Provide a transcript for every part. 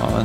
Ja,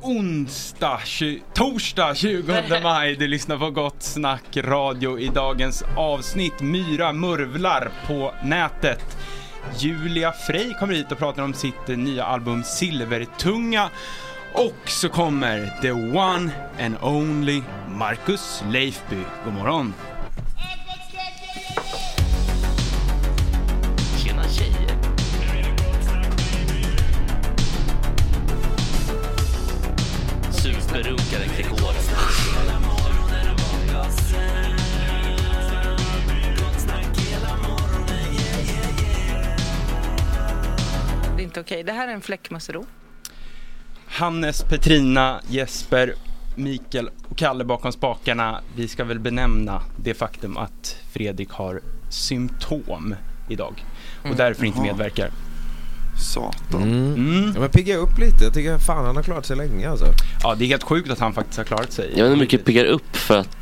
Onsdag, tju- torsdag 20 maj. Du lyssnar på Gott Snack Radio. I dagens avsnitt Myra murvlar på nätet. Julia Frey kommer hit och pratar om sitt eh, nya album Silvertunga. Och så kommer the one and only Marcus Leifby. God morgon. Superrunkaren Gregor. Det är inte okej. Det här är en fläckmussero. Hannes, Petrina, Jesper, Mikael och Kalle bakom spakarna. Vi ska väl benämna det faktum att Fredrik har symptom idag och därför inte Mm. Jaha. medverkar. Satan. Mm. Mm. Ja, men pigga upp lite. Jag tycker fan han har klarat sig länge alltså. Ja, det är helt sjukt att han faktiskt har klarat sig. Jag vet inte hur mycket jag piggar upp för att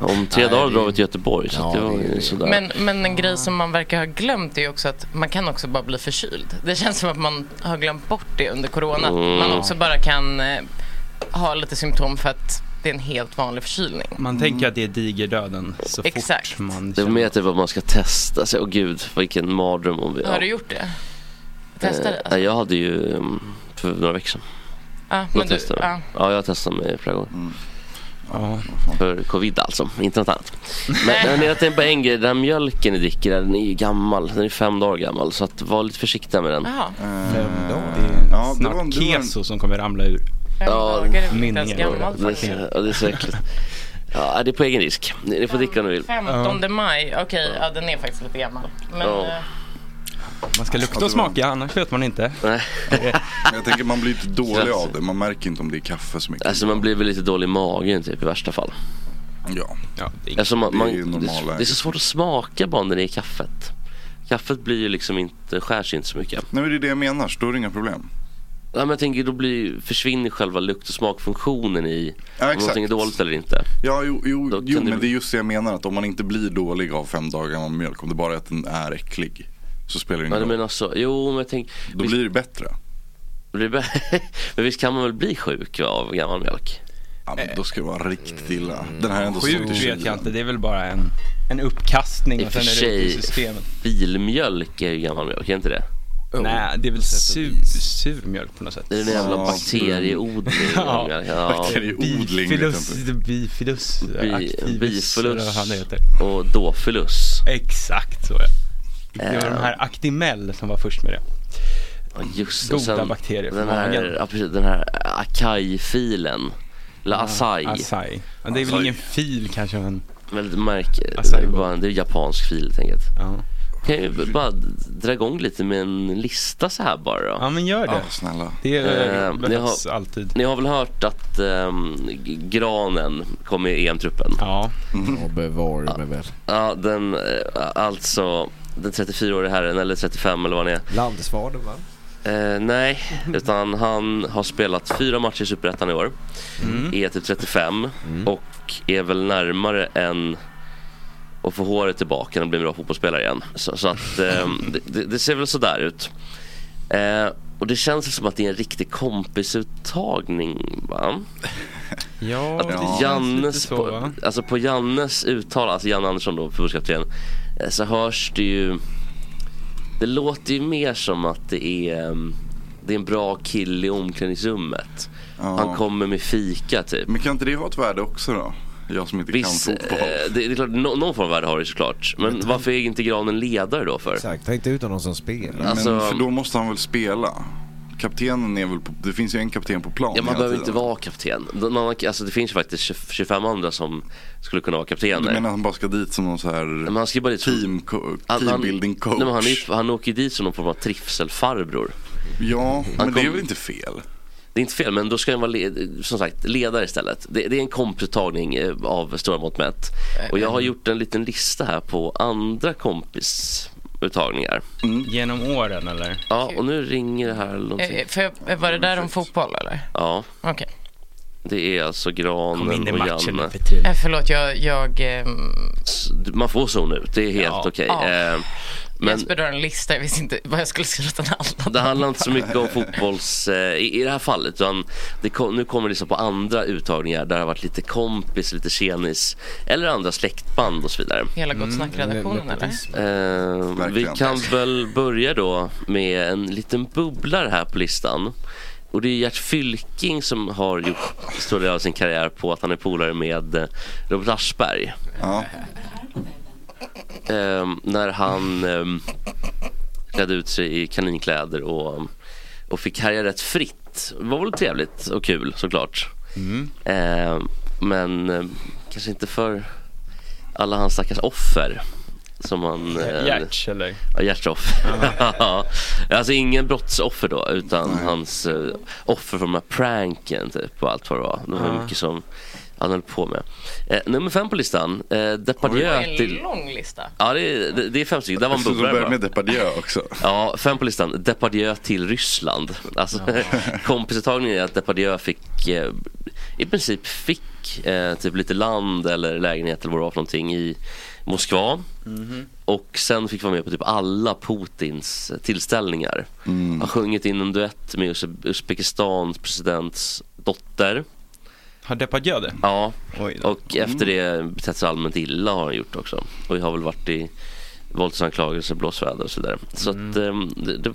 om tre Nej, dagar det- drar vi till Göteborg. Så Ja, att det var det är ju det. sådär. Men, men en grej som man verkar ha glömt är ju också att man kan också bara bli förkyld. Det känns som att man har glömt bort det under corona. Att Mm. Man också bara kan eh, ha lite symptom för att det är en helt vanlig förkylning. Man tänker att det är digerdöden så Exakt. fort man det var mer känner- typ att man ska testa sig. Åh gud, vilken mardröm. Om vi, Har du gjort det? Testa det? Eh, jag hade ju mm, för några veckor sedan. Ja, Då men du, testade jag. ja. Ja, jag har testat mig flera gånger. Mm. Ja. För covid alltså, inte något annat. Men, men jag tänkte på en grej. Den här mjölken ni dricker, den är ju gammal. Den är fem dagar gammal. Så att var lite försiktiga med den. Jaha, Fem dagar. Det är Eh, Ja, det var- snart det var en- keso som kommer ramla ur. fem Ja, dagar är väl min inte ens nivå. gammalt Det är, faktiskt. så- ja, det är så äckligt. Ja, det är på egen risk. Ni, ni får dricka om ni vill. 15 Alltså, maj, okej, ja, den är faktiskt lite gammal. Men, Ja. eh, Man ska Ja, lukta det och var- smaka, annars vet man inte. Nej. Men jag tänker man blir inte dålig Stress. av det. Man märker inte om det är kaffe så mycket. Alltså man blir väl lite dålig i magen typ i värsta fall. Ja. Ja, det är... Alltså man, Det är man, ju det, normalläget. det är så svårt att smaka bara när det är i kaffet. Kaffet blir ju liksom inte, skärs inte så mycket. Nej men det är det jag menar. Så Då är det inga problem. Ja, men jag tänker då blir, försvinner själva lukt och smakfunktionen i Ja, om exakt. någonting är dåligt eller inte. Ja, jo, Då jo, kan jo det men det bli- är just det jag menar. Att om man inte blir dålig av fem dagar med mjölk, om det bara är att den är äcklig, så spelar det Ja, ingen du roll. menar så. Jo, men jag tänker, Då blir det bättre. men visst kan man väl bli sjuk av gammal mjölk? Ja, men då ska det vara riktigt illa. Den här är ändå Sjukt stått i vet kylen. jag inte, det är väl bara en, en uppkastning I och och sen för är det ute i sig, systemet. filmjölk är ju gammal mjölk, är inte det? Jo, Nej, det är väl på sätt och sur, vis. surmjölk på något sätt. Det är en jävla Ja, bakterieodling. Ja, liksom. ja. Det är odling. till exempel. Bifidus, bifidus, Bi- activus, bifilus. eller vad han heter. Och dåfilus. Exakt så ja. Det var Eh. de här Actimel som var först med det. Ja, just det. Goda Och sen bakterier för den här, magen. ja, precis, den här acai-filen. Eller acai. Acai. Ja, det är väl Acai. ingen fil kanske men... Väldigt märk... Acai det är bowl. bara- Det är japansk fil helt enkelt. Ja, Kan jag ju bara dra igång lite med en lista så här bara då. ja men gör Ja, det. snälla. Det Eh, är, ni behövs alltid. Ni har väl hört att ehm, G- granen kom i EM-truppen? Ja, Mm. Ja, bevare mig väl. Ja, den, eh, alltså den 34-årige herren, eller 35 eller vad han är. Landsfadern va? Eh, nej, utan han har spelat fyra matcher i Superettan i år. Är typ 35 och är väl närmare än att få håret tillbaka och bli en bra fotbollsspelare igen. Så, så att ehm, det- det, det ser väl sådär ut. Eh, och det känns som att det är en riktig kompisuttagning va? ja Att det känns lite Jannes, så på, va? alltså på Jannes uttal, alltså Janne Andersson då, förbundskapten, eh, så hörs det ju, det låter ju mer som att det är, eh, det är en bra kille i omklädningsrummet. Ja. Han kommer med fika typ. Men kan inte det ha ett värde också då? Jag som inte Visst, kan eh, fotboll. det, det är klart, nå- någon form av värde har det ju såklart. Men varför är inte Granen ledare då för? Exakt, tänk dig utan någon som spelar. Men alltså- för då måste han väl spela? Kaptenen är väl på, det finns ju en kapten på plan Ja, man hela behöver tiden. inte vara kapten. Någon annan- Alltså, det finns ju faktiskt 20 25 andra som skulle kunna vara Du kaptener. menar att han bara ska dit som någon så här Men han ska ju bara dit som- team, co- Han- han- teambuilding coach? Nej, men han, är, ju- han åker ju dit som någon form av trivselfarbror. Ja, men det är kom- väl inte fel? Det är inte fel, men då ska den vara le- som sagt, ledare istället. Det, det är en kompisuttagning eh, av stora mått mätt. Och jag har gjort en liten lista här på andra kompisuttagningar. Genom åren eller? Ja, och nu ringer det här eller någonting. Eh, För jag, var det där om fotboll eller? Ja, Okej. det är alltså Kom in Granen i och matchen Janne. nu för tiden. Eh, Förlåt, jag, jag, ehm, S- Man får zona ut, det är helt Ja. okej. Ja. Eh, Men Jesper drar en lista, jag visste inte vad jag skulle skriva utan alla. det handlar inte så mycket om fotbolls, eh, i, i det här fallet. Utan det kom, nu kommer det liksom på andra uttagningar där det har varit lite kompis, lite tjenis eller andra släktband och så vidare. Hela Mm, Gott Snack-redaktionen eller? Nepotism. Eh, vi Verkligen. kan väl börja då med en liten bubblare här på listan. Och det är Gert Fylking som har gjort stor del av sin karriär på att han är polare med eh, Robert Aschberg. Ja. Eh, när han eh, klädde ut sig i kaninkläder och, och fick härja rätt fritt. Det var väl trevligt och kul såklart. Eh, men eh, kanske inte för alla hans stackars offer. Som han, eh, Gert eller? Ja, Hjärtsoff. Ja. alltså ingen brottsoffer då utan hans eh, offer för de här pranken typ och allt vad det var. Det var mycket som han höll på med. Eh, nummer fem på listan, eh, Det var Depardieu en till... lång lista. Ja det är, det, det är fem stycken, där var en Så de bubblare börjar bara. med Depardieu också. Ja, fem på listan. Depardieu till Ryssland. Alltså, kompisuttagningen är att Depardieu fick, eh, i princip fick eh, typ lite land eller lägenhet eller vad det var för någonting i Moskva. Och sen fick vara med på typ alla Putins eh, tillställningar. Mm. Har sjungit in en duett med Uz- Uzbekistans presidents dotter. Har Depardieu det? Ja, Oj då. och efter det Mm. betett sig allmänt illa har han gjort också. Och jag har väl varit i våldsanklagelser, blåsväder och så vidare. Så Mm. att, ehm, det, det,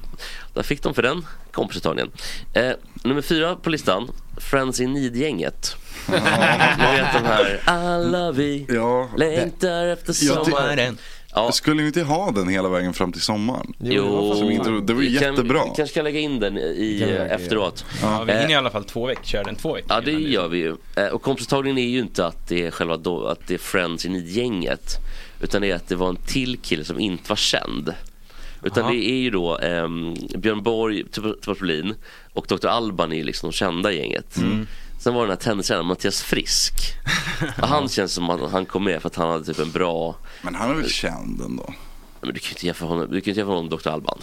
där fick de för den kompisuttagningen. Eh, nummer fyra på listan, Friends in Need-gänget. Ni vet de här, alla vi Ja, längtar efter Jag ty- sommaren. Ja. skulle vi inte ha den hela vägen fram till sommaren? Jo, som intro. Det var ju vi kan- jättebra. Vi kanske kan lägga in den i, eh, kan vi lägga in. efteråt. Ja, vi hinner i alla fall två veckor, kör den två veckor. Ja det innan gör vi ju. Eh, Och kompisuttagningen är ju inte att det är själva då, att det är Friends in i gänget. Utan det är att det var en till kille som inte var känd. Utan Aha. det är ju då ehm, Björn Borg, Tob- Tobias Brolin och Dr. Alban är ju liksom de kända i gänget. Mm. Sen var det den här tennistränaren Mattias Frisk. Och han känns som att han kom med för att han hade typ en bra... Men han är väl känd ändå? Men du kan ju inte jämföra honom, du kan ju inte jämföra honom med Dr. Alban.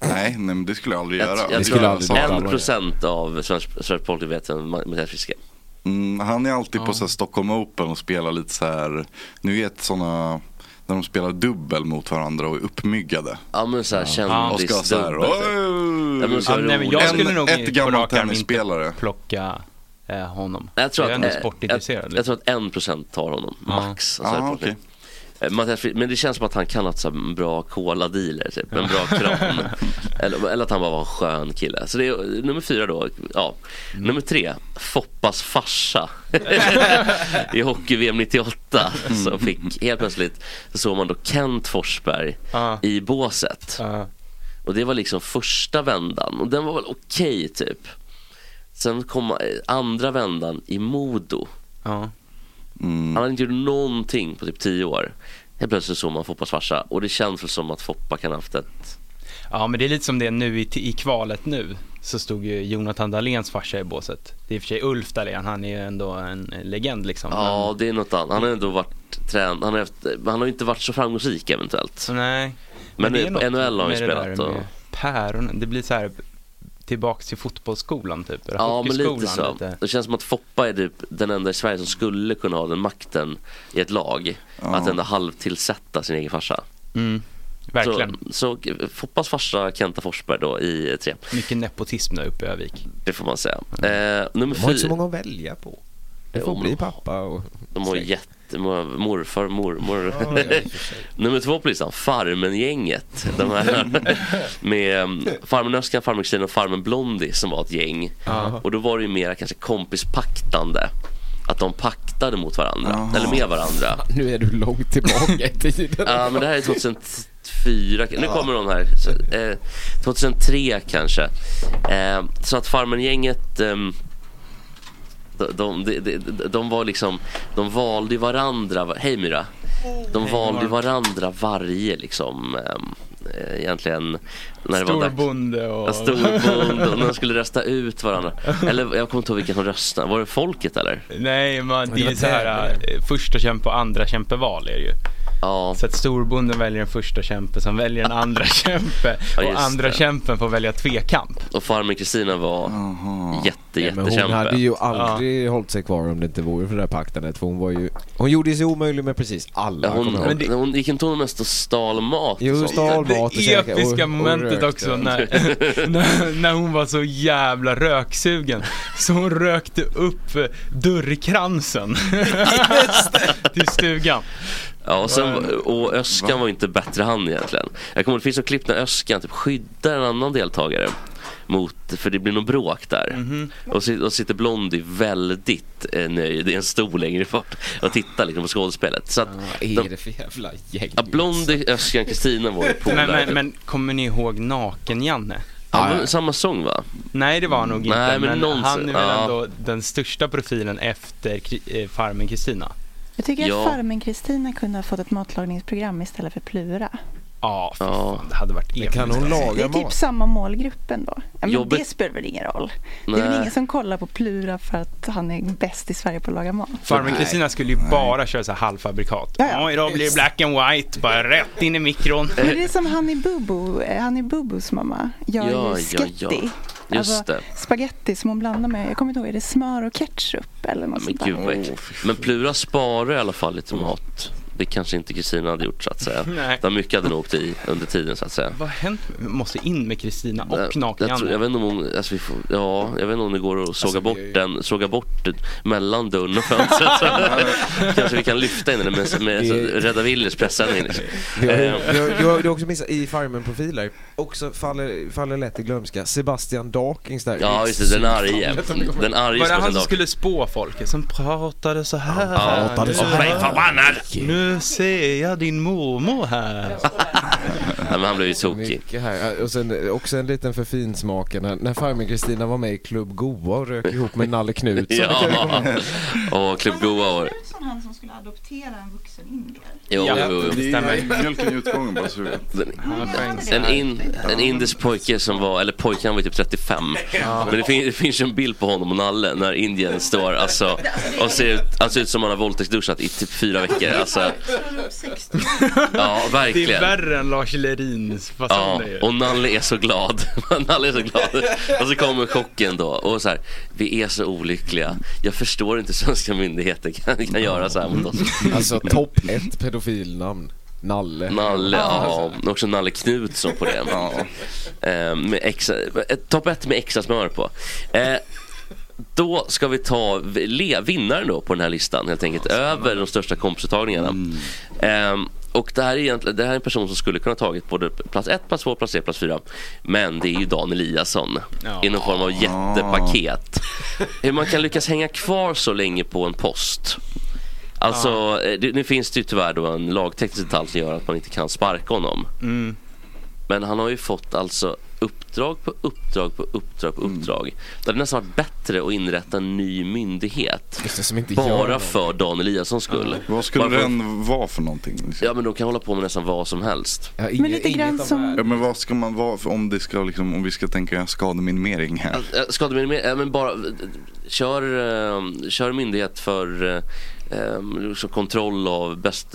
Nej, nej, men det skulle jag aldrig göra. Jag, Det jag skulle jag tror aldrig göra. en procent av svensk, svensk folket vet vem Mattias Fiske är. Mm, han är alltid på så här, Stockholm Open och spelar lite så här, nu vet sådana, när de spelar dubbel mot varandra och är uppmyggade. Ja men såhär Och ska så här, kändisdubbel. Ja, men så Ja, är det nej, men jag roligt. skulle En- nog ett inte på gammalt rak arm tennisspelare. inte plocka eh, honom. Jag tror jag är att, ändå eh, sportintresserad. jag, jag tror att en procent tar honom, max. Alltså, Ja, här, okej. Eh, Mattias Fri- Men det känns som att han kan ha haft så här en bra cola-dealer, typ. en bra kram. eller, eller att han bara var en skön kille. Så det är eh, nummer fyra då. Ja. Nummer tre, Foppas farsa. I hockey-VM 98 så fick helt plötsligt så såg man då Kent Forsberg Ah. i båset. Ja. Och det var liksom första vändan och den var väl okej typ. Sen kom eh, andra vändan i Modo. Ja. Mm. Han hade inte gjort någonting på typ tio år. Helt plötsligt såg man Foppas farsa och det känns väl som att Foppa kan ha haft ett... ja, men det är lite som det är nu i, i kvalet nu. Så stod ju Jonathan Dahléns farsa i båset. Det är i och för sig Ulf Dahlén, han är ju ändå en legend liksom. Ja, det är något annat. Han har ändå varit trän... Han har, haft... han har ju inte varit så framgångsrik eventuellt. Men, nej. Men det är något NHL har han ju med det där spelat och... med Päronen, det blir så här tillbaks till fotbollsskolan typ. eller Ja, men lite hockeyskolan, så. lite. Det känns som att Foppa är typ den enda i Sverige som skulle kunna ha den makten i ett lag. Att ändå halvtillsätta sin egen farsa. Mm. Verkligen. Så, så Foppas farsa Kenta Forsberg då i tre. Mycket nepotism där uppe i Övik. Det får man säga. Eh, nummer De har inte så fyra. många att välja på. Du Jo, får bli men- pappa och... De har jättemånga morfar, mormor. nummer två på listan, Farmen-gänget. De här med um, Farmen Öskan, Farmen Kristin och Farmen Blondie som var ett gäng. Och då var det ju mera kanske kompispaktande. Att de paktade mot varandra, Jaha. eller med varandra. Nu är du långt tillbaka i tiden. Ja, men det här är 2004. Nu kommer de här. Så, eh, 2003 kanske. Eh, så att Farmen-gänget ehm, de, de, de, de, de var liksom, de valde ju varandra. va- Hej Myra. De valde ju varandra varje liksom ehm, eh, egentligen när det var dags. Storbonde och... Ja, Storbond och när de skulle rösta ut varandra. Eller jag kommer inte ihåg vilka som röstade. Var det folket eller? Nej, man, det var är så här eh, första kämpe och andra kämpeval är det ju. Ja, Så att storbonden väljer en första kämpe som väljer en andra kämpe Ja, just och andra det. kämpen får välja tvekamp. och farmen Kristina var Jaha. jätte, Men hon jättekämpe. hade ju aldrig hållit sig kvar om det inte vore för det där paktandet. För hon var ju... Hon gjorde sig omöjlig med precis alla. Ja, hon, kommer jag hon, ihåg. det- hon gick inte hon mest och stal mat? och Jo, sånt? stal Det mat och käkade Oh, och- episka och momentet rökte. också när, när, när hon var så jävla röksugen så hon rökte upp eh, dörrkransen till stugan. Ja, och, sen, och Öskan var ju inte bättre han egentligen. Jag kommer ihåg, det finns en klipp när Öskan typ skyddar en annan deltagare. Mot, för det blir någon bråk där. Mhm. Och, si- och sitter Blondie väldigt eh, nöjd i en stol längre bort och tittar liksom på skådespelet. Så att, Vad är det för jävla gäng? ja, Blondie, Öskan, Kristina var ju polare. Men, men, men kommer ni ihåg Naken-Janne? Ja, men samma sång va? Nej det var han nog inte, Nej, men men, någon- han är väl ja. ändå den största profilen efter Kri- eh, Farmen Kristina. Jag tycker Ja. att Farmen-Kristina kunde ha fått ett matlagningsprogram istället för Plura. Ja, för Ja. fan, det hade varit alltså. Men episkt. kan hon Det är laga typ mat? samma målgrupp ändå. Ja, men Jobbigt. Det spelar väl ingen roll. Det är väl Nej. ingen som kollar på Plura för att han är bäst i Sverige på att laga mat. Farmen Kristina skulle ju bara köra så här halvfabrikat. Ja, ja. Ja, idag blir det black and white, bara rätt in i mikron. Eh. Men det är som han i Bubu, eh, han i Bubus mamma, gör Ja, ja, ja, ju sketti. ja. Just det. Spaghetti som hon blandar med, jag kommer inte ihåg, är det smör och ketchup eller något Men sånt gud där? vad äckligt. Men Plura sparar i alla fall lite mat. Det kanske inte Kristina hade gjort så att säga. Nej. Utan mycket hade nog åkt i under tiden så att säga. Vad har hänt? Vi måste in med Kristina och jag, jag, tror, jag Naken-Janne. vet inte om hon, alltså vi får, ja, jag vet inte om det går att såga bort den, såga bort den mellan dörren och fönstret. Så Kanske vi kan lyfta in den med, med så, Det- Rädda Willys presssändning. Ehm, Liksom. Du har, du, har, du, har, du har också missat i Farmen-profiler, också faller, faller lätt i glömska, Sebastian Dakings där. Ja just det, den arge. Den arge Var det han som Sebastian skulle spå folk? Som pratade så här. Ja, pratade så Nu- här. förbannad! Nu ser jag din mormor här. Nej, men han blev ju tokig. Mycket här. Och sen eh, också en liten för finsmaken här. När Farmen-Kristina var med i Klubb Goa och rök ihop med Nalle Knutsson. Ja, och Club Goa var nästan han som skulle adoptera en vuxen indier? Jo, Ja, jo, jo. det stämmer. Mjölken i utgången bara, så du vet. Ja, Den- thanks. En, in, en indisk pojke som var, eller pojken han var typ 35. Ja. Men det, fin, det finns ju en bild på honom och Nalle när Indien står alltså, och ser ut, han ser ut som han har våldtäktsduschat i typ fyra veckor. Alltså, ja, verkligen. Det är värre än Lars Lerins Ja, fasader ju. och Nalle är så glad. Nalle är så glad. Och så kommer chocken då. Och så här, vi är så olyckliga. Jag förstår inte svenska myndigheter kan, kan göra så här mot oss. Alltså topp ett pedofilnamn. Nalle. Nalle, ja. Alltså, Och också Nalle Knutsson på det. Eh, med extra, eh, topp ett med extra smör på. Eh, då ska vi ta v- le, vinnaren då på den här listan helt enkelt. över de största komprisuttagningarna. Eh, och det här, är egentligen, det här är en person som skulle kunna ha tagit både plats 1, plats 2, plats 3, plats 4. Men det är ju Dan Eliasson Ja. i någon form av jättepaket. Hur man kan lyckas hänga kvar så länge på en post. Alltså, eh, det, nu finns det ju tyvärr då en lagteknisk detalj som gör att man inte kan sparka honom. Mm. Men han har ju fått alltså uppdrag på uppdrag på uppdrag Mm. på uppdrag. Det hade nästan varit bättre att inrätta en ny myndighet. gör bara något. för Dan Eliassons skull. Vad skulle Bara för- den vara för någonting? liksom? Ja men de kan hålla på med nästan vad som helst. Men lite grann som- Ja, men vad ska man vara för, om, det ska, liksom, om vi ska tänka skademinimering här? Eh, Skademinimering, eh, men bara eh, kör, eh, kör myndighet för eh, eh, så kontroll av bäst,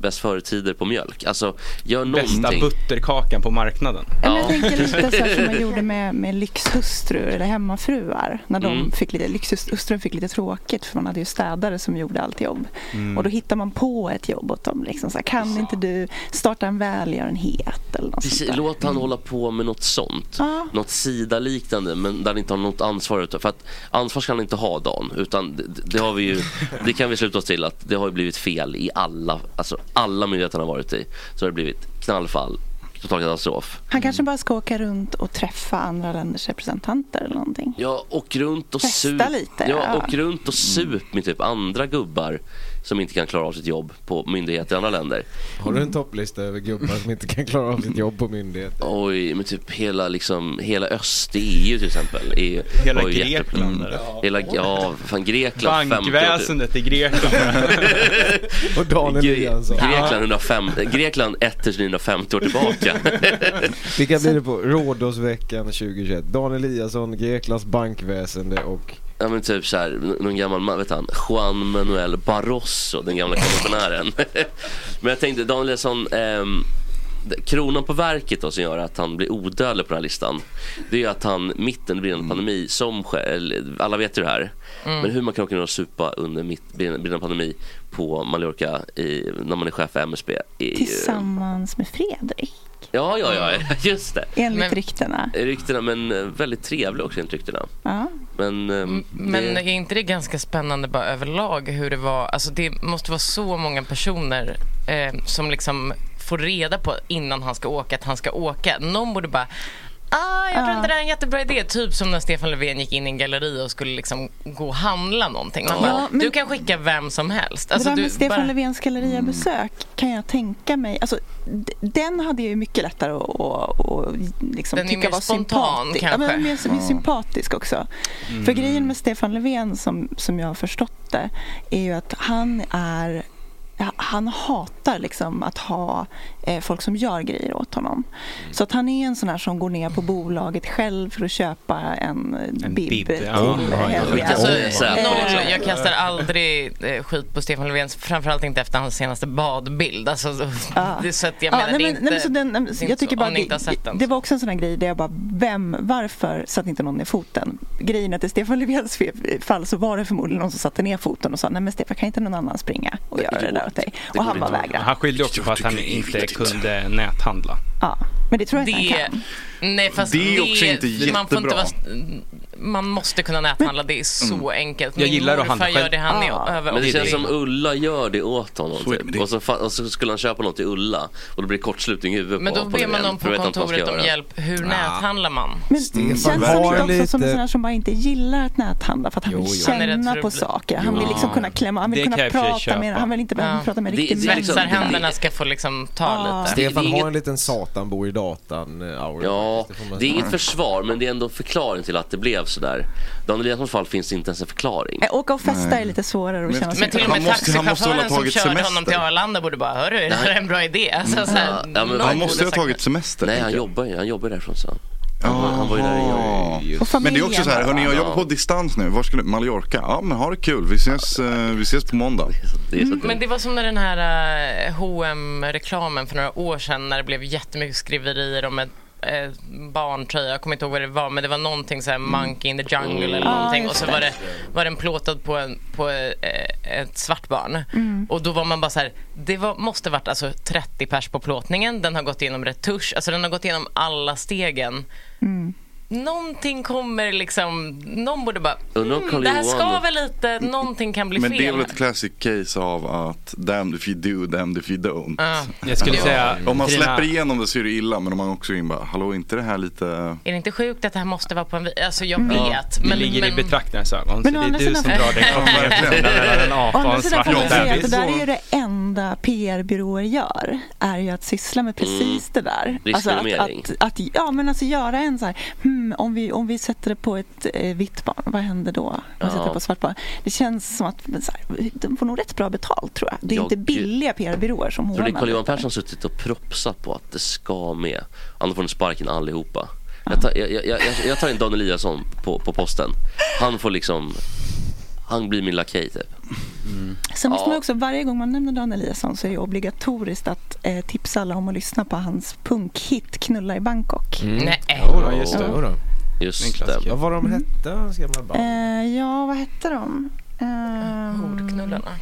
bäst företider på mjölk. Alltså gör någonting. Bästa butterkakan på marknaden. Eller jag tänker lite så här som man gjorde med, med lyxhustrur eller hemmafruar. När de Mm. fick lite, lyxhustrun fick lite tråkigt för man hade ju städare som gjorde allt jobb. Mm. Och då hittar man på ett jobb åt dem. Liksom, så här, kan inte du starta en välgörenhet eller något sånt Precis, där. låt han hålla på med något sånt. Ja. Något sidaliknande men där han inte har något ansvar. utav- För att ansvar ska han inte ha Dan. Utan det, det, har vi ju, det kan vi sluta oss till att det har ju blivit fel i alla, alltså alla myndigheter han har varit i. Så har det blivit knallfall, total katastrof. Han kanske bara ska åka runt och träffa andra länders representanter eller någonting. Ja, och runt och Festa sup. lite, ja, ja. och runt och Mm. sup med typ andra gubbar som inte kan klara av sitt jobb på myndigheter i andra länder. Har du en topplista över gubbar som inte kan klara av sitt jobb på myndighet? Oj, men typ hela, liksom, hela öst-EU till exempel. Är, Hela var ju jätte- Grekland, Mm. Hela, ja, fan Grekland. 50 år typ. Bankväsendet i Grekland. Och Dan Eliasson. Grekland, 105, Grekland 1950 år tillbaka. Vilka blir det på? Rhodosveckan 2021. Dan Eliasson, Greklands bankväsende och... Ja men typ såhär, n- någon gammal man, vet han, Juan Manuel Barroso, den gamla kommissionären. men jag tänkte, Dan Eliasson, ehm, d- kronan på verket då som gör att han blir odödlig på den här listan. Det är ju att han, mitt under brinnande pandemi, som sj- eller, alla vet ju det här. Mm. Men hur man kan åka ner och supa under mitt brin- brinnande pandemi på Mallorca i, när man är chef för MSB. I, Tillsammans med Fredrik, ja, ja, ja, just det. enligt ryktena. Ryktena, men eh, väldigt trevlig också enligt ryktena. Ja. Men, ehm, Men det- är inte det ganska spännande bara överlag hur det var? Alltså det måste vara så många personer eh, som liksom får reda på innan han ska åka att han ska åka. Någon borde bara Ah, jag tror inte det här är en jättebra idé. Typ som när Stefan Löfven gick in i en galleria och skulle liksom gå och handla någonting. Man Ja. bara, Ja, men- Du kan skicka vem som helst. Alltså, det där du med Stefan bara- Mm. Löfvens galleriabesök kan jag tänka mig. Alltså, d- den hade jag ju mycket lättare att att- att liksom Den är tycka mer var spontan, sympatisk. Ja, kanske. men den är mer, mer Ja. sympatisk också. Mm. För grejen med Stefan Löfven, som, som jag har förstått det, är ju att han är han hatar liksom att ha eh, folk som gör grejer åt honom. Så att han är en sån här som går ner på bolaget själv för att köpa en, en bib. till helgen. Alltså, Eh, noll, jag kastar aldrig eh, skit på Stefan Löfvens, framförallt inte efter hans senaste badbild. Alltså, det, så att jag Ja, menar, nej, det men- är inte, nej, men så den- nej, men det är så- inte jag tycker så, bara om ni inte har det, sett den. det var också en sån här grej där jag bara, vem, varför satte inte någon ner foten? Grejen är att i Stefan Löfvens fe- fall så var det förmodligen någon som satte ner foten och sa, nej men Stefan kan inte någon annan springa och göra det där åt dig? Och han bara vägrade. Han skyllde också på att han inte kunde näthandla. Ja, men det tror jag inte han kan. Nej, fast Det är också inte man, får inte jättebra. vara, man måste kunna näthandla, det är så enkelt. Mm. Jag Min gillar att morfar handla gör det han själv. är över Men det känns 80. som Ulla gör det åt honom. Typ. Och, så, fa- och så skulle han köpa något till Ulla och då blir det kortslutning i huvudet Men på då ber honom. man någon på kontoret om hjälp. Hur näthandlar man? Men känns han inte också som en sån här som bara inte gillar att näthandla för att han Jo, vill jo. Han är rätt känna på trubbel. saker. Han vill Jo. liksom kunna klämma, han Det vill kan jag kunna i och för sig prata med köpa. han vill inte behöva prata med Det- riktig det är liksom- Svetsar händerna ska få liksom ta lite. Stefan Det är har inget- en liten satan bor i datan eh, aura. Ja, får man det är säga. inget försvar men det är ändå en förklaring till att det blev blev sådär. Daniel Eliassons fall finns inte ens en förklaring. Eh, Åka och festa är lite svårare att känna sig Men till och med taxichauffören som körde honom till Arlanda borde bara, hörru, är det här Nej. en bra idé? Alltså, så här, någon borde sagt- semester. Nej, han jobbar ju. Han jobbar därifrån så. Han, var- han var ju där i Ja. Men det är också så här, hörni, jag jobbar på distans nu. Var ska du? Mallorca? Ja, men ha det kul. Vi ses, eh, vi ses på måndag. Mm, Mm. Men det var som när den här eh, hm reklamen för några år sedan när det blev jättemycket skriverier om ett eh, barntröja, jag kommer inte ihåg vad det var men det var någonting såhär Monkey in the jungle eller Ah, någonting och just så det. var, det, var den plåtad på, en, på eh, ett svart barn Mm. och då var man bara så här, det var, måste varit alltså 30 pers på plåtningen, den har gått igenom retusch, alltså den har gått igenom alla stegen Någonting kommer liksom, någon borde bara, Undrar om mm, Carl det här Johan- ska väl lite, någonting kan bli Men fel. det är väl ett classic case av att damned if you do, damned if you don't. Ja. Jag skulle säga, om man Trina- släpper igenom det så är det illa, men om man också är in bara, hallå är inte det här lite... Är det inte sjukt att det här måste vara på en... vi- Alltså jag Mm. Ja, vet. det men, ligger i men... betraktarens ögon. Men så å det är andra du sidan- som drar den konflikten mellan en Å apa och andra en sidan svart får man säga att det bebis. där är ju det enda PR-byråer gör, är ju att syssla med precis det där. Alltså att, Riskminimering. att, att, ja, men alltså göra en så här, hmm, om, vi, om vi sätter det på ett eh, vitt barn, vad händer då? Om vi Ja. sätter det på ett svart barn. Det känns som att men så här, de får nog rätt bra betalt tror jag. Det är Jag- inte billiga PR-byråer som Tror hånar. ni Carl Johan Persson suttit och propsat på att det ska med? Annars får ni sparken allihopa. Jag tar, jag, jag, jag, jag tar in Dan Eliasson på, på posten. Han får liksom... Han blir min lakej typ. Mm. Sen måste Ja. man också, varje gång man nämner Dan Eliasson så är det obligatoriskt att eh, tipsa alla om att lyssna på hans punkhit Knulla i Bangkok. Mm. Nej. Jodå, just det. Jodå. Just det. Ja, vad de hette, ska man bara... Eh, ja, vad hette de? Eh, Ordknullarna. Eh,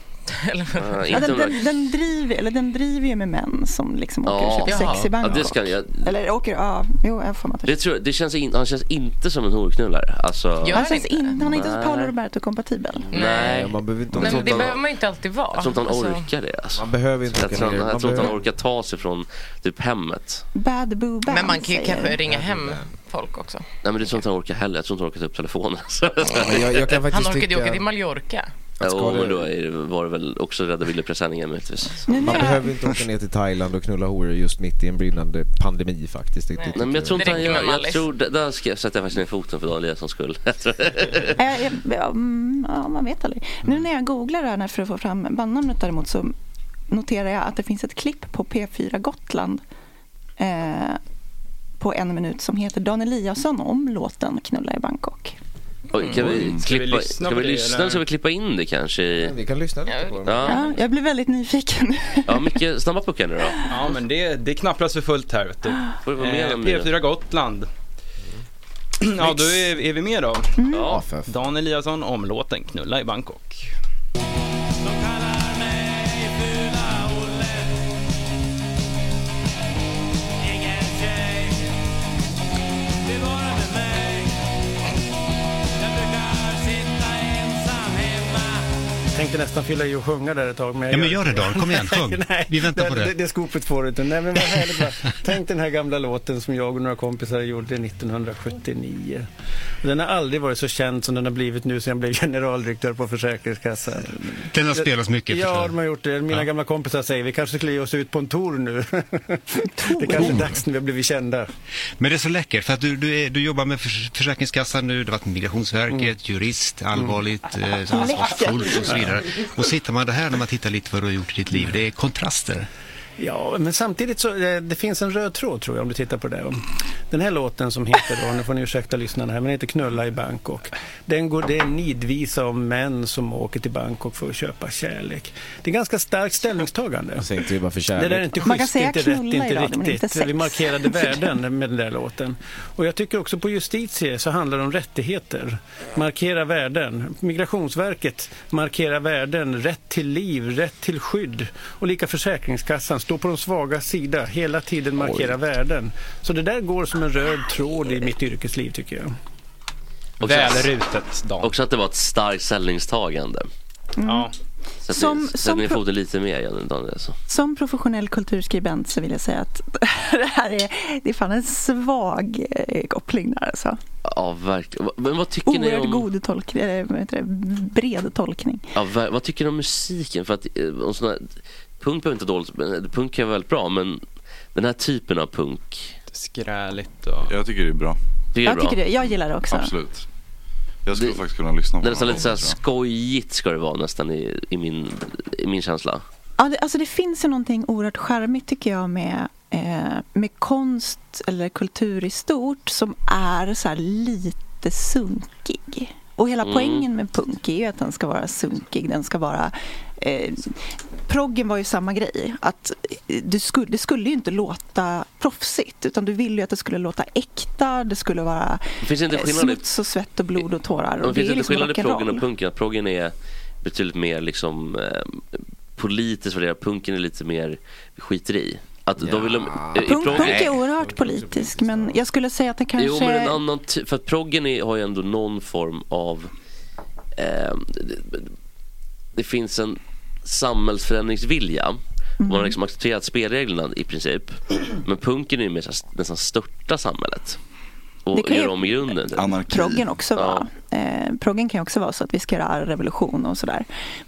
Ja, Ja, Ah, inte den, några- den, den, driver, eller den driver ju med män som liksom åker och köper Ja. sex i Ja, Bangkok. det, ska, jag, Eller åker, ja, jo, jag får mig att det, tror jag, det känns in, han känns inte som en horknullare. Alltså, han, känns in, han är inte så Nej. Paolo Roberto-kompatibel. Nej. Man behöver inte Nej, men det behöver man ju inte alltid vara. Jag tror inte han Alltså, orkar det. Alltså. Man behöver inte jag orka tror, han- det. Man jag tror inte han behöver- orkar ta sig från typ hemmet. Bad Boo Band, Men man kan ju säger kanske jag. ringa hem folk också. Nej men det tror inte han orkar heller. Jag tror inte han orkar ta upp telefonen. men jag- jag kan faktiskt Han orkade ju tycka- åka till Mallorca. Jo, men då är det, var det väl också Rädda Willy-presenningen möjligtvis. Man behöver inte åka ner till Thailand och knulla horor just mitt i en brinnande pandemi faktiskt. Det- det- Nej, men jag tror det- inte han det- gör, jag tror, där- där ska jag sätta faktiskt ner foten för Dan Eliassons skull. Jag tror- Ja, jag- ja, mm, ja, man vet aldrig. Mm. Nu när jag googlar det här när- för att få fram bandnamnet däremot så noterar jag att det finns ett klipp på P4 Gotland eh, på en minut som heter Dan Eliasson om låten Knulla i Bangkok. Oj, kan vi Mm. Ska vi klippa, lyssna på ska vi det, lyssna eller? eller ska vi klippa in det kanske? i- Vi kan lyssna lite på Ja. Ja, jag blir väldigt nyfiken. Ja, mycket snabba puckar nu då. Ja, men det, det knappras för fullt här vet du. Får du vara med Eh, om det? Mm. P4 Gotland. Ja, då är, är vi med då. Ja. Dan Eliasson om låten Knulla i Bangkok. Tänkte nästan fylla i och sjunga där ett tag. Men jag Ja, men gör det, Dan. Kom igen, sjung. Nej, Vi väntar på det. Det, det skopet får du inte. Nej, men vad härligt. va? Tänk den här gamla låten som jag och några kompisar gjorde 1979. Och Den har aldrig varit så känd som den har blivit nu sedan jag blev generaldirektör på Försäkringskassan. Den har spelats mycket, förstår Ja, jag. de har gjort det. Mina gamla kompisar säger vi kanske skulle ge oss ut på en tour nu. det kanske är dags när vi har blivit kända. Men det är så läckert för att du, du, är, du jobbar med förs Försäkringskassan nu, du har varit med Migrationsverket, Mm. jurist, allvarligt, eh, ansvarsfullt och så vidare. Och sitter man det här när man tittar lite vad du har gjort i ditt liv, det är kontraster. Ja, men samtidigt så eh, det finns en röd tråd tror jag om du tittar på det. Den här låten som heter, då, nu får ni ursäkta lyssnarna här, men den heter Knulla i Bangkok. Den går, det är en nidvisa om män som åker till Bangkok för att köpa kärlek. Det är ganska starkt ställningstagande. Jag tänkte ju bara för Det kärlek. där är inte Man kan schysst, säga inte rätt, knulla inte idag, men inte riktigt. sex. Vi markerade värden med den där låten. Och jag tycker också på justitie så handlar det om rättigheter. Markera värden. Migrationsverket markerar värden. Rätt till liv, rätt till skydd. Och lika Försäkringskassan står på de svaga sida. Hela tiden markera värden. Så det där går som en röd tråd i mitt yrkesliv tycker jag. Välrutet, Dan. Också att det var ett starkt ställningstagande. Ja. Sätt, Som- som, sätt som ner pro- foten lite mer, alltså. Jenny Dan Eliasson. Som professionell kulturskribent så vill jag säga att det här är, det är fan en svag eh, koppling där alltså. Ja, verkligen. Va- Men vad tycker ni Oerhört om... god tolkning, eller vad heter det, bred tolkning. Ja, ver- vad tycker du om musiken? För att eh, om såna, punk behöver inte dåligt, men eh, punk är väldigt bra men den här typen av punk. Skräligt och... Jag tycker det är bra. Det är jag, bra. tycker det, jag gillar det också. Absolut. Jag skulle faktiskt kunna lyssna på Det är nästan den lite så här tror jag. skojigt ska det vara nästan i, i, min, i min känsla. Ja, det, alltså det finns ju någonting oerhört charmigt tycker jag med, eh, med konst eller kultur i stort som är så här lite sunkig. Och hela Mm. poängen med punk är ju att den ska vara sunkig, den ska vara... Eh, proggen var ju samma grej, att eh, du skulle, det skulle ju inte låta proffsigt utan du ville ju att det skulle låta äkta, det skulle vara Finns det inte eh, skillnad i- smuts och svett och blod och tårar. Men Och det det finns är inte liksom skillnad i proggen och rock'n'roll. punken. Att proggen är betydligt mer liksom, eh, politiskt värderad. Punken är lite mer skiter i. Att då vill de, eh, i Punk, proggen- punk är oerhört politisk men jag skulle säga att det kanske... Jo, men en annan ty- för att proggen är, har ju ändå någon form av... ehm, det, det finns en samhällsförändringsvilja. Man Mm. har liksom accepterat spelreglerna i princip. Men punken är ju mer så här, nästan störta samhället. Det Och kan ju gör om i grunden. typ. proggen också vara. Eh, proggen kan ju också vara så att vi ska göra revolution och sådär.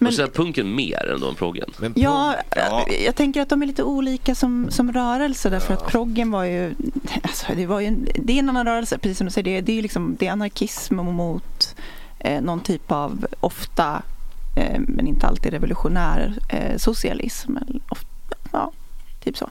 och så är punken mer ändå än proggen. Ja, eh, jag tänker att de är lite olika som, som rörelse därför att proggen var ju, alltså, det, var ju en, det är en annan rörelse, precis som du säger, det, är- det är ju liksom det är anarkism mot eh, någon typ av, ofta, eh, men inte alltid revolutionär eh, socialism. Eller, ofta, ja, typ så.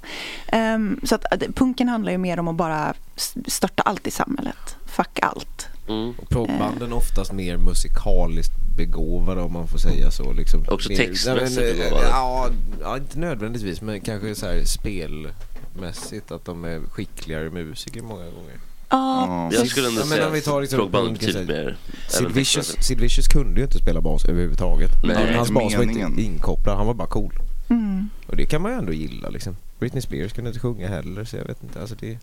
Ehm, så att, eh, punken handlar ju mer om att bara s- störta allt i samhället, fuck allt. Mm. Och proggbanden är oftast mer musikaliskt begåvade om man får säga så. Liksom, Också mer, textmässigt Nej, men, eh, begåvade. ja, ja, inte nödvändigtvis men kanske så här spelmässigt att de är skickligare musiker många gånger. Ja, Jag skulle ändå Ja, men säga om vi tar liksom proggband punken, betydligt så här, mer. Sid även Vicious, textmässigt. Sid Vicious kunde ju inte spela bas överhuvudtaget. Nej, det är Hans inte bas var inte meningen. inkopplad, han var bara cool. Mm. Och det kan man ju ändå gilla liksom. Britney Spears kunde inte sjunga heller så jag vet inte. Alltså det...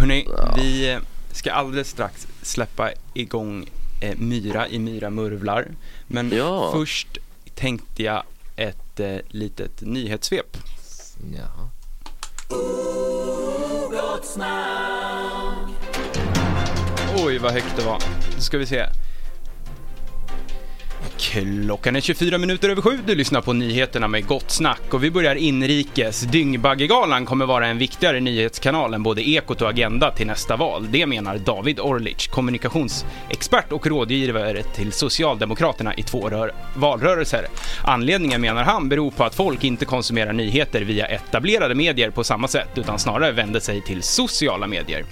Hörni, vi eh, ska alldeles strax släppa igång eh, Myra i Myra Murvlar. Men först tänkte jag ett eh, litet nyhetssvep. Oj, vad högt det var. Då ska vi se. Klockan är 24 minuter över sju. Du lyssnar på nyheterna med Gott Snack och vi börjar inrikes. Dyngbaggegalan kommer vara en viktigare nyhetskanal än både Ekot och Agenda till nästa val. Det menar David Orlic, kommunikationsexpert och rådgivare till Socialdemokraterna i två rör- valrörelser. Anledningen menar han beror på att folk inte konsumerar nyheter via etablerade medier på samma sätt utan snarare vänder sig till sociala medier.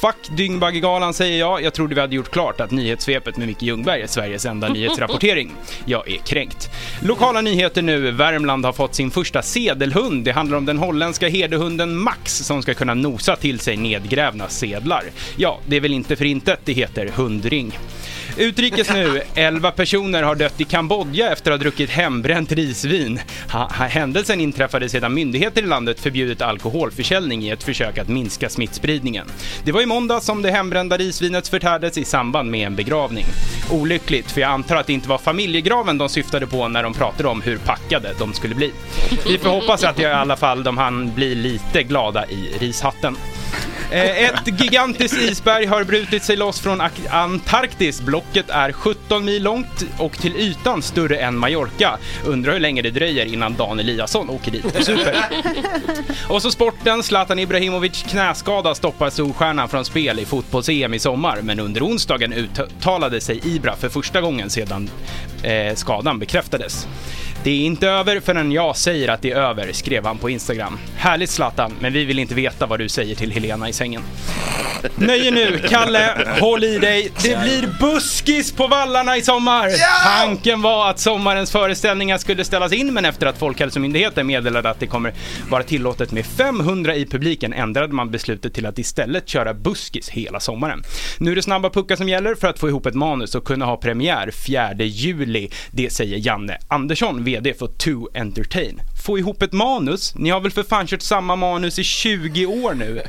Fuck Dyngbaggegalan säger jag. Jag trodde vi hade gjort klart att nyhetssvepet med Micke Ljungberg är Sveriges enda nyhetsrapportering. Jag är kränkt. Lokala nyheter nu. Värmland har fått sin första sedelhund. Det handlar om den holländska herdehunden Max som ska kunna nosa till sig nedgrävna sedlar. Ja, det är väl inte för intet det heter hundring. Utrikes nu. 11 personer har dött i Kambodja efter att ha druckit hembränt risvin. Ha, ha, händelsen inträffade sedan myndigheter i landet förbjudit alkoholförsäljning i ett försök att minska smittspridningen. Det var i måndag som det hembrända risvinet förtärdes i samband med en begravning. Olyckligt, för jag antar att det inte var familjegraven de syftade på när de pratade om hur packade de skulle bli. Vi får hoppas att jag i alla fall de hann bli lite glada i rishatten. Eh, Ett gigantiskt isberg har brutit sig loss från Ak- Antarktis. Blocket är 17 mil långt och till ytan större än Mallorca. Undrar hur länge det dröjer innan Dan Eliasson åker dit och super. Och så sporten. Zlatan Ibrahimovic knäskada stoppar Solstjärnan från spel i fotbolls-EM i sommar. Men under onsdagen uttalade sig Ibra för första gången sedan eh, skadan bekräftades. Det är inte över förrän jag säger att det är över, skrev han på Instagram. Härligt Zlatan, men vi vill inte veta vad du säger till Helena i sängen. Nöje nu, Kalle, håll i dig. Det blir buskis på vallarna i sommar! Tanken var att sommarens föreställningar skulle ställas in, men efter att Folkhälsomyndigheten meddelade att det kommer vara tillåtet med 500 i publiken ändrade man beslutet till att istället köra buskis hela sommaren. Nu är det snabba puckar som gäller för att få ihop ett manus och kunna ha premiär 4 juli. Det säger Janne Andersson, VD för To Entertain. Få ihop ett manus? Ni har väl för fan kört samma manus i 20 år nu?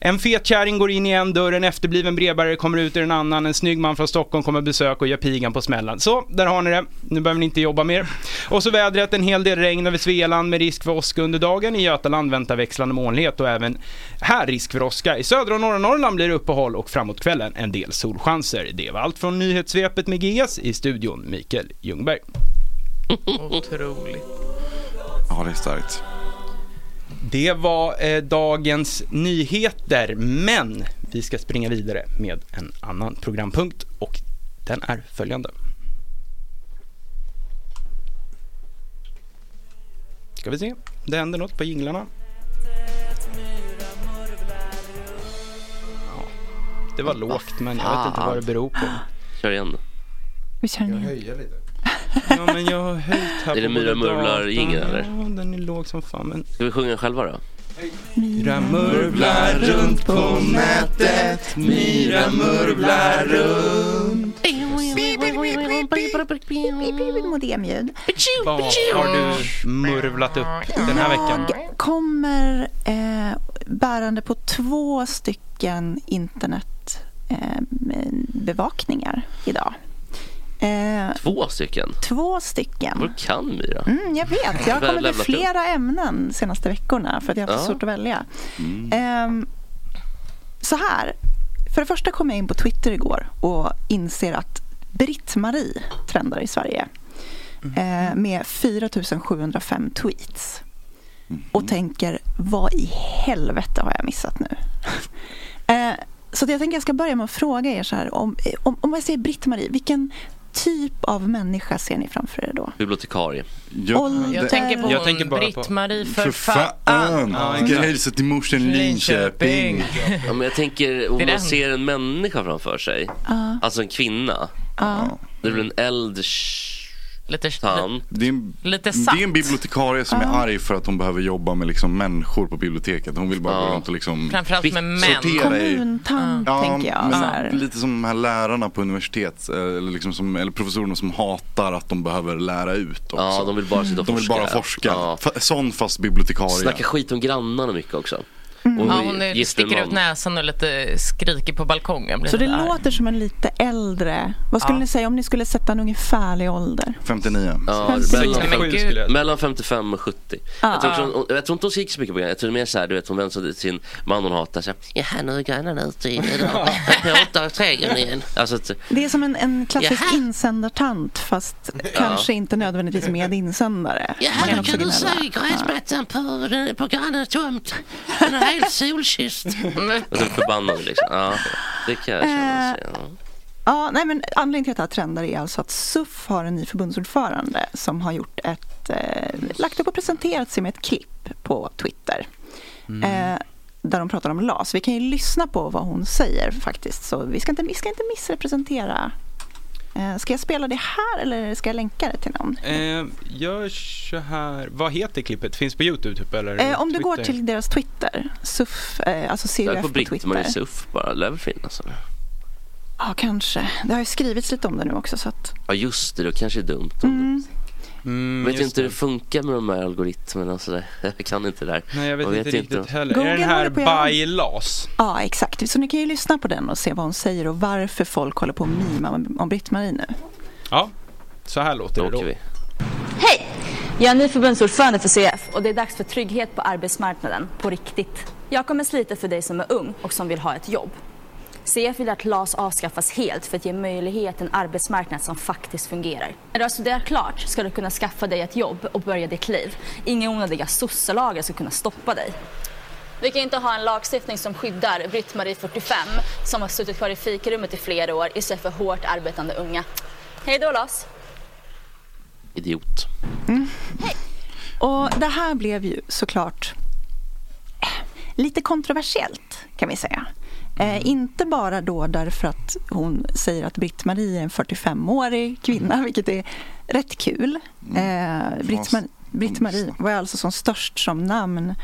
En fet kärring går in i en dörr, en efterbliven brevbärare kommer ut ur en annan, en snygg man från Stockholm kommer besök och gör pigan på smällen. Så, där har ni det. Nu behöver ni inte jobba mer. Och så vädret, en hel del regn över Svealand med risk för åska under dagen. I Götaland väntar växlande molnighet och även här risk för åska. I södra och norra Norrland blir det uppehåll och framåt kvällen en del solchanser. Det var allt från nyhetssvepet med GS i studion, Mikael Ljungberg. Otroligt. Ja, det är starkt. Det var eh, dagens nyheter, men vi ska springa vidare med en annan programpunkt och den är följande. Ska vi se, det händer något på jinglarna. Ja, det var lågt men jag vet inte vad det beror på. Kör igen då. Vi kör den igen. Höja lite. Ja men jag har höjt här Är det på Myra både Murvlar-jingeln, datorn- eller? Ja, den är låg som fan men... Ska vi sjunga själva då? Myra murvlar runt på nätet Myra murvlar runt Modemljud. Vad har du murvlat upp den här veckan? Jag kommer eh, bärande på två stycken internetbevakningar idag. Eh, Två stycken? två stycken. Vad kan Myra? Mm, jag vet, jag har Väl kommit med levlat upp. flera ämnen de senaste veckorna för att jag har haft så Ja. svårt att välja. Mm. Ehm, så här, för det första kom jag in på Twitter igår och inser att Britt-Marie trendar i Sverige Mm. eh, med 4705 tweets. Mm-hmm. Och tänker, vad i helvete har jag missat nu? Eh, så att jag tänker jag ska börja med att fråga er så här, om, eh, om, om jag säger Britt-Marie, vilken typ av människa ser ni framför er då? Bibliotekarie. Ålder. Jag tänker på Jag hon, tänker bara på- Britt-Marie för, För fan! Ja, Ska exakt. hälsa till morsan i Linköping. Ja, men jag tänker Det om är man den. ser en människa framför sig, Ja. alltså en kvinna, Ja. det blir en äldre lite tant. Det är, en, Lite satt. det är en bibliotekarie som är Ja. arg för att hon behöver jobba med liksom människor på biblioteket. Hon vill bara gå runt och liksom Framförallt med män. sortera i- Mm. Kommuntant, tänker jag. men Så här. Lite som de här lärarna på universitet, eh, eller, liksom som, eller professorerna som hatar att de behöver lära ut också. Ja, de vill bara sitta och De vill forska. bara forska. F- Sån fast bibliotekarie. Snackar skit om grannarna mycket också. Och Mm. Ja, hon är, gift sticker med ut någon. näsan och lite skriker på balkongen. Blir Så det lite arg. låter som en lite äldre... Vad skulle Ja. ni säga om ni skulle sätta en ungefärlig ålder? 59. Ja, 57 mellan, skulle jag säga. mellan 55 och 70. Ja. Jag, tror inte hon, jag tror inte hon skriker så mycket på grannarna. Jag tror mer så här, du vet, hon vänder sig till sin man hon hatar. Så här, jag här nu är grannarna ute i idag. Jag hotar trädgården igen. Alltså, att- Det är som en, en klassisk Jaha. insändartant fast Ja. kanske inte nödvändigtvis med insändare. Ja, Man här också kan du gnälla. se gräsmattan på, den- på grannens tomt. Den är helt solkysst. Och så förbannad liksom. Ja, det kan jag känna. Eh, Ja, nej, men anledningen till att det här trendar är alltså att SUF har en ny förbundsordförande som har gjort ett, eh, lagt upp och presenterat sig med ett klipp på Twitter. Eh, där de pratar om LAS. Vi kan ju lyssna på vad hon säger faktiskt. Så vi ska inte, vi ska inte missrepresentera. Eh, ska jag spela det här eller ska jag länka det till någon? Eh, gör så här. Vad heter klippet? Finns på Youtube typ eller? Eh, om du går Twitter? till deras Twitter, SUF, eh, alltså Eller CUF på på Britt-Marie Twitter. Suff bara. Det lär väl finnas. alltså. eller? Ja, kanske. Det har ju skrivits lite om det nu också. Så att, Ja, just det. Det kanske är dumt. mm. Mm, vet inte hur det funkar med de här algoritmerna och sådär. Jag kan inte det där. Nej, jag vet, Och inte riktigt om- heller. är Google den här håller på att göra- bylaws? Ja, exakt. Så ni kan ju lyssna på den och se vad hon säger och varför folk håller på och mimar om Britt-Marie nu. Ja, så här låter det då. Hej! Jag är ny förbundsordförande för CF och det är dags för trygghet på arbetsmarknaden, på riktigt. Jag kommer slita för dig som är ung och som vill ha ett jobb. CF vill att LAS avskaffas helt för att ge möjlighet till en arbetsmarknad som faktiskt fungerar. När du har studerat klart ska du kunna skaffa dig ett jobb och börja ditt liv. Inga onödiga sosselagar ska kunna stoppa dig. Vi kan inte ha en lagstiftning som skyddar Britt-Marie 45 som har suttit kvar i fikarummet i flera år istället för hårt arbetande unga. Hej då LAS! Idiot. Och det här blev ju såklart eh, lite kontroversiellt kan vi säga. Mm. Eh, inte bara då därför att hon säger att Britt-Marie är en 45-årig kvinna, vilket är rätt kul. Mm. Eh, Britt-Mar- Britt-Marie var alltså som störst som namn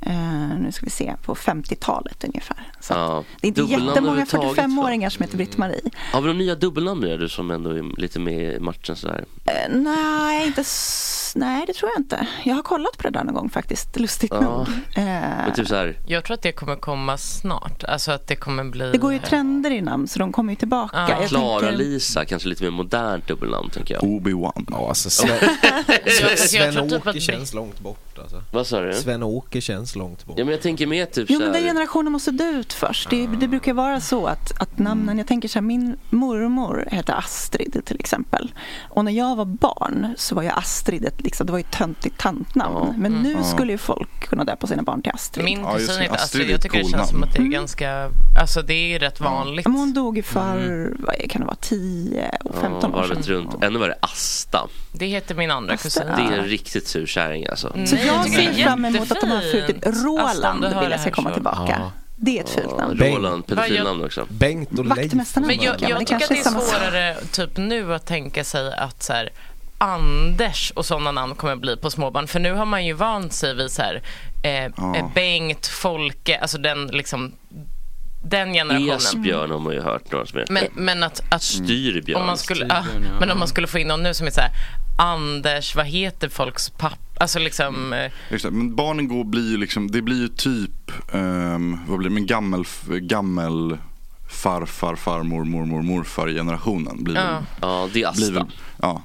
eh, nu ska vi se, på 50-talet ungefär. Ja. Det är inte Dubbelnamn jättemånga överhuvudtaget, va? 45-åringar som heter Britt-Marie. Har vi några nya dubbelnamn nu du som ändå är lite med i matchen sådär? Eh, nej, inte s- nej, det tror jag inte. Jag har kollat på det där någon gång faktiskt, lustigt Ja. nog. Eh, Men typ såhär, Jag tror att det kommer komma snart. Alltså att det kommer bli... typ- Det går ju trender i namn så de kommer ju tillbaka. Ah. Jag tänker- Klara-Lisa, kanske lite mer modernt dubbelnamn tänker jag. Obi-Wan. Ja, alltså Sven- Sven- Jag tror typ Sven-Åke att- känns långt bort alltså. Vad sa du? Sven-Åke känns känns långt bort. Ja, men jag tänker mer typ Jo så men här- den generationen måste dö ut först. Det, det brukar vara så att, att namnen, jag tänker så här, min mormor hette Astrid till exempel. Och när jag var barn så var ju Astrid ett, liksom, det var ju ett töntigt tantnamn. Men nu Mm. Ja. skulle ju folk kunna döpa sina barn till Astrid. Min kusin heter Astrid. Jag tycker det känns som att det är ganska, alltså det är ju rätt vanligt. Mm. Men hon dog ju för, Mm. vad kan det vara, 10 och 15 år sedan. varvet runt. Ännu värre Asta. Det heter min andra kusin. Det är en riktigt sur kärring alltså. Mm. Så jag tycker ser det är fram emot att de här ful, typ jättefint. Aslan, Roland Eh, du hör vill det jag ska här komma så. tillbaka. Ja. Det är ett fult namn. Roland, Vad pedofilnamn också. Bengt och Vaktmästarna Men jag, kan man- jag det tycker att kanske det är är samma sak. svårare typ nu att tänka sig att så här, Anders och sådana namn kommer bli på småbarn. För nu har man ju vant sig vid så här, eh, eh, Bengt, Folke, alltså den liksom den generationen. Esbjörn har man ju hört några som heter. Men, men att, att Styrbjörn. om man skulle, ja, Styrbjörn, ja. Men om man skulle få in någon nu som är så här, Anders, vad heter folks pappa? Alltså liksom, eh, Exakt. Men barnen går blir ju liksom, det blir ju typ, ehm, vad blir det, men gammel, gammel farfar, farmor, mormor, morfar generationen. Blir Ja. ja, det är Asta. ja.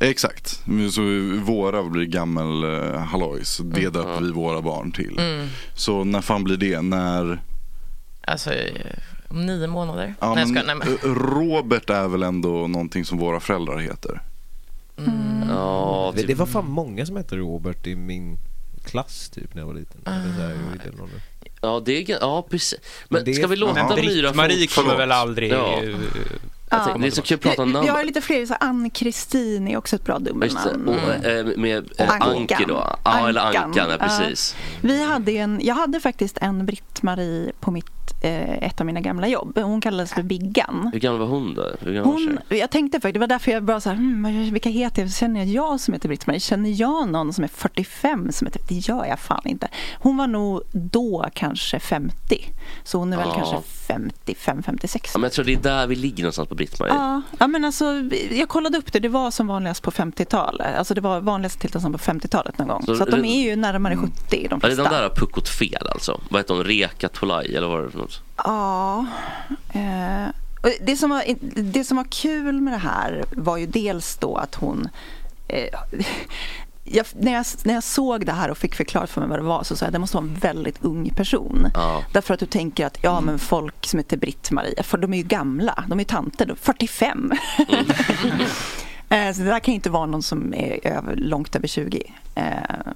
Exakt, Men så våra blir gammel eh, halloj, så det döper vi våra barn till. Mm. Så när fan blir det? När alltså eh, om nio månader. Ja, nej, jag men, skojar, nej, men, eh, Robert är väl ändå någonting som våra föräldrar heter? Mm. Mm. Ja, typ Det var fan många som hette Robert i min klass typ när jag var liten. Eller så här, Ah. i den åldern. Ja, det är, gan- ja precis. Men, Men det är- ska vi Men låta Myra Britt-Marie fortsätta? kommer väl aldrig, Ja. eh, Jag tänker, det är så kul att prata om namn. Jag har lite fler, så här, Ann-Kristin är också ett bra Just det, dubbelnamn. Mm. och, eh, med eh, Anki då. Ja, eller Ankan, ja, precis. Vi hade ju en, jag hade faktiskt en Britt-Marie på mitt, eh, ett av mina gamla jobb. Hon kallades för Biggan. Hur gammal var hon då? Hur gammal var Hon, jag tänkte faktiskt, det var därför jag bara så här, hmm, vad- vilka heter jag? Känner jag jag som heter Britt-Marie? Känner jag någon som är 45 som heter Det gör jag fan inte. Hon var nog då kanske 50. Så hon är väl Ja. kanske 55, 56. Ja, men jag tror det är där vi ligger någonstans på Britt-Marie. Ja, ja, men alltså, jag kollade upp det. Det var som vanligast på 50-talet. Alltså det var vanligast tillstånd på 50-talet någon gång. Så Så, att de re- är ju närmare 70 de Ja, redan flesta. där har puckot fel alltså. Vad heter hon? Reka Tolaj eller vad var det för något? Ja. Eh, och det, som var, det som var kul med det här var ju dels då att hon... Eh, jag, när, jag, när jag såg det här och fick förklarat för mig vad det var så sa jag det måste vara en väldigt ung person. Därför att du tänker att ja, men folk som heter Britt-Marie, för de är ju gamla, de är ju tanter, då, 45. Eh, Så det där kan ju inte vara någon som är över, långt över 20. Eh,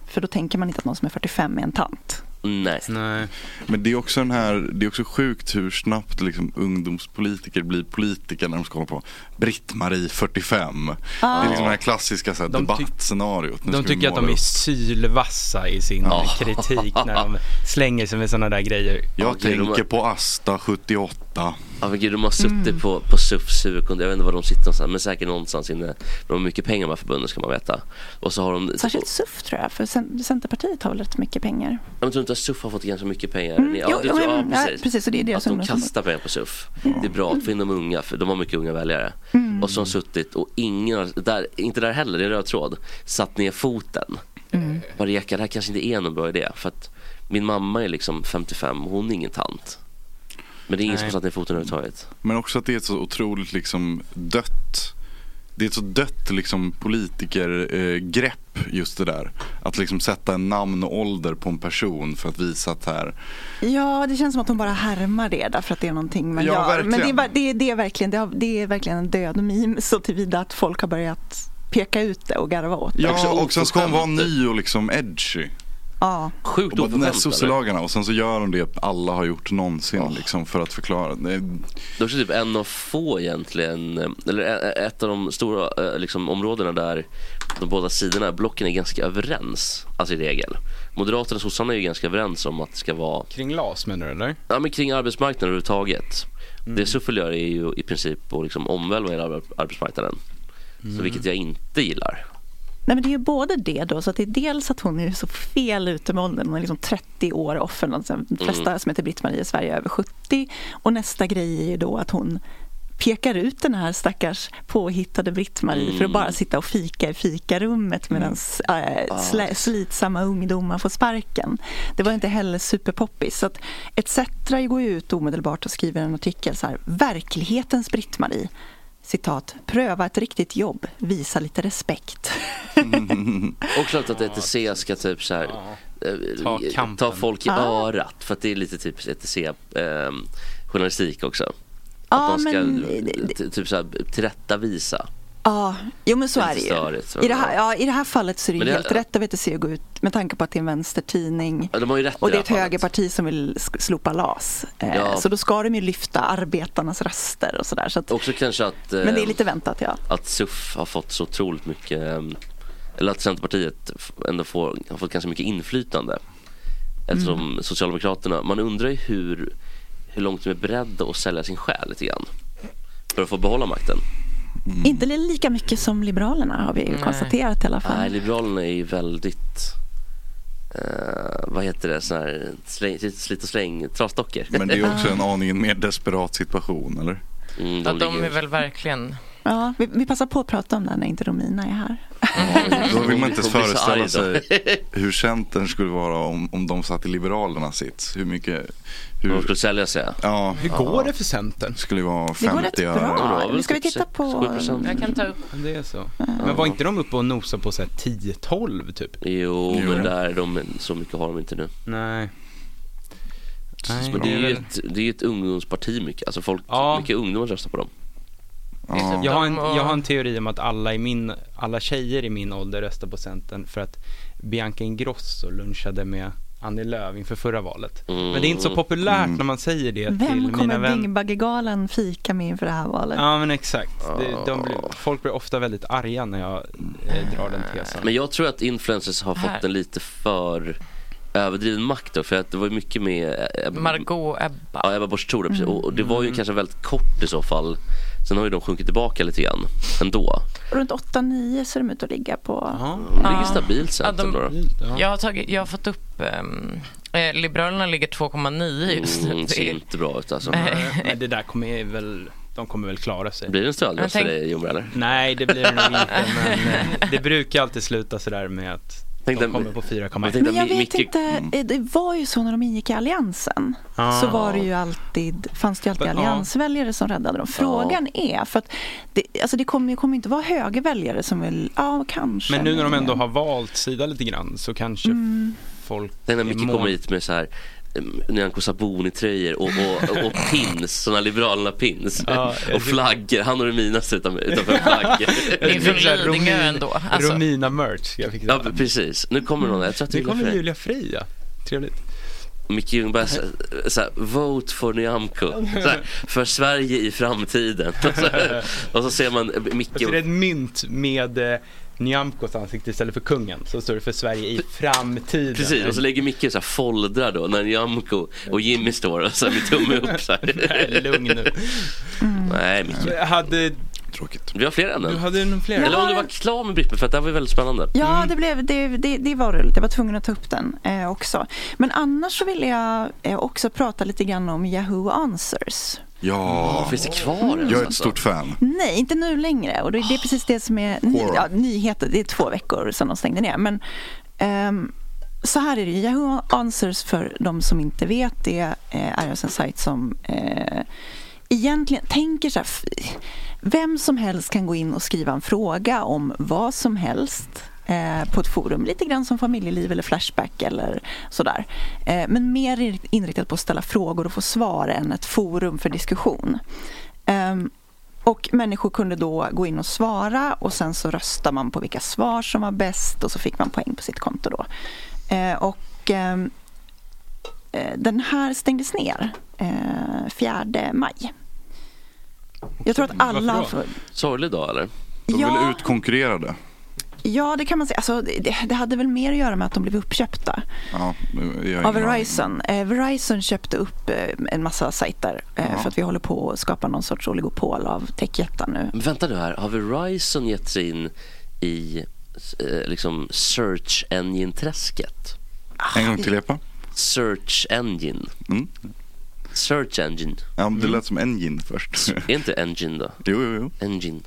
För då tänker man inte att någon som är 45 är en tant. Nej. Men det är också den här, det är också sjukt hur snabbt liksom ungdomspolitiker blir politiker när de ska hålla på Britt-Marie 45. Det är liksom det här klassiska så här, De tyck- debattscenariot. Nu De ska vi tycker att de måla är upp. sylvassa i sin kritik när de slänger sig med sådana där grejer. Jag tänker på Asta 78. Ja men gud de har suttit Mm. på, på SUFs huvudkontor, jag vet inte var de sitter någonstans men säkert någonstans inne. De har mycket pengar de här förbunden ska man veta. Och så har de... Särskilt SUF tror jag, för Cen- Centerpartiet har väl rätt mycket pengar. Jag tror inte att SUF har fått ganska mycket pengar. Mm, Ja, jo, det jo, tror, men- ja, ja, precis. precis, och det är Mm. att deras de ungdomsförbund. kastar pengar på SUF. Det är bra att få in de unga, för de har mycket unga väljare. Mm. Och så har de suttit och ingen har, där, inte där heller, det är en röd tråd, satt ner foten. Mm. Bara Eka, det här kanske inte är någon bra idé. För att min mamma är liksom 55 och hon är ingen tant. Men det är ingen som Nej. har satt ner foten överhuvudtaget. Men också att det är ett så otroligt liksom dött det är ett så dött liksom, politikergrepp eh, just det där. Att liksom sätta en namn och ålder på en person för att visa att här, Ja, det känns som att de bara härmar det därför att det är någonting man Ja, gör. verkligen. Men det är, bara- det, är, det, är verkligen, det, har, det är verkligen en död meme så tillvida att folk har börjat peka ut det och garva åt det. Ja, och sen ska hon vara ny och liksom edgy. Ja. Sjukt och bara, nej, sosselagarna och sen så gör de det alla har gjort någonsin Ah. liksom för att förklara. Det, De är också typ en av få egentligen, eh, eller e- e- ett av de stora eh, liksom, områdena där de båda sidorna, blocken är ganska överens, alltså i regel. Moderaterna och sossarna är ju ganska överens om att det ska vara Kring LAS menar du eller? Mm. Ja, men kring arbetsmarknaden överhuvudtaget. Det SUF vill göra är ju i princip att liksom omvälva hela ar- arbetsmarknaden. Mm. Så, vilket jag inte gillar. Nej, men det är ju både det då, så att det är dels att hon är så fel ute med åldern, hon är liksom 30 år off, eller något sånt. de flesta Mm. som heter Britt-Marie i Sverige är över 70 och nästa grej är ju då att hon pekar ut den här stackars påhittade Britt-Marie för att Mm. bara sitta och fika i fikarummet medan äh, slä, slitsamma ungdomar får sparken. Det var inte heller superpoppis. Så att ETC går ju ut omedelbart och skriver en artikel så här, verklighetens Britt-Marie citat, pröva ett riktigt jobb, visa lite respekt. Och klart att ETC ska typ så här, eh, Ta kampen. ta folk i Ah. örat för att det är lite typiskt E ETC eh, journalistik också. Ja, Att man ska men- eh, ty- typ så här, tillrättavisa. Ja, jo men så Det är är det lite störigt, ju. men I det, här, ja. ja, I det här fallet så är det Men ju det- helt rätt av VTC att gå ut med tanke på att det är en vänstertidning. Ja, De har ju rätt Och i det är här ett fallet. högerparti som vill sk- slopa LAS. Eh, Ja. Så då ska de ju lyfta arbetarnas röster och sådär. Så att, Också kanske att, eh, men det är lite väntat ja. att SUF har fått så otroligt mycket eh, eller att Centerpartiet f- ändå får, har fått ganska mycket inflytande. Eftersom Mm. Socialdemokraterna, man undrar ju hur, hur långt de är beredda att sälja sin själ lite grann. För att få behålla makten. Inte li- lika mycket som Liberalerna har vi ju konstaterat i alla fall. Nej, Liberalerna är ju väldigt eh, vad heter det, sån här släng, slit och släng trasdockor. Men det är också en aningen mer desperat situation, eller? Mm, Ja, de är väl verkligen... Ja, vi, vi passar på att prata om det här när inte Romina är här. Då vill man inte ens Hon blir så föreställa arg sig hur Centern skulle vara om, om de satt i Liberalernas sits. Hur mycket... Hur de skulle sälja sig? Ja. Hur går det för Centern? skulle ju vara Det går 50 rätt bra. Nu ska vi typ titta på... Jag kan ta upp... Det är så. Men var inte de uppe och nosade på så här 10-12 typ? Jo, Jo. men där är de, så mycket har de inte nu. Nej. Men det är ju ett, det är ju ett ungdomsparti mycket. Alltså folk, mycket ungdomar röstar på dem. Jag har, en, jag har en teori om att alla, i min, alla tjejer i min ålder röstar på Centern för att Bianca Ingrosso lunchade med Annie Lööf inför förra valet. Men det är inte så populärt Mm. när man säger det till Vem mina kommer vänner. Dyngbaggegalan fika med inför det här valet? Ja men exakt. Det, de blir, folk blir ofta väldigt arga när jag eh, drar den tesen. Men jag tror att influencers har Här. fått en lite för överdriven makt då, för att det var ju mycket med eh, Margot Ebba. ja, Ebba Busch Thor, precis. Mm. och och det var ju kanske väldigt kort i så fall. Sen har ju de sjunkit tillbaka lite grann ändå. Runt 8-9 ser de ut att ligga på. De ligger stabilt Ja, Centern då. Jag har, tagit, jag har fått upp... ehm, eh, Liberalerna ligger 2,9 just nu. Mm, det Det ser är- inte bra ut alltså. Nej, Men det där kommer ju väl, de kommer väl klara sig. Blir det en stödröst Men för tänk- dig Jomar eller? Nej det blir det nog inte men eh, det brukar alltid sluta sådär med att de kommer på 4,1. Men jag vet inte, Mm. eh, det var ju så när de ingick i Alliansen. Ah. Så var det ju alltid, fanns det ju alltid Ja. alliansväljare som räddade dem. Frågan är, för att det, alltså det kommer ju kommer ju inte vara högerväljare som vill, ja kanske. Men nu när de ändå har valt sida lite grann så kanske Mm. folk Den där är Micke mån- kommer hit med så här eh, em, Nyamko Sabuni-tröjor och, och, och pins, såna Liberalerna pins. Ja, jag och ser- flaggor. Han och Romina står utanför, utanför en flagg. Det är liksom från Lidingö ändå, alltså. Romina-merch ska jag fixa. Ja, precis. Nu kommer någon. Jag tror att det Nu är kommer Julia Frey. Julia Frey ja. Trevligt. Micke Ljungberg sa- såhär, vote for Nyamko. Såhär, för Sverige i framtiden. Och så, och så ser man Micke. Och så är Alltså, det ett mynt med eh, Nyamkos ansikte istället för kungen. Så står det för Sverige i framtiden. Precis, och så lägger Micke så här foldrar då när Nyamko och Jimmy står och så här med tumme upp så här. Mm. Nej, lugn nu. Nej, Micke. Jag hade... Tråkigt. Vi har fler ämnen. Du hade nog fler. Eller om Jag du har var klar med Britt, för att det här var ju väldigt spännande. Ja, det, blev, det, det, det var roligt. Jag var tvungen att ta upp den eh, också. Men annars så ville jag eh, också prata lite grann om Yahoo Answers. Ja. Finns det kvar ens, Jag är ett alltså? stort fan. Nej, inte nu längre. Och det, det är precis det som är ny, Horror. ja, nyheter. Det är två veckor sedan de stängde ner. Men ehm, så här är det. ju. Yahoo Answers, för de som inte vet, det eh, är alltså en sajt som eh, egentligen tänker så här. f- Vem som helst kan gå in och skriva en fråga om vad som helst eh, på ett forum. Lite grann som familjeliv eller Flashback eller sådär. Eh, men mer inrikt- inriktat på att ställa frågor och få svar än ett forum för diskussion. Ehm, och människor kunde då gå in och svara och sen så röstar man på vilka svar som var bäst och så fick man poäng på sitt konto då. Eh, och ehm, eh, den här stängdes ner eh, 4 maj. Jag tror att alla... Sorglig dag eller? De Ja. vill utkonkurrera det. Ja, det kan man säga. Alltså, det, det hade väl mer att göra med att de blev uppköpta. Ja, jag har Av ingen aning. Verizon. Eh, Verizon köpte upp eh, en massa sajter eh, för att vi håller på att skapa någon sorts oligopol av techjättar nu. Men vänta nu här, har Verizon gett sig in i eh, liksom search engine-träsket? En gång till Epa. Mm. Search engine. Search engine. Ja, men det lät som engine först. Är inte engine då? Jo, jo, jo. Engine.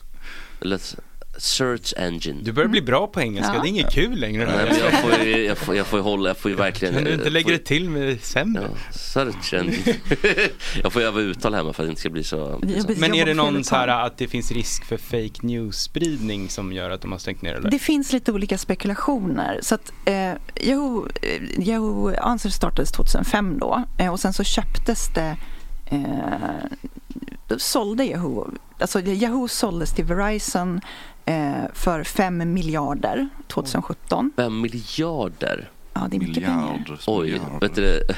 Det lät Search Engine. Du börjar bli bra på engelska, det är inget kul längre. Nej, men jag får ju, jag får, jag får ju hålla, jag får ju verkligen... Kan du inte lägga det till med sämre? Search Engine. jag får ju öva uttal hemma för att det inte ska bli så... Men är det någon så här att det finns risk för fake news-spridning som gör att de har stängt ner det? Det finns lite olika spekulationer. Så att, eh, Yahoo, eh, Yahoo Answer startades 2005 då eh, och sen så köptes det eh, då sålde Yahoo, alltså Yahoo såldes till Verizon eh, för 5 miljarder 2017. 5 miljarder? Ja, det är mycket pengar. Oj, vad heter det,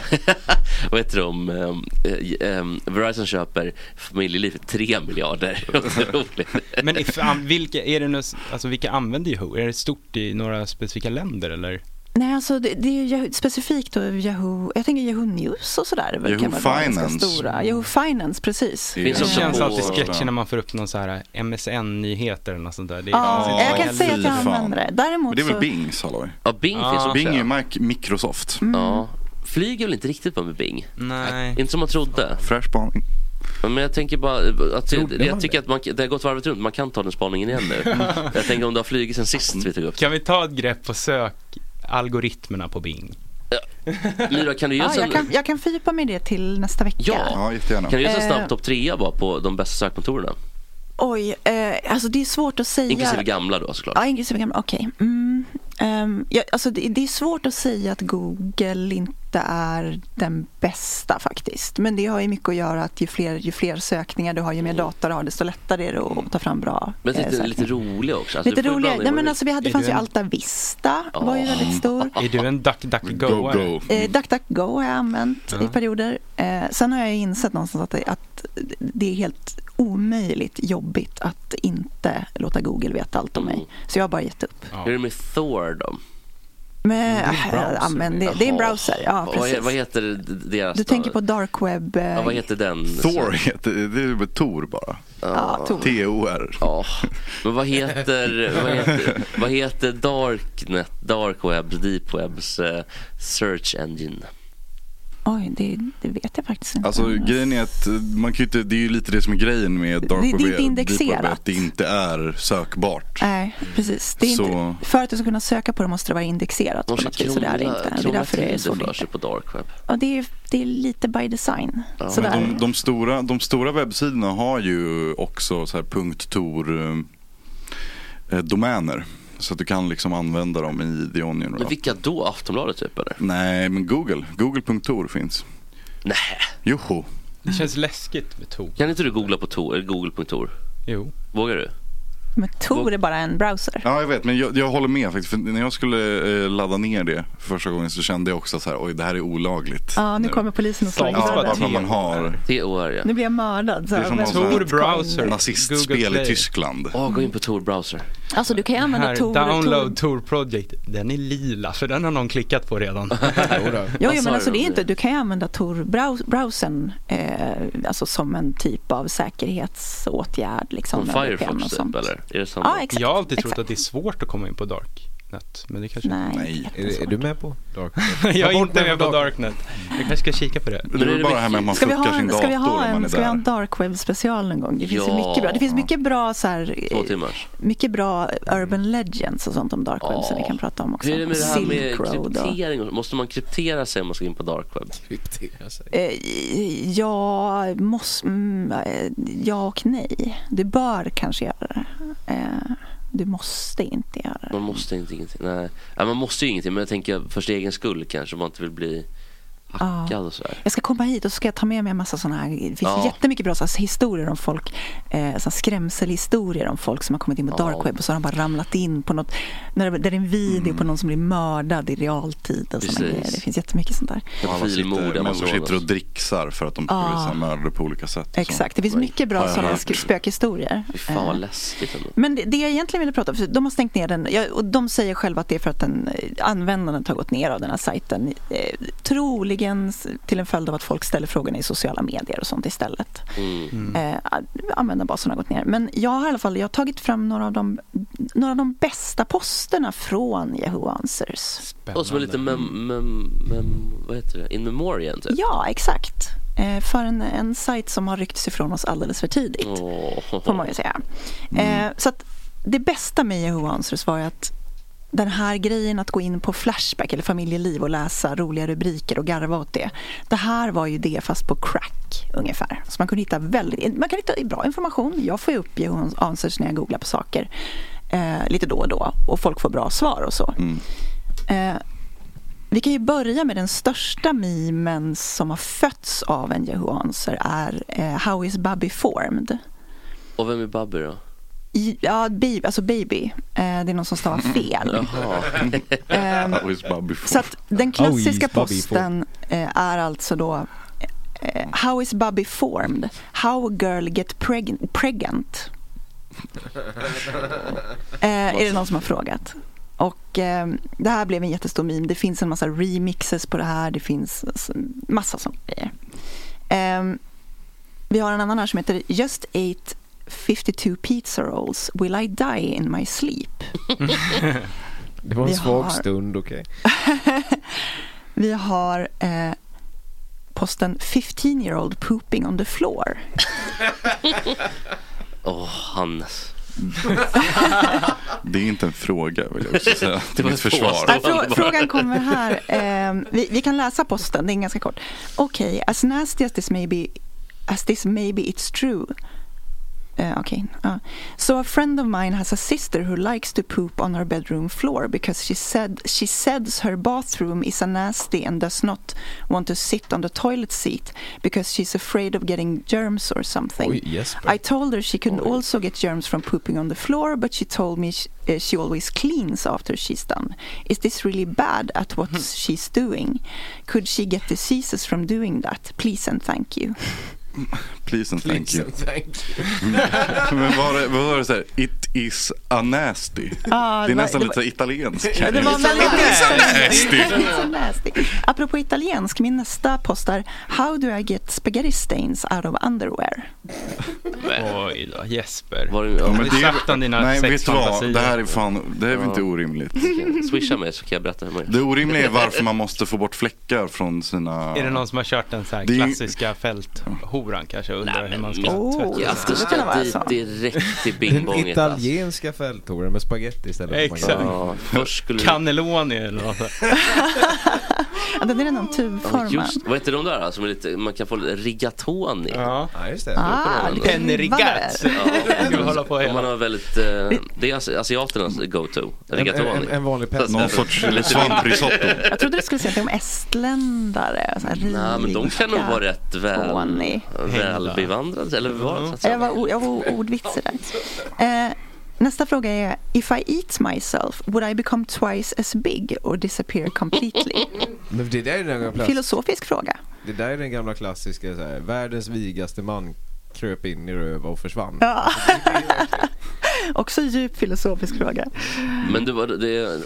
vad heter det om eh, eh, Verizon köper Familjeliv för 3 miljarder? Otroligt. Men if, an, vilka, är det nu, alltså, vilka använder Yahoo? Är det stort i några specifika länder eller? Nej, alltså det, det är ju Yahoo, specifikt då Yahoo, jag tänker Yahoo News och sådär. Yahoo kan vara ganska Finance. Stora. Yahoo Finance, precis. Det känns alltid sketchy när man får upp någon så här eh, MSN-nyheter eller något sånt där. Det Ja, jag kan säga att jag använder det. Däremot Men det är väl så- Bing, Saloy? Ah. Ja, Bing finns också, Bing är ja. ju Mac- Microsoft. Mm. Ja. Flyger väl inte riktigt på med Bing? Nej. Inte som man trodde. Fräsch spaning. Men jag tänker bara, att Trodde jag man tycker att man, det har gått varvet runt, man kan ta den spaningen igen nu. jag tänker om du har flugit sen sist vi tog upp Kan vi ta ett grepp på sökalgoritmerna på Bing? Myra, kan du ge Ja, oss jag, en, kan, jag kan fördjupa mig i det till nästa vecka. alltså- ja, kan du ge oss en Eh, snabb topp trea bara på de bästa sökmotorerna? Oj, eh, alltså det är svårt att säga. Inklusive gamla då såklart. Ja, inklusive gamla. Okej. Mm, ehm, ja, alltså det, det är svårt att säga att Google inte är den bästa faktiskt. Men det har ju mycket att göra att ju fler, ju fler sökningar du har, ju mer data du har, desto lättare är det att ta fram bra Mm. Men eh, lite, alltså, sökningar. lite roliga också. lite roligare. Nej, men alltså, vi hade, Är det fanns du ju en- Alta Vista, var ju väldigt stor. Är du en duck-duck-goare? Eh, DuckDuckGo har jag använt Ja. i perioder. Eh, sen har jag ju insett någonstans att det, att det är helt omöjligt jobbigt att inte låta Google veta allt om Mm. mig. Så jag har bara gett upp. Hur är det med Thor då? Men, Det är en browser. äh, använd det. det är en Jaha. browser. Ja, vad, he- precis. vad heter deras Du då? tänker på dark web. eh, Ja, vad heter den? Thor heter, det är väl Tor bara? Ja, Tor. T-O-R. Ja, men vad heter, vad heter, vad heter Darknet, Dark Webs, Deep Webs eh, Search Engine? Oj, det, det vet jag faktiskt inte. Alltså grejen är att man kan ju inte, det är ju lite det som är grejen med Dark Det- det är Web, inte Deep Web, indexerat. Att det inte är sökbart. Nej, precis. Det är Så- inte, för att du ska kunna söka på det måste det vara indexerat på något vis. Så det är det inte. Det är därför det är så för sig på Dark Web. Ja, det är, det är lite by design. Men Sådär. de, de, stora, de stora webbsidorna har ju också så här .tor eh, domäner. Så att du kan liksom använda dem i The Onion. Men vilka då? Aftonbladet typ eller? Nej, men Google. Google.tor finns. Nej. Joho. Det känns läskigt med Tor. Kan inte du googla på Tor, eller google.tor? Jo. Vågar du? Men Tor är bara en browser. Ja, jag vet. Men jag, jag håller med faktiskt. För när jag skulle eh, ladda ner det för första gången så kände jag också så här, oj det här är olagligt. Ja, nu kommer polisen och slår i Ja, bara dörren. för att man har. T-O-R Nu blir jag mördad. Så Det är som här. någon sån här Bitcoin. Nazistspel i Tyskland. Ja, gå in på Tor browser. Alltså du kan ju använda Här, Tor. download Tor Project. Den är lila, för den har någon klickat på redan. Jo, jo, men alltså, det är inte, du kan ju använda Tor-browsern eh, alltså som en typ av säkerhetsåtgärd. Liksom, Som med VPN och Firefox sånt. typ eller? Är det samma? Ja, exakt. Jag har alltid trott exakt. att det är svårt att komma in på Darknet, men det kanske Nej, det är Nej. Är, är du med på Darknet? Jag Ta är bort inte mig med från på Darknet. Jag kanske ska kika på det. Det är väl bara det här med att man Ska vi fuckar ha sin en, ska vi dator ha om man en, är ska vi ha där. en dark web special någon gång? Det finns Ja. ju mycket bra. Det finns mycket bra, så här, Två eh, timmars. mycket bra urban legends och sånt om dark web som vi kan prata om också. Hur är det med det här med typ Silk Road och... kryptering? och- Måste man kryptera sig om man ska in på dark web? Kryptera sig? Eh, Ja, måste, mm, eh, ja och nej. Du bör kanske göra det. Eh, Du måste inte göra det. Man måste inte ingenting. Nej. Nej, man måste ju ingenting men jag tänker för sin egen skull kanske om man inte vill bli hackad och sådär. Jag ska komma hit och så ska jag ta med mig en massa sådana här. Det finns Ja. jättemycket bra så här, historier om folk. Eh, så här, skrämselhistorier om folk som har kommit in på Ja. dark web och så har de bara ramlat in på något. När det, där är en video Mm. på någon som blir mördad i realtid. Och såna Precis. grejer. Det finns jättemycket sånt där. Och alla sitter, människor sitter och dricksar för att de ska Ja. bli så här mördade på olika sätt. och så. Ah. Exakt, det finns mycket Har bra jag sådana hört. sk- spökhistorier. Fy fan vad Eh, läskigt ändå. Men det, det jag egentligen ville prata om, för de har stängt ner den ja, och de säger själva att det är för att den, eh, användandet har gått ner av den här sajten. Eh, troligen s- till en följd av att folk ställer frågorna i sociala medier och sånt istället. Mm. Eh, a- användarbasen har gått ner. Men jag har i alla fall jag har tagit fram några av de, några av de bästa posterna från Yahoo Answers. Och som en liten mem, mem, mem, vad heter det? In memoriam typ. Ja, exakt. Eh, för en, en sajt som har ryckts ifrån oss alldeles för tidigt. Åh. Mm. får man ju säga. Eh, så att det bästa med Yahoo Answers var ju att den här grejen att gå in på Flashback eller Familjeliv och läsa roliga rubriker och garva åt det. Det här var ju det fast på crack ungefär. Så man kunde hitta väldigt, man kan hitta bra information. Jag får ju upp Yahoo Answers när jag googlar på saker eh, lite då och då och folk får bra svar och så. Eh, vi kan ju börja med den största memen som har fötts av en Yahoo Answer är eh, How is Bubby formed? Och vem är Babby då? I- Ja, baby, alltså baby. Eh, det är någon som stavar Mm, fel. Jaha. Ehm, Always Bobby Ford. Så att den klassiska How is Bobby posten eh, är alltså då eh, How is Bobby formed? How girl get preg- pregnant? Eh, är det någon som har frågat? Och eh, det här blev en jättestor meme. Det finns en massa remixes på det här. Det finns alltså, massa sånt grejer. Ehm, vi har en annan här som heter Just ate 52 pizza rolls. Will I die in my sleep? Det var en Vi svag har- stund, okej. Vi har eh, posten 15 year old pooping on the floor. Åh, Hannes. Det är inte en fråga vill jag också säga. Det Det var är ett ett försvar. Nej, frå- frågan kommer här. Ehm, vi, vi kan läsa posten, den är ganska kort. Okej, as nasty as this may be, as this maybe it's true. Eh, Okej. ja. so a friend of mine has a sister who likes to poop on her bedroom floor because she said she says her bathroom is a nasty and does not want to sit on the toilet seat because she's afraid of getting germs or something. Oj, Jesper. I told her she can also get germs from pooping on the floor, but she told me she, uh, she always cleans after she's done. Is this really bad at Hmm. what she's doing? Could she get diseases from doing that? Please and thank you. Please and thank you. you. Men var det, var det så här, it is a nasty? Ja, det det var- är nästan Ah, det lite var- så italienskt. Ja, det var väldigt it is a nasty. It's so nasty. Apropå italiensk, min nästa post är How do I get spaghetti stains out of underwear? Oj då, Jesper. Var Ja, men det Sagt om dina nej, vet du vad? sexfantasier. Det här är fan, det här är väl inte orimligt. Swisha mig så kan jag berätta hur man gör. Det orimliga är varför man måste få bort fläckar från sina... Är det någon som har kört den så här Det är ju- klassiska fälthoran kanske och undrar hur man ska Oh, tvätta sig? ja, det skulle kunna vara så. direkt till Den alltså. italienska fälttoren med spagetti istället. för Exakt. macaroni. Cannelloni eller något. Ja, den är någon Ja, tubformad. Just, vad heter de där som är lite, man kan få lite rigatoni? Ja, just det. Ah, lite Penrigazzi. djupare. Ja, Ska vi hålla på om man har väldigt, eh, det är asi- asiaternas go-to. En, en, Rigatoni. en, en vanlig penne. Någon sorts svamprisotto. Jag trodde du skulle säga att det är om estländare. så här Nej men de kan nog rika. vara rätt väl, Alltså. välbevandrade. Eller Mm. vad? så att Ja, säga. Jag var, o- jag var o- ordvitsig där. Eh, nästa fråga är If I eat myself, would I become twice as big or disappear completely? Men det där är den gamla klass... Filosofisk fråga. Det där är den gamla klassiska så här, världens vigaste man kröp in i röva och försvann. Ja. Också djup filosofisk fråga. Men du, var det är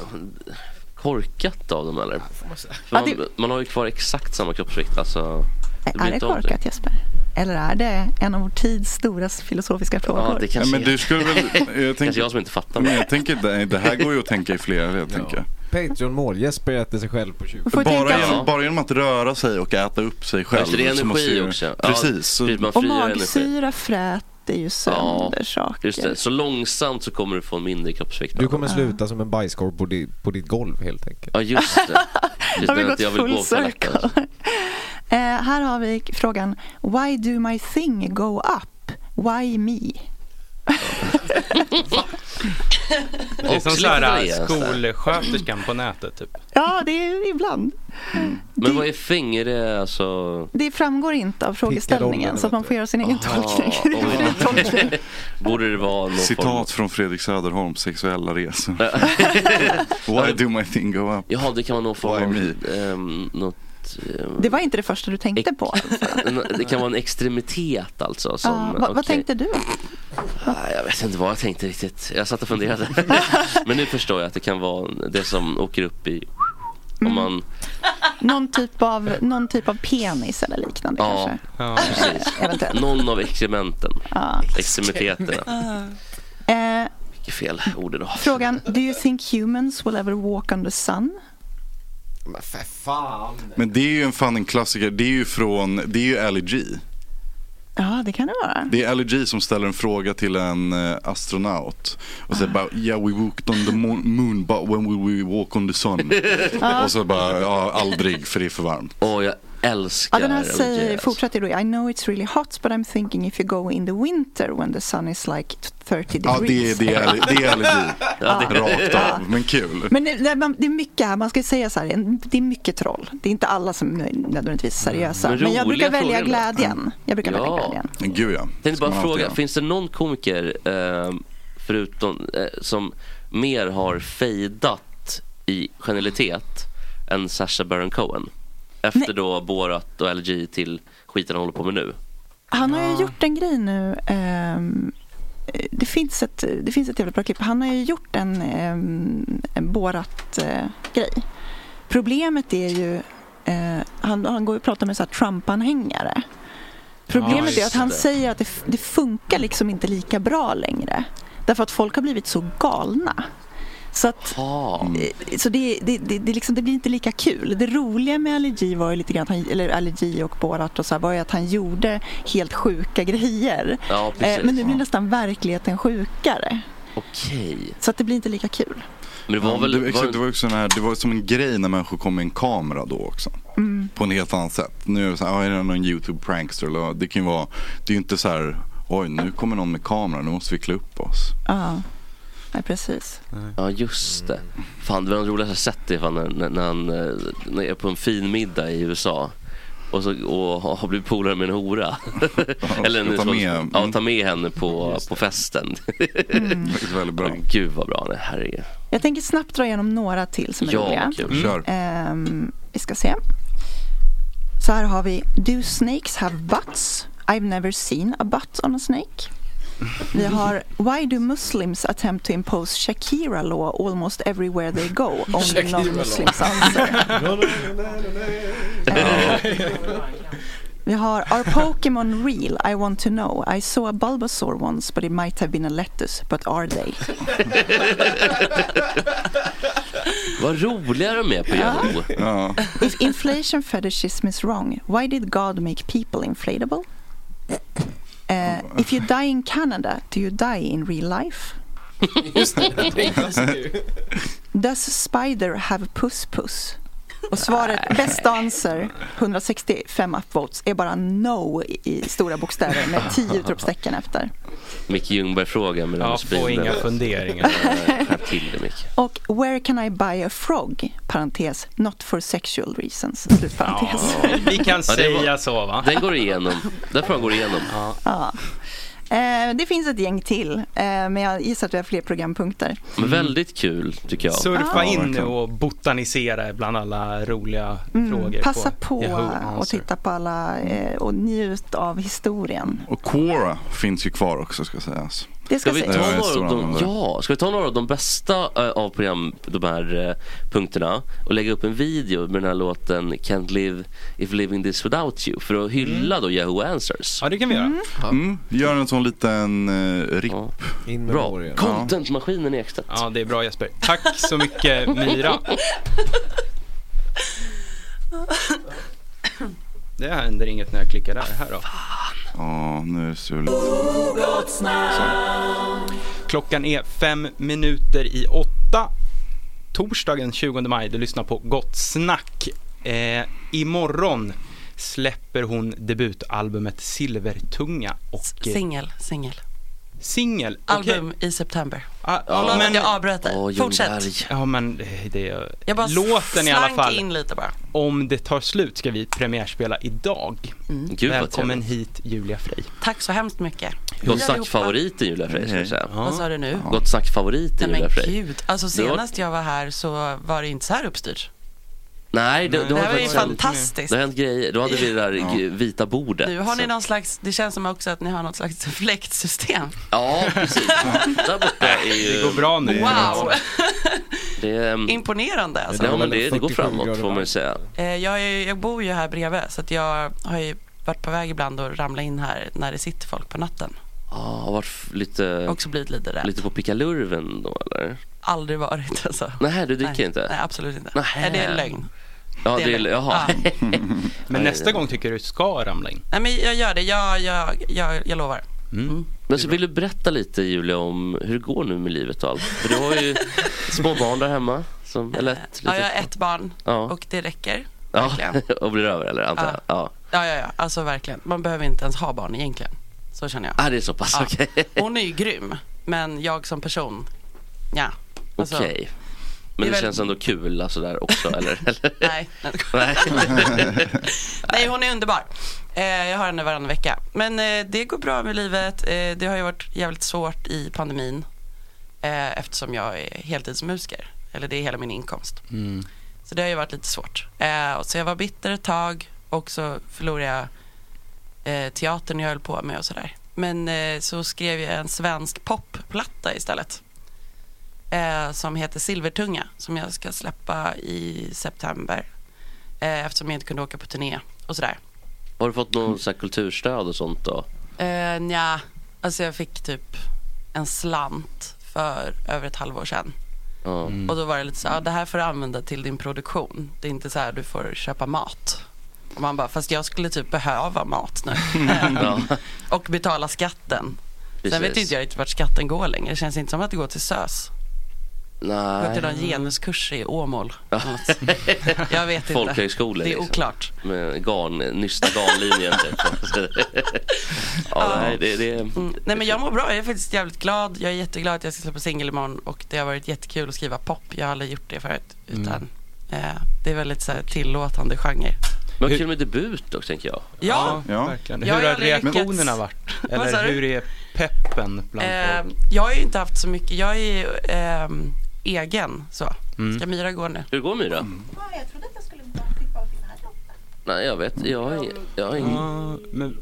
korkat av dem eller? För Ja, man, man har ju kvar exakt samma kroppsvikt. Alltså, blir Är det inte av korkat Jesper? Eller är det en av vår tids stora filosofiska frågor? Ja, det kanske men du skulle väl... Jag tänker, Kanske jag som inte fattar. Men jag tänker, nej, det här går ju att tänka i flera led, tänker jag. Patreon-mål. Jesper äter sig själv på 20. Bara genom, bara genom att röra sig och äta upp sig själv. Just det, det är så energi måste ju- också. Ja, Precis. så- precis, man Och magsyra fräter ju Ja, sönder saker. just det. Så långsamt så kommer du få en mindre kroppsvikt. Du kommer sluta som en bajskorv på, di, på ditt golv helt enkelt. Ja, just det. Har vi gått full circle? Eh, här har vi frågan Why do my thing go up? Why me? Det är som så här Också lite skolsköterskan på nätet typ. Ja, det är ibland. Men vad är fing? Är det alltså... Det framgår inte av frågeställningen så att man får göra sin egen tolkning. Ja, om- Borde det vara någon form Citat från Fredrik Söderholms sexuella resor. Why do my thing go up? Jaha, det kan vara någon form av... ehm, något, ehm, Det var inte det första du tänkte på. alltså. det kan vara en extremitet alltså. Som, Ja, vad, vad okej. tänkte du? Nej, Jag vet inte vad jag tänkte riktigt. Jag satt och funderade. Men nu förstår jag att det kan vara det som åker upp i... Mm, Om man... Någon typ av, någon typ av penis eller liknande Ja, kanske? precis. Någon av exkrementen. Ja. Extremiteterna. Eh, Vilket fel ord idag. frågan Do you think humans will ever walk on the sun? Men för fan. Men det är ju en fan en klassiker. Det är ju från, det är ju Ally G. Ja, det kan det vara. Det är LG som ställer en fråga till en eh, astronaut. Och säger bara yeah we walked on the mo- moon but when will we walk on the sun? Ja. och så bara ja, aldrig för det är för varmt. Åh jag älskar Ja, den här säger, fortsätter då, I know it's really hot but I'm thinking if you go in the winter when the sun is like 30 Ja det är, degrees. det är, det är LG. Ja, det- Rakt av, men kul. Men det, det- man- det är mycket här, man ska ju säga så här, en- det är mycket troll. Det är inte alla som är nödvändigtvis seriösa. Men Men jag roliga brukar välja frågor ibland. glädjen. Jag brukar välja glädjen. Gud ja. Tänkte bara man alltid fråga, göra. finns det någon komiker eh, förutom, eh, som mer har fejdat i genialitet än Sacha Baron Cohen? Efter då Borat och LG till skiten han håller på med nu. Han har ju gjort en grej nu. ehm, det, finns ett, det finns ett jävla bra klipp. Han har ju gjort en, ehm, en Borat-grej. Problemet är ju... eh, han, han går ju och pratar med så här Trump-anhängare. Ja, Problemet är just att han det. säger att det, f- det funkar liksom inte lika bra längre. Därför att folk har blivit så galna. Så, att, eh, så det, det, det, det, liksom, det blir inte lika kul. Det roliga med allergi var ju lite grann, att han, eller allergi och Borat och så här, var ju att han gjorde helt sjuka grejer. Ja, Eh, precis. men nu blir nästan verkligheten sjukare. Okej. Så att det blir inte lika kul. Men det var Ja, väl... det, exakt, det var ju sån här, det var som en grej när människor kom med en kamera då också. Mm. På en helt annat sätt. Nu är det så här, ah, är det någon YouTube prankster eller det kan ju vara, det är ju inte så här, oj nu kommer någon med kamera, nu måste vi klä upp oss. Ja, Nej, precis. Ja, just det. Fan, det var det roligaste jag sett det fan, när, när, när han eh, när jag är på en fin middag i USA och, så, och har- har blivit polare med en hora. Eller ska en ta med- Mm. utvalg- ja, ta med henne på, på festen. Vilket väldigt bra. Gud vad bra han är, herregud. Jag tänker snabbt dra igenom några till som är Ja, roliga. kul. Kör. Ehm, vi ska se. Så här har vi Do snakes have butts? I've never seen a butt on a snake. Vi har Why do Muslims attempt to impose Shakira law almost everywhere they go? Only non-Muslims answer. Vi har Are Pokémon real? I want to know. I saw a Bulbasaur once but it might have been a lettuce. But are they? Vad roliga de är på Yahoo. Ja. If inflation fetishism is wrong, why did God make people inflatable? Eh, if you die in Canada, do you die in real life? Does spider have puss-puss? Och svaret, best answer, 165 upvotes, är bara no i- i stora bokstäver med 10 utropstecken efter. Micke Ljungberg-fråga med Ja, den få inga funderingar. Eh, Skärp till dig Micke. Och where can I buy a frog? Parentes, not for sexual reasons. Slutparentes. Vi kan Ja, det var- säga så va? Den går igenom. Den frågan går igenom. Ja. Eh, det finns ett gäng till, eh, men jag gissar att vi har fler programpunkter. Men väldigt kul tycker jag. Surfa Ja, in nu verkligen. och botanisera bland alla roliga Mm, frågor. passa på Yahoo och Answer. titta på alla eh, och njut av historien. Och Quora finns ju kvar också ska sägas. Det ska vi sägas. ta Jag är en några stor av de, användare. ja, ska vi ta några av de bästa eh, av program, de här eh, punkterna och lägga upp en video med den här låten Can't live if living this without you för att hylla då Yahoo Answers. Mm. Ja, det kan vi göra. Mm, gör en sån liten eh, RIP. Bra. Contentmaskinen Ekstedt. Ja, det är bra Jesper. Tack så mycket Eh, Myra. Det händer inget när jag klickar där. Här då. Ja, nu är det suligt. Klockan är fem minuter i åtta. Torsdagen 20 maj, du lyssnar på Gott Snack. Eh, imorgon släpper hon debutalbumet Silvertunga och... eh, Singel, singel. Singel? Album i september. Ah, Förlåt att jag avbröt dig. Åh, John Fortsätt. Berg. Ja, men eh, det är... Jag bara Låten i alla slank fall. in lite bara. Om det tar slut ska vi premiärspela idag. Mm. Gud, vad Välkommen hit Julia Frey. Tack så hemskt mycket. Hej Gott allihopa. snack-favoriten Julia Frey ska jag Mm. säga. Vad sa du nu? Gott snack-favoriten Nej Julia men Frey. gud, alltså Det var- senast jag var här så var det inte så här uppstyrt. Nej, det, Det har här var ju faktiskt hänt- fantastiskt. Det har hänt grejer. Då hade vi det där g- vita bordet. Nu har ni Så- någon slags, det känns som också att ni har något slags fläktsystem. Ja, precis. där borta är ju... Det går bra nu. Wow, Det, ehm, imponerande alltså. ja, men det, det går framåt får man ju säga. Eh, Jag, är, jag bor ju här bredvid så att jag har ju varit på väg ibland att ramla in här när det sitter folk på natten. Ja, har varit f- lite... Också blivit lite rädd. Lite på pickalurven då eller? Aldrig varit alltså. Nej, du dricker inte? Nej, absolut inte. Nähä. Nej, det är lögn. Ja, Det är det är, lögn. jaha. Men nästa gång tycker jag du ska ramla in. Nej men jag gör det, jag, jag, jag, jag lovar. Men så vill du berätta lite Julia om hur det går nu med livet och allt? För du har ju små barn där hemma. Som, eller ett, Ja, jag litet- har ett barn Ja. och det räcker. Ja, verkligen. och blir över eller antar jag? Ja. Ja, ja, ja, alltså verkligen. Man behöver inte ens ha barn egentligen. Så känner jag. Ah, det är så pass, okej. Hon är ju grym, men jag som person, ja. Alltså, Okej. det är Men det, väl- känns ändå kul alltså där också eller? eller? Nej. Nej. Nej, hon är underbar. Eh, jag har henne varannan vecka. Men eh, det går bra med livet. Eh, det har ju varit jävligt svårt i pandemin eh, eftersom jag är heltidsmusiker. Eller det är hela min inkomst. Så det har ju varit lite svårt. Eh, och så jag var bitter ett tag och så förlorade jag eh, teatern jag höll på med och sådär. Men eh, så skrev jag en svensk popplatta istället. Eh, som heter Silvertunga som jag ska släppa i september. Eh, eftersom jag inte kunde åka på turné och sådär. Har du fått någon sån här kulturstöd och sånt då? Eh, nja, alltså jag fick typ en slant för över ett halvår sedan. Ja. Och då var det lite så här, "Ja, det här får du använda till din produktion. Det är inte så här du får köpa mat. Och man bara, fast jag skulle typ behöva mat nu. Ehm, Ja. och betala skatten. Sen vet Precis. inte jag riktigt vart skatten går längre. Det känns inte som att det går till SÖS. Det går till någon Nej. genuskurs i Åmål. Ja. Jag vet inte. Folkhögskolor. Det är liksom. oklart. Med garn, nysta garnlinjen typ. ja, nej, det, det, Nej men jag mår bra, jag är faktiskt jävligt glad. Jag är jätteglad att jag ska släppa singel imorgon och det har varit jättekul att skriva pop. Jag har aldrig gjort det förut. Mm. Utan, eh, det är väldigt så här, tillåtande genre. Men kul med debut då, tänker jag. Ja. Ja, verkligen. Jag Hur har har aldrig lyckats. reaktionerna varit? Vad sa Eller du? hur är peppen bland Eh, folk? jag har ju inte haft så mycket, jag är ju ehm, egen så. Mm. Ska Myra gå nu? Hur går Myra? Mm. Jag trodde att jag skulle bara fick bara finna här. Nej, jag vet Jag har ingen... Jag har ingen...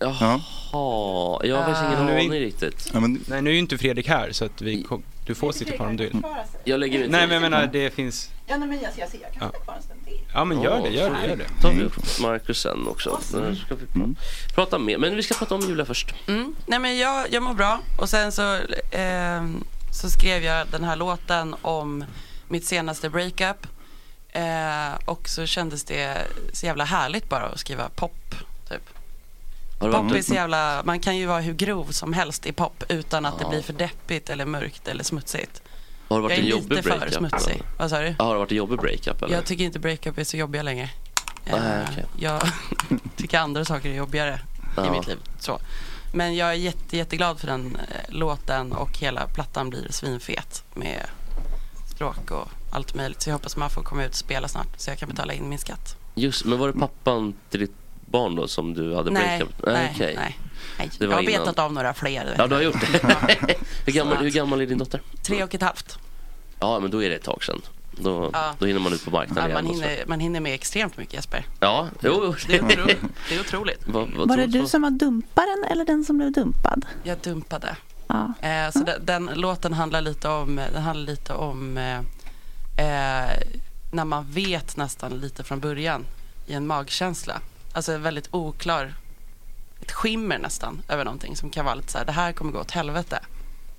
Jaha, jag har faktiskt ingen Ah. Nu är- aning riktigt. Nej, nu är ju inte Fredrik här så att vi kom... du får sitta kvar om du Mm. vill. Klara sig. Jag lägger mig Nej, till. men jag menar det finns... Ja, nej, men jag, jag, jag kan Ja. sitta kvar en stund till. Ja, men gör det, gör det, gör det. Mm. Tar vi upp Marcus sen också. Nu Ska vi prata mer. Men vi ska prata om Julia först. Mm. Nej men jag, jag mår bra och sen så, ehm, så skrev jag den här låten om mitt senaste breakup. Eh, och så kändes det så jävla härligt bara att skriva pop. Typ. Har du Pop är varit så jävla, man kan ju vara hur grov som helst i pop utan att det Ja. blir för deppigt eller mörkt eller smutsigt. Har det varit jag är en jobbig lite breakup? för smutsig. eller? Vad sa du? Ja, Har det varit en jobbig breakup eller? Jag tycker inte breakup är så jobbiga längre. Nej, Eh, okej. Jag tycker andra saker är jobbigare i Ja. mitt liv. Så. Men jag är jätte, jätteglad för den eh, låten och hela plattan blir svinfet med språk och allt möjligt. Så jag hoppas man får komma ut och spela snart så jag kan betala in min skatt. Just, men var det pappan till ditt barn då som du hade Mm. Nej, breakup? nej, okej. nej, nej. Det Jag var har innan. betat av några fler. vet Ja, du. du har gjort det. hur, gammal, hur gammal är din dotter? Tre och ett halvt. Ja, men då är det ett tag sedan. Då, Ja. då hinner man ut på marknaden Ja, man, igen. och så. hinner, man hinner med extremt mycket Jesper. Ja, jo, jo. Det är otroligt. Det är otroligt. Vad- vad Var det tror du som var dumparen eller den som blev dumpad? Jag dumpade. Eh, så de- den, låten handlar lite om, den handlar lite om eh, eh, när man vet nästan lite från början i en magkänsla. Alltså en väldigt oklar, ett skimmer nästan över någonting som kan vara lite så här, det här kommer gå åt helvete,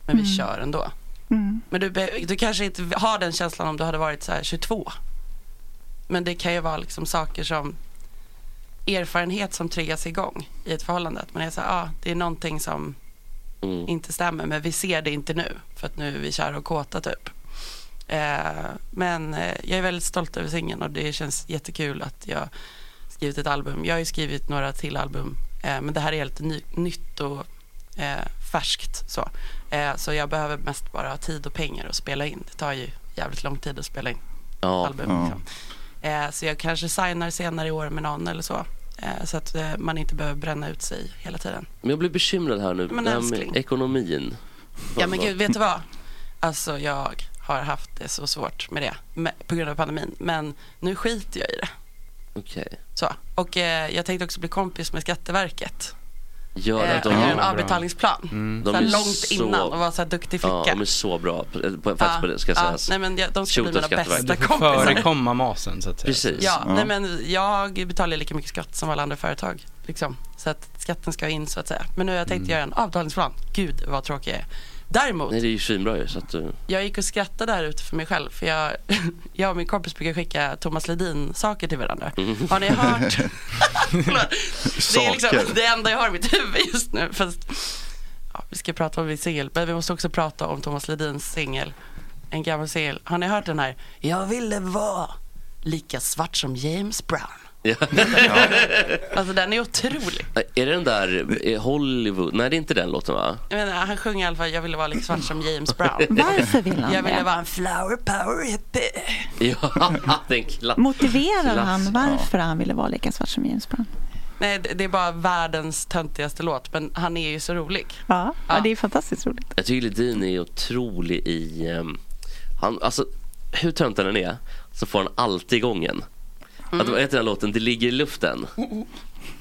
men vi Mm. kör ändå. Mm. Men du, be- du kanske inte har den känslan om du hade varit så här 22. Men det kan ju vara liksom saker som erfarenhet som triggas igång i ett förhållande. Att man är så här, ah, det är någonting som Mm. inte stämmer men vi ser det inte nu för att nu är vi kära och kåta typ. Eh, men eh, jag är väldigt stolt över singeln och det känns jättekul att jag skrivit ett album. Jag har ju skrivit några till album eh, men det här är helt ny- nytt och eh, färskt så. Eh, så jag behöver mest bara ha tid och pengar att spela in. Det tar ju jävligt lång tid att spela in Ja. album. Ja. Liksom. Eh, så jag kanske signar senare i år med någon eller så. Eh, så att eh, man inte behöver bränna ut sig hela tiden. Men jag blir bekymrad här nu. Men Det här med älskling. ekonomin. Ja men gud, vet du vad? Alltså jag har haft det så svårt med det med, på grund av pandemin. Men nu skiter jag i det. Okej. Så. Och eh, jag tänkte också bli kompis med Skatteverket. Gör Eh, att de- jag gör en Ja, bra. avbetalningsplan. Mm. Så här De är långt så- innan och vara så här duktig flicka. Ja, de är så bra. På, på, faktiskt på det ska Ja, sägas. nej, men jag- de ska bli Shoot och mina Skatteverket. bästa kompisar. Förekomma masen så att säga. Precis. Ja, Nej, men jag betalar lika mycket skatt som alla andra företag. Liksom. Så att skatten ska in så att säga. Men nu har jag tänkt Mm. göra en avbetalningsplan. Gud vad tråkig jag är. Däremot, Nej, det är ju svinbra ju. Så att, eh, jag gick och skrattade där ute för mig själv för jag, jag och min kompis brukar skicka Thomas Ledin saker till varandra. Mm. Har ni hört? det är liksom Saker. det enda jag har i mitt huvud just nu. Fast, ja, vi ska prata om min singel, men vi måste också prata om Thomas Ledins singel. En gammal singel. Har ni hört den här? Jag ville vara lika svart som James Brown. ja. Alltså den är otrolig. Är det den där eh, Hollywood? Nej, det är inte den låten va? Jag menar, han sjunger i alla fall Jag ville vara lika svart som James Brown. Varför vill han Jag ville det? vara en flower power hippie. Ja, den klass. Motiverar klass- han varför han ville vara lika svart som James Brown? Nej, det det är bara världens töntigaste låt, men han är ju så rolig. Ja, ja. det är fantastiskt roligt. Jag tycker Ledin är otrolig i... ehm, han, alltså, hur töntig den är så får han alltid igång en. Att, Mm. vad heter den här låten? Det ligger i luften.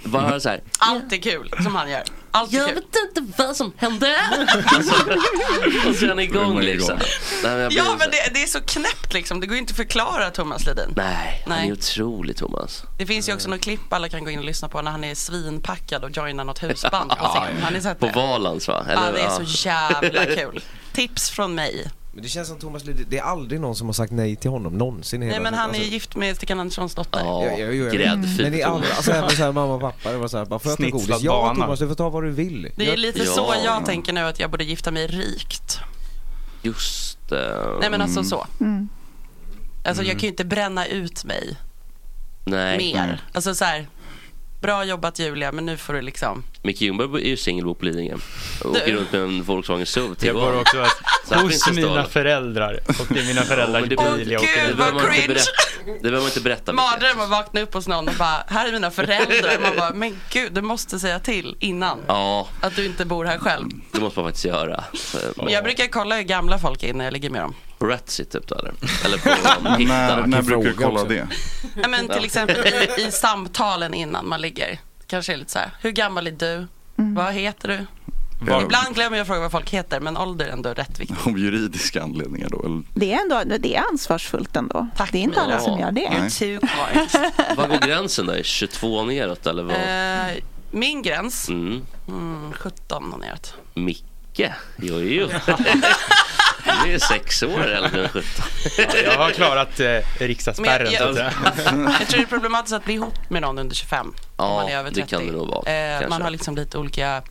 Bara så här. Allt är kul som han gör. Allt är Jag kul. vet inte vad som hände. Och så är han Då är igång man igång. liksom. Nej, men jag blir Ja, så- men det, det är så knäppt liksom. Det går ju inte att förklara Thomas Ledin. Nej, han Nej. är otrolig Thomas. Det finns ju också något klipp alla kan gå in och lyssna på när han är svinpackad och joinar något husband på scen. Har ni sett På det? Valans va? Ja, det är så jävla kul. Tips från mig. Men det känns som Thomas Ledin, det är aldrig någon som har sagt nej till honom någonsin i hela Nej, men livet. han är ju Alltså, gift med Stickan Anderssons dotter. jag- jag- jag- Men det är aldrig, alltså även såhär mamma och pappa, det var såhär, bara får jag ta Snitslad godis? Ja bana. Thomas, du får ta vad du vill. Det är Jag- lite så jag tänker nu att jag borde gifta mig rikt. Just eh, det. Nej men alltså så. Mm. Alltså jag Mm. kan ju inte bränna ut mig Nej. Mm. mer. Alltså så här, bra jobbat Julia men nu får du liksom. Micke Ljungberg är ju singelbo på Lidingö. Och Åker runt med en Volkswagen SUV till Jag bor Val. också att- Så här finns Hos det mina stål. föräldrar. Och det är mina föräldrar Ja, men i det- bil jag Åh, åker gud, i. Det behöver man inte berätta. Det behöver man inte berätta. Micke. Mardröm att vakna upp hos någon och bara, här är mina föräldrar. Man bara, men gud du måste säga till innan. Ja, Att du inte bor här själv. det måste man faktiskt göra. Så, Men jag brukar kolla hur gamla folk är när jag ligger med dem. På Ratsit typ då eller? Eller på um, När, när brukar du kolla det? Nej, men Ja. till exempel i, i samtalen innan man ligger. Kanske är lite så här, hur gammal är du? Vad heter du? Var- Ibland glömmer jag fråga vad folk heter, men ålder är ändå rätt viktigt. Av juridiska anledningar då? Eller? Det är, ändå, det är ansvarsfullt ändå. det är inte Mia. alla som gör det. Nej. Two cards. Vad går gränsen då? Är 22 neråt eller vad? Eh, min gräns? Mm. Mm, 17 och neråt. Micke? Jo, jo. Du är sex år äldre än 17. Jag har klarat eh, riksdagsspärren. Men jag- så att säga. Jag tror det är problematiskt att bli ihop med någon under 25. om Ja, man är över det 30. kan det nog vara, Eh, kanske. man har liksom lite olika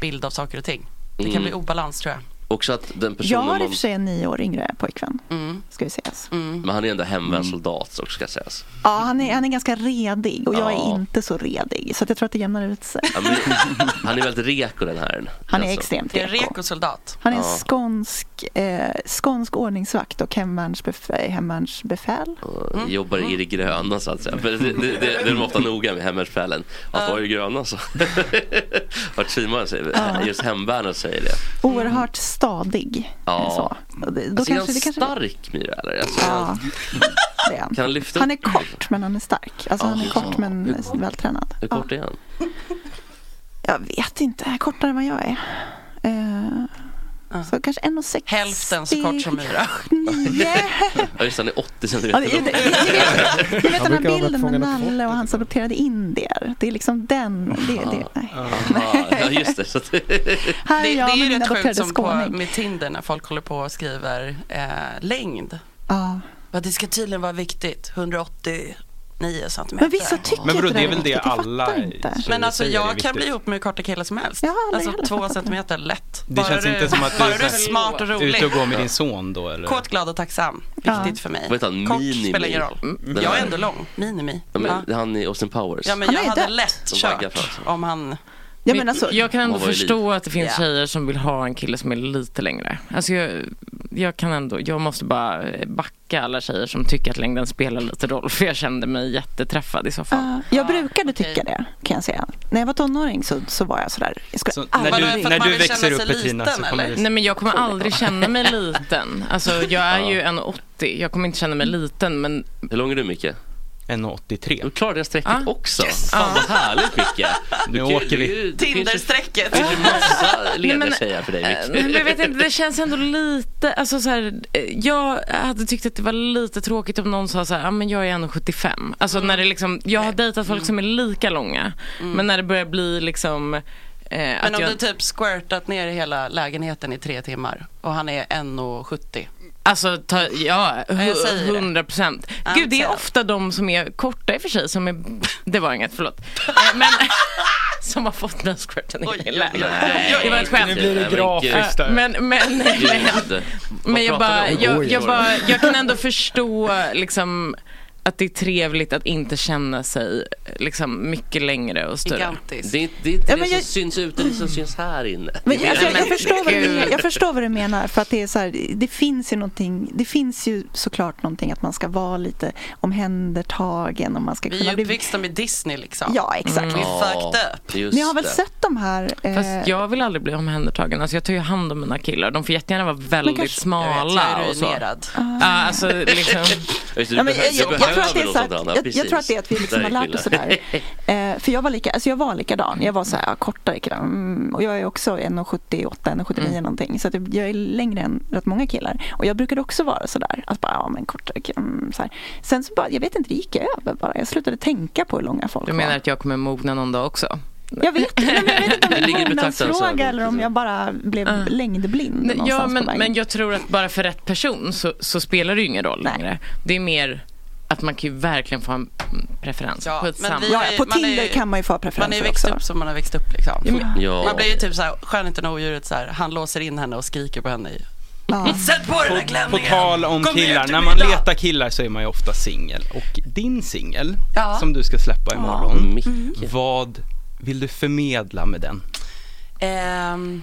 bild av saker och ting. Det kan Mm. bli obalans tror jag. Också att den Jag personen har i och man... för sig en nio år yngre pojkvän. Mm. Ska vi sägas. Men han är ändå hemvänd soldat också ska sägas. Ja, han är, han är ganska redig och jag Ja. är inte så redig. Så att jag tror att det jämnar ut sig. Ja, men- Han är väldigt reko den här. Han är Alltså. extremt Det är reko. rekosoldat. Han är en Ja. skånsk, eh, skånsk ordningsvakt och hemvärnsbefäl. hemvärnsbefäl. Och Mm. Jobbar i det gröna så att säga. För Det, det, det, det är de ofta noga med hemvärnsbefälen. Att vara i det gröna så. Vart simaren säger Ja. Just hemvärnet säger det. Oerhört stadig. Ja. Så. Och det- Då Alltså, är han kanske, det kanske... stark Myra eller? Alltså, Ja, det är han. Kan han lyfta Han är upp? kort men han är stark. Alltså, han är Ja. kort men vältränad. Hur kort är han? Jag vet inte, kortare än vad jag är. Eh, Så kanske 1,60. Hälften så kort som Myra. Ja just det, han är 80 Ja, centimeter det- lång. det- det- Jag vet den Han här brukar ha varit bilden med fångad på Nalle och hans adopterade indier. Det är liksom den. Det, det, nej. Aha, ja just det. Så att... Här är det, jag det med är ju min rätt adopterade sjukt som på, skåning. med Tinder när folk håller på och skriver eh, längd. Ja. Bara, Det ska tydligen vara viktigt, 189 centimeter. Men vissa tycker Men vadå, inte det är väl det viktigt, jag alla fattar inte. tjejer Men alltså säger är jag viktigt. kan bli ihop med hur korta killar som helst. aldrig alltså heller två fattat det. centimeter lätt. Det känns inte som att du bara är du är så här- smart och rolig. Ute och går med din son då eller? Kåt, glad och tacksam. Ja. Viktigt för mig. Vad heter han? Kort Minimi? spelar ingen roll. Mm, Den Jag här- är ändå lång. Minimi. Ja, Ja. men, han i Austin Powers. Ja, men Han jag har ju hade dött. lätt Som vaggar för kört sig. om han... Ja, men alltså, jag kan ändå Hon var ju förstå liten. att det finns Ja. tjejer som vill ha en kille som är lite längre. Alltså jag, jag kan ändå, jag måste bara backa alla tjejer som tycker att längden spelar lite roll. För jag kände mig jätteträffad i så fall. Ja, jag brukade tycka det, kan jag säga. När jag var tonåring så, så var jag sådär. Jag skulle Så när aldrig... du, när du växer upp Petina så kommer det... Nej men jag kommer aldrig känna mig liten. Alltså jag är ju 1,80. Jag kommer inte känna mig liten men Hur lång är du Micke? 1,83. Du klarade det strecket Ah. också. Fan vad härligt Micke. Nu kan- åker vi. du- du kan ju- Tinderstrecket. Det finns ju massa Nej, lediga men- tjejer för dig Eh, Micke. Nej, men jag vet inte, det känns ändå lite, alltså så här, eh, jag hade tyckt att det var lite tråkigt om någon sa så här, ah, men jag är 1,75. Alltså när det liksom, jag har dejtat folk som är lika långa, men när det börjar bli liksom Eh, Mm. Men att om jag... du typ squirtat ner i hela lägenheten i tre timmar och han är 1,70. Alltså, ta, ja, Ja, jag säger det. 100 procent. Ja, Gud, det säg är det. ofta de som är korta i och för sig som är... Det var inget, förlåt. Eh, Men som har fått den här squirten i hela nej. Det var ett skämt. Nu blir det Nej, men grafiskt Eh, där. Men, men, men, Gud. Vad men jag, bara, pratar ni om? jag, Oj, jag, oj. bara, jag kan ändå förstå liksom, att det är trevligt att inte känna sig liksom, mycket längre och större. Gigantisk. Det är inte det, är inte Ja, det men som jag- syns ute, det är det som syns här inne. Men jag, alltså, jag, jag, förstår vad du, Gud. menar- jag förstår vad du menar. För att det, är så här, det finns ju någonting, det finns ju såklart någonting att man ska vara lite omhändertagen och man ska Vi är kunna ju bli... uppväxta med Disney liksom. Ja, exakt. Vi fucked up. Ni har väl sett de här... eh, Fast jag vill aldrig bli omhändertagen. Alltså jag tar ju hand om mina killar. De får jättegärna vara väldigt kanske- smala Jag vet, och så. jag är ruinerad. Ja, alltså liksom. Just det, Ja, men du behöver- jag- du jag- jag tror att det behöver är något så att- jag- jag sånt, Anna, precis. tror att det är att vi liksom Där har är lärt oss skillnaden. det Eh, för jag var, lika, alltså jag var likadan. Jag var så här, ja, kortare kille. Mm, och jag är också 1,78, 1,79 Mm. någonting. Så att det- jag är längre än rätt många killar. Och jag brukade också vara så där. Att bara, ja men kortare kille. Mm, så här. Sen så bara, jag vet inte, det gick över bara. Jag slutade tänka på hur långa folk Du var. menar att jag kommer mogna någon dag också? Jag vet, nej, men jag vet inte om det Det ligger i är en betraktelsen. mognadsfråga eller om jag bara blev längdblind Ah. Ja, någonstans men, på vägen. men jag tror att bara för rätt person så, så spelar det ju ingen roll längre. Det är mer att man kan ju verkligen få en preferens. Ja, Skitsamma. men vi har ju- man är ju- Man är ju växt upp som man har växt upp liksom. Ja. Man blir ju typ såhär, skönheten och odjuret såhär, han låser in henne och skriker på henne i Sätt på den där På klänningen! tal om Kom ner killar, till när mig man idag! letar killar så är man ju ofta singel. Och din singel, Ja. som du ska släppa Ja, Mm. imorgon, Micke. vad vill du förmedla med den? Ehm,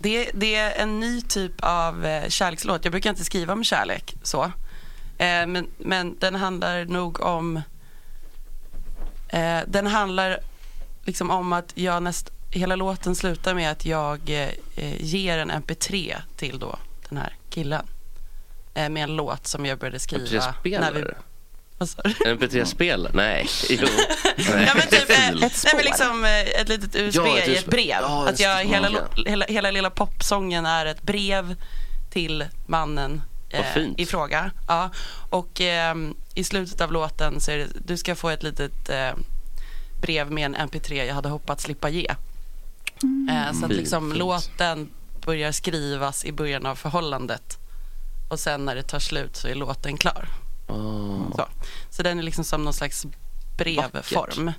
det, det är en ny typ av eh, kärlekslåt. Jag brukar inte skriva om kärlek så. Eh, men, men den handlar nog om... Eh, den handlar liksom om att jag näst, hela låten slutar med att jag eh, eh, ger en mp3 till då den här killen. Eh, med en låt som jag började skriva. när vi MP3-spelare? MP3-spelare? Nej. Jo. Ja, men typ, eh, Fil. nej, men liksom eh, ett litet USB Ja, ett i ett USB. brev. Ja, att jag, just det. hela, Ja. lo- hela, hela lilla popsången är ett brev till mannen eh, Vad fint. i fråga. Ja. Och ehm, i slutet av låten så är det, du ska få ett litet eh, brev med en mp3 jag hade hoppats slippa ge. Mm. Eh, så att Mm. Fint, liksom fint. låten börjar skrivas i början av förhållandet och sen när det tar slut så är låten klar. Så. så den är liksom som någon slags brevform. Mm.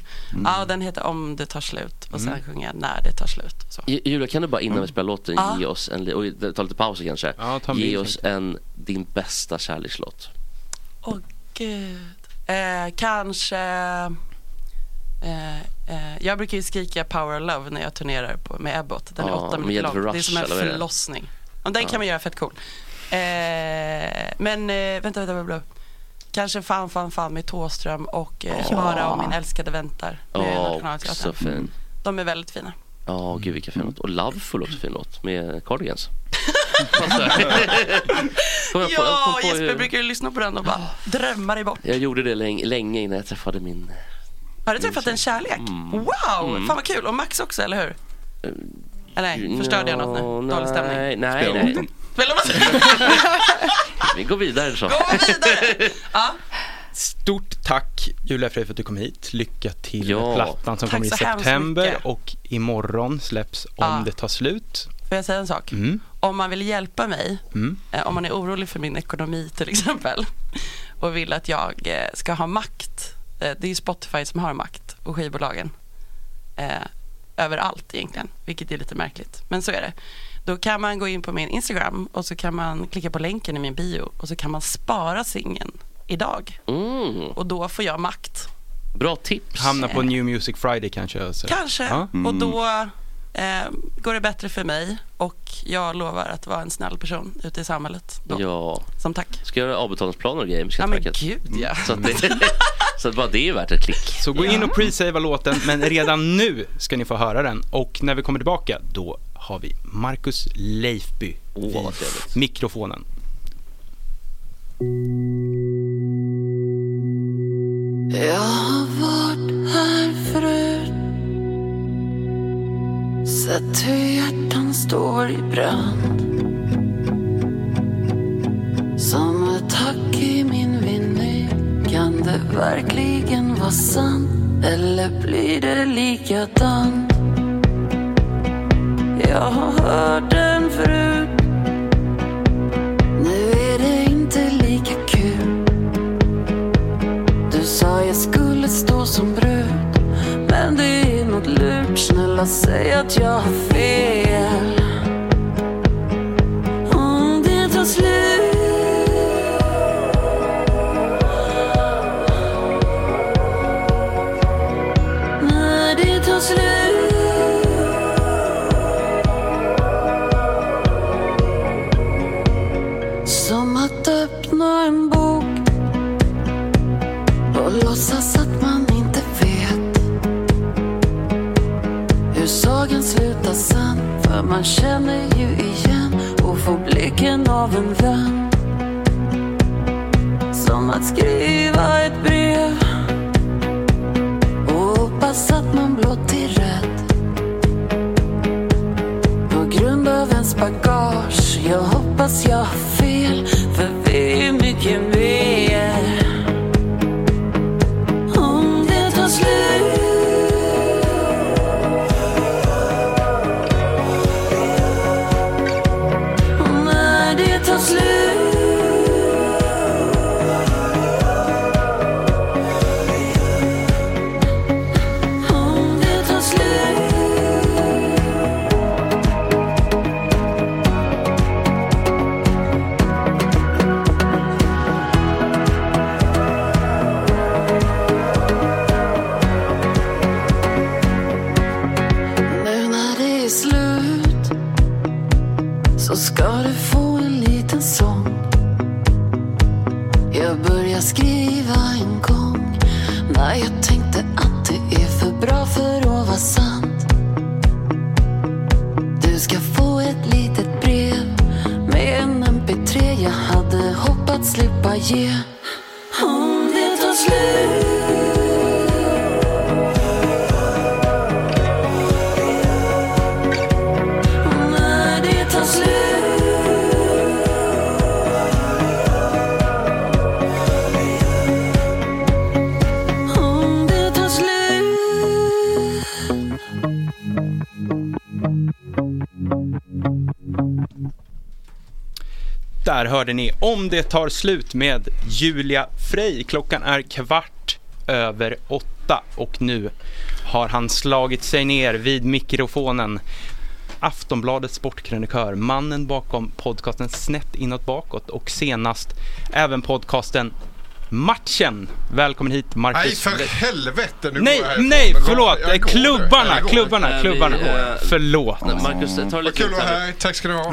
Ja, den heter Om det tar slut och sen Mm. sjunger jag När det tar slut. Så. Mm. Ju- Julia, kan du bara innan vi spelar låten Ja. ge oss en, li- och ta lite pauser kanske, ta en ge bild oss en, din bästa kärlekslåt. Åh gud. Eh, kanske... Eh, eh, jag brukar ju skrika Power and Love när jag turnerar på, med Ebbot. Den är Ja, åtta med minuter Jennifer lång. Det är Rush, som en eller vad är det? förlossning. Ja, Den Ja. kan man göra fett cool. Eh, men eh, vänta, vänta, vänta. vänta. Kanske Fan, fan, fan med Thåström och eh, Ja. Bara om min älskade väntar med Ja, Nationalteatern. också fin. De är väldigt fina. Ja, gud vilka Mm. fin låt. Och Loveful också fin låt med Cardigans. Kom jag på- jag kom ja, på Jesper hur- Ah. brukar ju lyssna på den och bara drömma dig bort. Jag gjorde det länge, länge innan jag träffade min... Har du träffat en kärlek? Mm. Wow, Mm. Eh, fan vad kul. Och Max också, eller hur? Eller nej, förstörde jag något nu? Ja, Dålig stämning. Nej, nej, nej. Spela vad Vi går vidare så. Stort tack Julia Frey för att du kom hit. Lycka till Ja. med plattan som Tack kommer i så hemskt september mycket. och imorgon släpps Om Ja. det tar slut. Får jag säga en sak? Mm. Om man vill hjälpa mig, Mm. eh, om man är orolig för min ekonomi till exempel och vill att jag eh, ska ha makt. eh, Det är ju Spotify som har makt och skivbolagen. Eh, Överallt egentligen, vilket är lite märkligt. Men så är det. Då kan man gå in på min Instagram och så kan man klicka på länken i min bio och så kan man spara singeln idag. Och då får jag makt. Bra tips. Hamna på New Music Friday kanske. Så. Kanske. Ja. Och då eh, går det bättre för mig och jag lovar att vara en snäll person ute i samhället. Då. Ja. Som tack. Ska jag göra avbetalningsplaner och grejer med Ja, men Skatteverket? gud, ja. Så, att det, så att bara det är värt ett klick. Så gå in och pre-savea låten, men redan nu ska ni få höra den. Och när vi kommer tillbaka, då har vi Marcus Leifby vid vad trevligt. mikrofonen. Jag har varit här förut Sett hur hjärtan står i brand Som ett hack i min vinyl Kan det verkligen vara sant? Eller blir det likadant? Jag har hört den förut Nu är det inte lika kul Du sa jag skulle stå som brud Men det är något lurt Snälla säg att jag har fel Om det tar slut När det tar slut Som att öppna en bok och låtsas att man inte vet hur sagan slutar sen. För man känner ju igen och får blicken av en vän. Som att skriva ett brev och hoppas att man blott är rädd. På grund av ens bagage Jag hoppas jag har fel För vi är mycket mer Om det tar slut När det tar slut Om det tar slut Nu när det är slut så ska du få en liten sång. Jag börjar skriva en gång när jag tänkte att det är för bra för att vara sant. Du ska få ett litet brev med en mp3 jag hade hoppats slippa ge. Om det tar slut När det tar slut Om det tar slut Där hörde ni Om det tar slut med Julia Frey. Klockan är kvart över åtta och nu har han slagit sig ner vid mikrofonen. Aftonbladets sportkrönikör, mannen bakom podcasten Snett inåt bakåt och senast även podcasten Matchen. Välkommen hit Marcus. Nej för helvete, nu nej, går jag härifrån. nej, Men går- förlåt. jag går nu. klubbarna, Jag går. klubbarna, klubbarna. Förlåt. eh, Marcus, ta Vad lite kul att vara här, tack ska du ha. Ta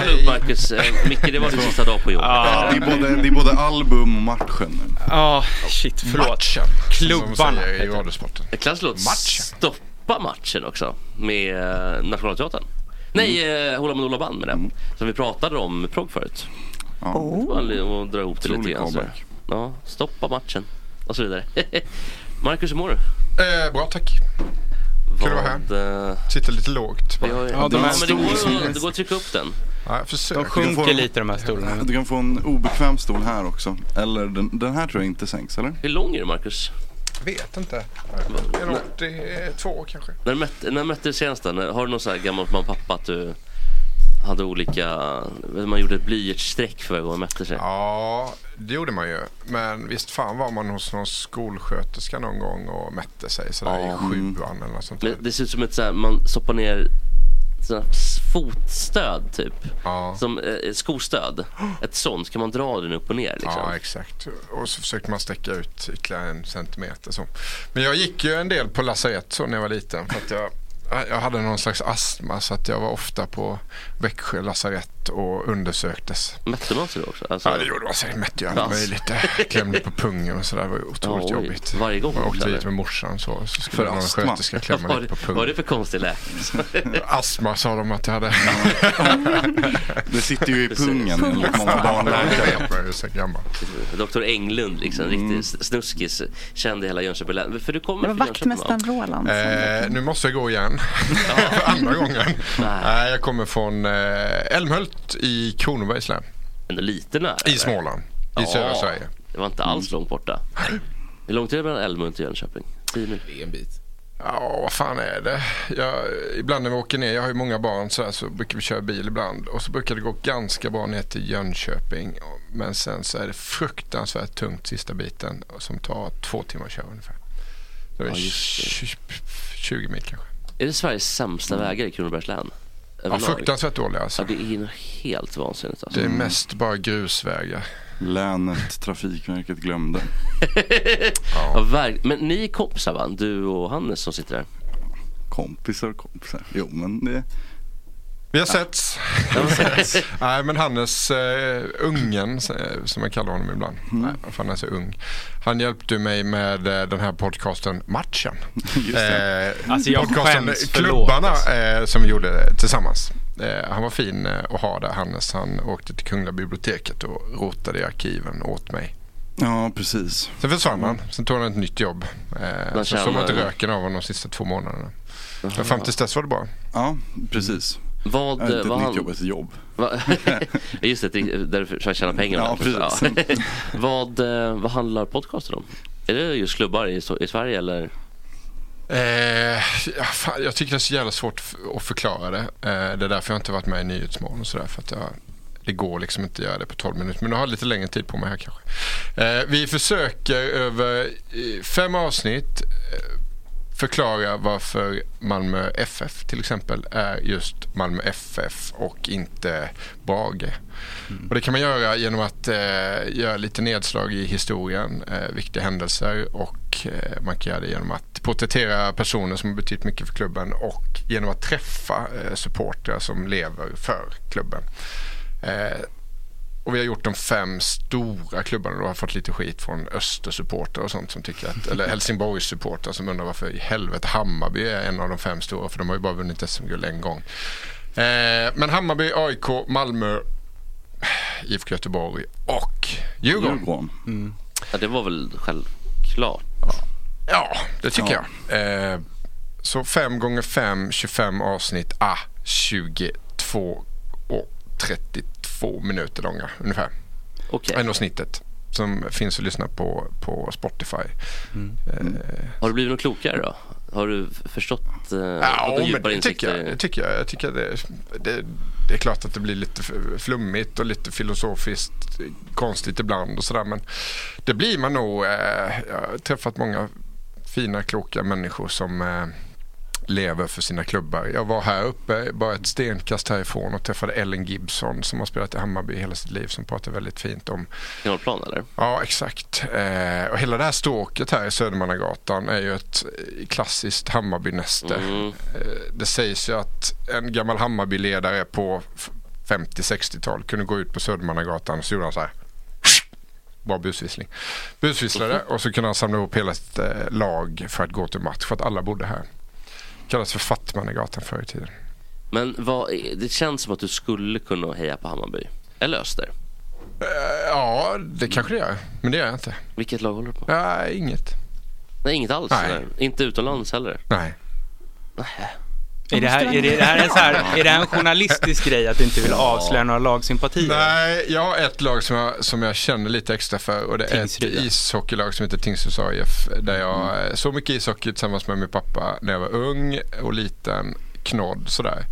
det lugnt Marcus. Eh, Micke, det var din sista dag på jobbet. Det, är både, det är både album och matchen nu. Ja, shit, förlåt. Matchen, Som de säger i radiosporten. Klass låt Matchen. Stoppa matchen också med eh, Nationalteatern. Nej, Mm. eh, Hola Monola Band med den. Som vi pratade om med progg förut. Ja. Och dra ihop det lite Otrolig grann. så. comeback. Ja, stoppa matchen och så vidare. Marcus, hur mår du? Eh, bra tack. Kul att vara här. Sitter lite lågt bara. eh, Vi har- Ja, de här Ja, men det går ju- stolarna- det går att trycka upp den. Ja, jag försöker. Typ. Du kan få- Du kan få en obekväm stol här också. Eller den, den här tror jag inte sänks, eller? Hur lång är du Marcus? Vet inte. En 82 kanske. När du mötte, när du mötte du senast då? När- Har du någon sån här gammalt man pappa att du hade olika, man gjorde ett blyertsstreck förra gången man mötte sig? Ja, det gjorde man ju. Men visst fan var man hos någon skolsköterska någon gång och mätte sig sådär i Ja. mm. sjuan eller något sånt där. Det, det ser ut som ett så här, man stoppar ner såna här s- fotstöd typ. Som eh, skostöd. Ett sånt, kan man dra den upp och ner liksom? Ja, exakt. Och så försökte man sträcka ut ytterligare en centimeter. Så. Men jag gick ju en del på lasarett så när jag var liten. För att jag, jag hade någon slags astma så att jag var ofta på Växjö lasarett och undersöktes. Mätte man sig då också? Alltså- Ja, det gjorde man sig. Mätte ju Ja. allt möjligt. Jag Klämde på pungen och sådär. Det var ju otroligt Ja, oj. jobbigt. Varje gång, Jag åkte eller? dit med morsan så, så skulle För någon astma? sköterska klämma Vad lite var på det- vad var det pungen. för konstig läkare? astma sa de att jag hade. Det sitter ju i Precis. pungen enligt många barnläkare. barnläkare. Jag är så gammal. Dr Englund liksom, Mm. riktigt snuskis. Kände hela Jönköping län. För du kommer Det var från Jönköping, va? vaktmästaren Roland. Eh, nu måste jag gå igen. För andra gången. Nej, jag kommer från eh, Älmhult i Kronobergs län. Ändå lite nära. I Småland. I södra Sverige. Det var inte alls långt borta. Hur långt är det mellan Älmhult och Jönköping? Tio mil? Det är en bit. Ja, vad fan är det? Jag, ibland när vi åker ner, jag har ju många barn så, här, så brukar vi köra bil ibland. Och så brukar det gå ganska bra ner till Jönköping. Men sen så är det fruktansvärt tungt sista biten som tar två timmar att köra ungefär. Det är Ja, just 20, 20 mil kanske. Är det Sveriges sämsta vägar i Kronobergs län? Överlag? Mm. fruktansvärt dåliga, alltså. Ja, det är ju något helt vansinnigt alltså. Det är mest bara grusvägar. Länet, Trafikverket glömde. ja. verk- Men ni är kompisar va? Du och Hannes som sitter där? Kompisar, kompisar. Jo, men det... Vi har setts. Nej men Hannes, eh, ungen eh, som jag kallar honom ibland. Mm. Nej, för han är så ung. Han hjälpte ju mig med eh, den här podcasten Matchen. Eh, det. Alltså, jag podcasten skäms, förlåt, Klubbarna alltså. eh, som vi gjorde tillsammans. Eh, han var fin eh, att ha där Hannes. Han åkte till Kungliga biblioteket och rotade i arkiven åt mig. Ja, precis. Sen försvann han. Sen tog han ett nytt jobb. Eh, Man så såg man tjänar- inte röken av honom de sista två månaderna. Jaha. Men fram tills dess var det bra. Ja, precis. Vad, Ja, inte ett vad nytt han- jobb, ett jobb. Va? Just det, det är därför jag tjänar pengar. Ja, precis. vad, eh, vad handlar podcasten om? Är det just klubbar i, i Sverige eller? Eh, ja, fan, jag tycker det är så jävla svårt f- att förklara det. Eh, det är därför jag inte varit med i Nyhetsmorgon och sådär. För att jag, det går liksom inte att göra det på 12 minuter. Men jag har lite längre tid på mig här kanske. Eh, vi försöker över eh, fem avsnitt eh, förklara varför Malmö FF till exempel är just Malmö FF och inte Brage. Och det kan man göra genom att eh, göra lite nedslag i historien, eh, viktiga händelser och eh, man kan göra det genom att porträttera personer som har betytt mycket för klubben och genom att träffa eh, supportrar som lever för klubben. Eh, och vi har gjort de fem stora klubbarna och har fått lite skit från Östersupportrar och sånt som tycker att, eller Helsingborgssupportrar som undrar varför i helvete Hammarby är en av de fem stora för de har ju bara vunnit SM-guld en gång. Eh, men Hammarby, AIK, Malmö, eh, IFK Göteborg och Djurgården. Mm. Mm. Ja, det var väl självklart. Ja, det tycker jag. Eh, så 5 gånger 5, 25 avsnitt, ah, 22 och 32 minuter långa ungefär. Okay. Ändå snittet som finns att lyssna på på Spotify. Eh, Har du blivit något klokare då? Har du förstått? Eh, Ja, fått en men djupare det insikt tycker jag. i- Det, tycker jag. jag tycker det, det, det är klart att det blir lite f- flummigt och lite filosofiskt konstigt ibland och sådär. Men det blir man nog. Eh, jag har träffat många fina, kloka människor som eh, lever för sina klubbar. Jag var här uppe, bara ett stenkast härifrån och träffade Ellen Gibson som har spelat i Hammarby hela sitt liv som pratar väldigt fint om Kanalplan eller? Ja, exakt. Eh, och hela det här stråket här i Södermannagatan är ju ett eh, klassiskt Hammarbynäste. Mm. Eh, det sägs ju att en gammal Hammarbyledare på f- 50-60-tal kunde gå ut på Södermannagatan och så gjorde han så här. Bra busvissling. Mm. Busvisslade och så kunde han samla ihop hela ett eh, lag för att gå till match för att alla bodde här. Kallas för Fattmannagatan förr i tiden. Men vad, är- det känns som att du skulle kunna heja på Hammarby. Eller Öster. Eh, ja, det kanske det gör. Men det gör jag inte. Vilket lag håller du på? Nej, inget. Nej, inget alls. Nej. eller? Alltså, Inte utomlands heller. Nej. Är det, här, är, det, är, det här en så här, är det här en journalistisk grej att du inte vill avslöja några lagsympatier? Nej, jag har ett lag som jag, som jag känner lite extra för och det är ett ishockeylag som heter Tingsryds AIF. Där jag Mm. eh, såg mycket ishockey tillsammans med min pappa när jag var ung och liten, knodd sådär.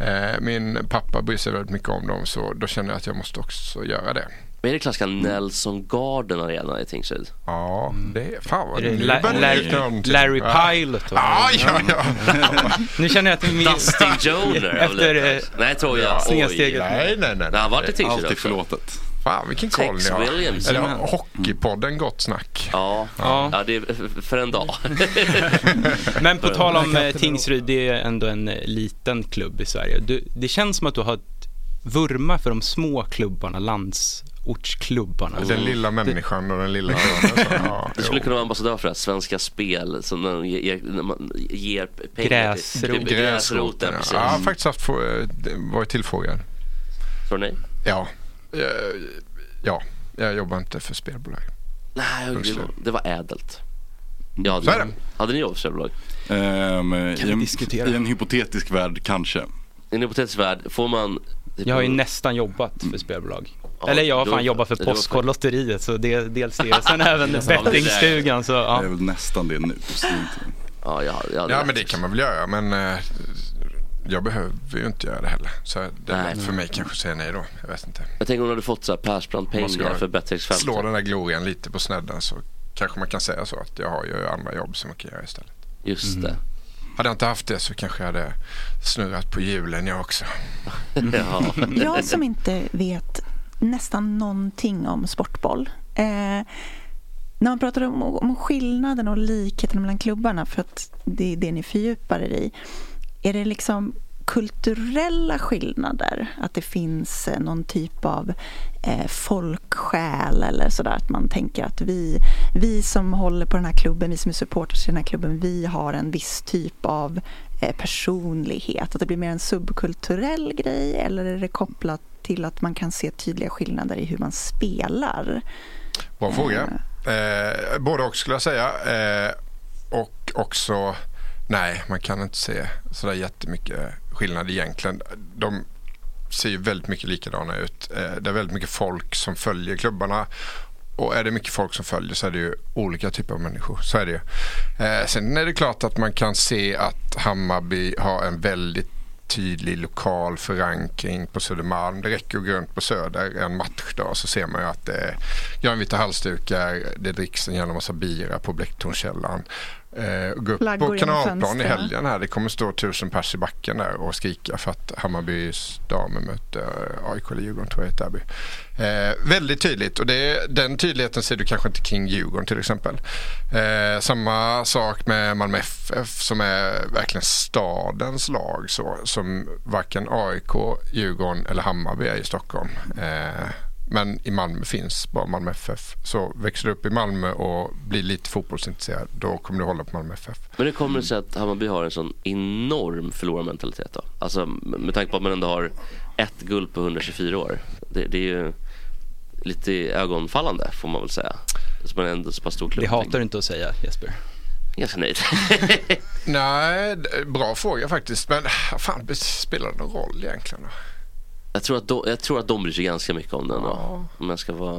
Eh, Min pappa bryr sig väldigt mycket om dem så då känner jag att jag måste också göra det. Men är det klassiska Nelson Garden Arena i Tingsryd? Ja, det är fan vad Mm. Är det nu La- börjar det Larry- likna någonting. Larry Ja. Pilot, va? Ja, ja, ja. Nu känner jag att min... Dustin Joner. Efter, eller? eh, Nej, tror jag. Ja, Oj. snedsteget. Nej, nej, nej. Det har varit i Tingsryd Alltid också. förlåtet. Fan vilken koll ni Tex har. Williams. Eller Hockeypodden Gott Snack. Ja, ja. det är för en dag. Men på tal om eh, Tingsryd, det är ändå en eh, liten klubb i Sverige. Du, det känns som att du har ett vurma för de små klubbarna, landsortsklubbarna. Den lilla Mm. människan och den lilla öronen. så, ja. Du skulle kunna vara ambassadör för det här Svenska Spel som när de ger, när man ger pengar Gräsroten. till typ, gräsroten. ja. precis. Ja, jag har faktiskt haft, få- eh, varit tillfrågad. Tror ni? Ja. Eh, Ja, jag jobbar inte för spelbolag. Nej, det var, det var ädelt. Jag Så hade, är det. hade ni jobb för Ehm, Kan i, vi en, diskutera? I en hypotetisk värld kanske. I en hypotetisk värld, får man... typ Jag har ju nästan jobbat för spelbolag. Eller jag har du- fan jobbat för du har- Postkodlotteriet, så det, dels det. Sen även Det är sant. bettingstugan. Så, ja. Det är väl nästan det nu. så det är inte- Ja, jag, jag hade Ja lätt. men det kan man väl göra men eh, jag behöver ju inte göra det heller. Så det är lätt för mig kanske att säga nej då. Jag vet inte. Jag tänker om du hade fått så här Man ska Persbrandt-pengar för bättringsfältet. Slå den där glorian lite på snedden så kanske man kan säga så att jag har ju andra jobb som jag kan göra istället. Just det. Hade jag inte haft det så kanske jag hade snurrat på hjulen jag också. Jag som inte vet nästan någonting om sportboll. Eh, när man pratar om, om skillnaden och likheten mellan klubbarna, för att det är det ni fördjupar er i. Är det liksom kulturella skillnader? Att det finns eh, någon typ av eh, folksjäl eller sådär? Att man tänker att vi, vi som håller på den här klubben, vi som är supporters i den här klubben, vi har en viss typ av eh, personlighet? Att det blir mer en subkulturell grej eller är det kopplat till att man kan se tydliga skillnader i hur man spelar? Bra fråga. Eh, både och skulle jag säga. Eh, och också, nej man kan inte se sådär jättemycket skillnad egentligen. De ser ju väldigt mycket likadana ut. Eh, det är väldigt mycket folk som följer klubbarna. Och är det mycket folk som följer så är det ju olika typer av människor. Så är det ju. Eh, sen är det klart att man kan se att Hammarby har en väldigt tydlig lokal förankring på Södermalm. Det räcker att gå runt på Söder en matchdag så ser man ju att det är grönvita halsdukar, det dricks en jävla massa bira på Blecktornskällan. Eh, gå upp Flaggor på genom Kanalplan i fönstren. helgen här. Det kommer stå tusen pers i backen där och skrika för att Hammarbys damer möter AIK eller Djurgården tror jag i ett derby. Eh, väldigt tydligt och det, den tydligheten ser du kanske inte kring Djurgården till exempel. Eh, samma sak med Malmö FF som är verkligen stadens lag så, som varken AIK, Djurgården eller Hammarby är i Stockholm. Eh, men i Malmö finns bara Malmö FF. Så växer du upp i Malmö och blir lite fotbollsintresserad då kommer du hålla på Malmö FF. Men hur kommer det sig att Hammarby har en sån enorm förlorarmentalitet då? Alltså med tanke på att man ändå har ett guld på 124 år. Det, det är ju lite ögonfallande får man väl säga. Så man är ändå så pass stor klubb. Det hatar du inte att säga Jesper. Ganska nöjd. Nej, d- bra fråga faktiskt. Men ah, fan, det spelar det någon roll egentligen? Då? Jag tror, att de, jag tror att de bryr sig ganska mycket om den då. Om jag ska vara...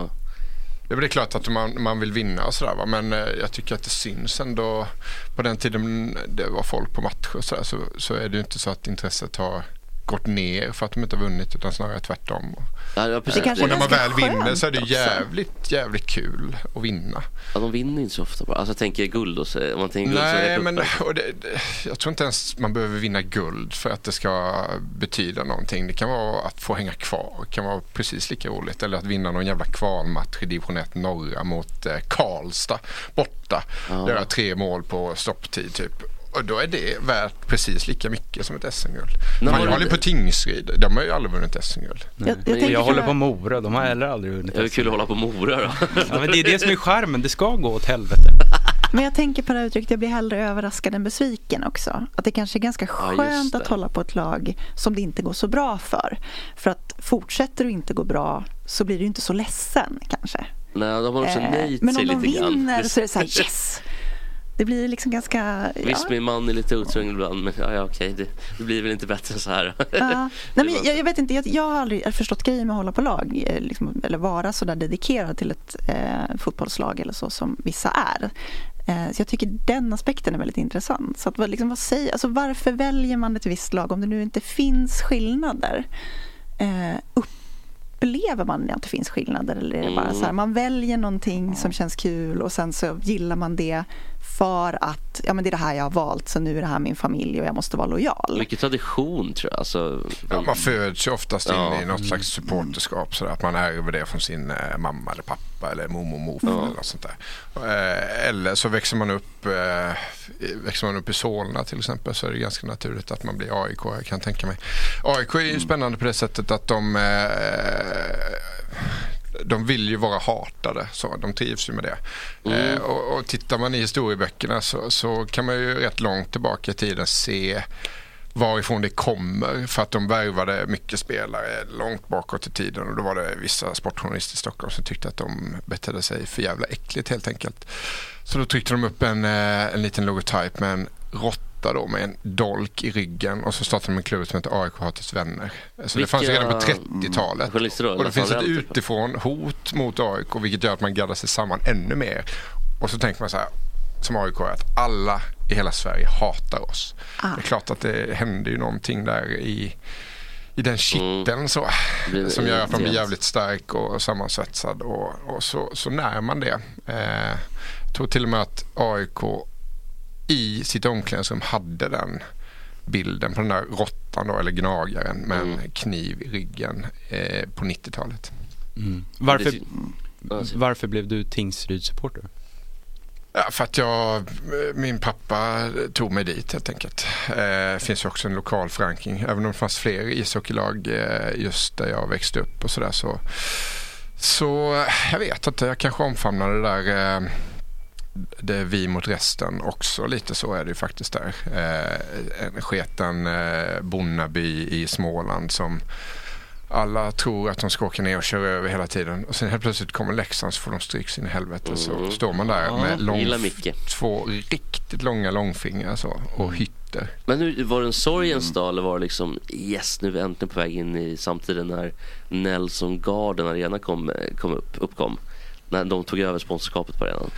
Ja, men Det är klart att man, man vill vinna och sådär va? men eh, jag tycker att det syns ändå. På den tiden det var folk på matcher och sådär, så, så är det ju inte så att intresset har gått ner för att de inte har vunnit utan snarare tvärtom. Ja, ja, precis. Det kanske och när är man väl ganska vinner så är det ju skönt också. jävligt, jävligt kul att vinna. Ja, de vinner inte så ofta bara. Alltså jag tänker guld och så, om man tänker guld så är Nej, det men kuppen. och det, det- jag tror inte ens man behöver vinna guld för att det ska betyda någonting. Det kan vara att få hänga kvar. Det kan vara precis lika roligt. Eller att vinna någon jävla kvalmatch i division 1 norra mot eh, Karlstad borta. Ja. Göra tre mål på stopptid typ. Och då är det värt precis lika mycket som ett SM-guld. Nej, Fan, men- Jag håller på Tingsryd. De har ju aldrig vunnit SM-guld. Jag, jag, håller på Mora, de har heller aldrig vunnit. Det är väl kul att hålla på Mora då. Ja, men det är det som är charmen, det ska gå åt helvete. Men jag tänker på det här uttrycket, jag blir hellre överraskad än besviken också. Att det kanske är ganska just skönt det. att hålla på ett lag som det inte går så bra för. För att fortsätter det inte gå bra så blir du ju inte så ledsen kanske. Nej, de har också Eh, nöjt men sig om de lite grann. vinner så är det så här yes! Det blir liksom ganska... Visst, min man är lite utsvängd ibland, men ja, ja, okej, det, det blir väl inte bättre än så här. Ja. Nej, men jag, jag vet inte, jag, jag har aldrig förstått grejen med att hålla på lag eh, liksom, eller vara så där dedikerad till ett eh, fotbollslag eller så som vissa är. Eh, så jag tycker den aspekten är väldigt intressant. Så att, vad- liksom, vad säger, alltså, varför väljer man ett visst lag om det nu inte finns skillnader? Eh, upplever man att det finns skillnader eller är det bara Mm. så här, man väljer någonting som känns kul och sen så gillar man det för att ja, men det är det här jag har valt så nu är det här min familj och jag måste vara lojal. Mycket tradition tror jag. Alltså, Ja, man föds ju oftast in Ja. i något slags supporterskap. Sådär, att man ärver det från sin eh, mamma eller pappa eller mormor och morfar eller något sånt där. Eh, eller så växer man, upp, eh, växer man upp i Solna till exempel så är det ganska naturligt att man blir AIK. Jag kan tänka mig. AIK är Mm. ju spännande på det sättet att de eh, de vill ju vara hatade, så de trivs ju med det. Mm. Eh, och, och tittar man i historieböckerna så, så kan man ju rätt långt tillbaka i tiden se varifrån det kommer för att de värvade mycket spelare långt bakåt i tiden och då var det vissa sportjournalister i Stockholm som tyckte att de betedde sig för jävla äckligt helt enkelt. Så då tryckte de upp en, eh, en liten logotyp med en råtta då med en dolk i ryggen och så startade de en klubb som heter AIK Hatets Vänner. Så Alltså, det fanns ju redan på Vilka- 30-talet. Journalister då, och det Lasse finns ett Anrell, typ. utifrån hot mot AIK vilket gör att man gaddar sig samman ännu mer. Och så tänker man så här, som AIK är att alla i hela Sverige hatar oss. Ah. Det är klart att det händer ju någonting där i, i den kitteln så, Blir som gör att man blir irriterad. jävligt stark och sammansvetsad och, och så, så när man det. Eh, jag tror till och med att AIK i sitt omklädningsrum hade den bilden på den där råttan då, eller gnagaren med en kniv i ryggen eh, på 90-talet. Varför, Det- varför blev du Tingsryd-supporter? Ja, för att jag, eh, min pappa tog mig dit helt enkelt. Eh, Det finns ju också en lokal förankring. Även om det fanns fler ishockeylag eh, just där jag växte upp och sådär så, så jag vet inte, jag kanske omfamnade det där eh, det är vi mot resten också. Lite så är det ju faktiskt där. Eh, en sketen eh, Bonnaby i Småland som alla tror att de ska åka ner och köra över hela tiden. Och sen helt plötsligt kommer Leksand så får de stryk sin helvete. Så Mm. Alltså, står man där Ja, med lång, gillar Micke. Mm. två riktigt långa långfingrar så, och hytter. Men hur, var det en sorgens Mm. dag eller var det liksom yes nu är vi äntligen på väg in i samtiden när Nelson Garden Arena kom, kom upp, uppkom? När de tog över sponsorskapet på arenan.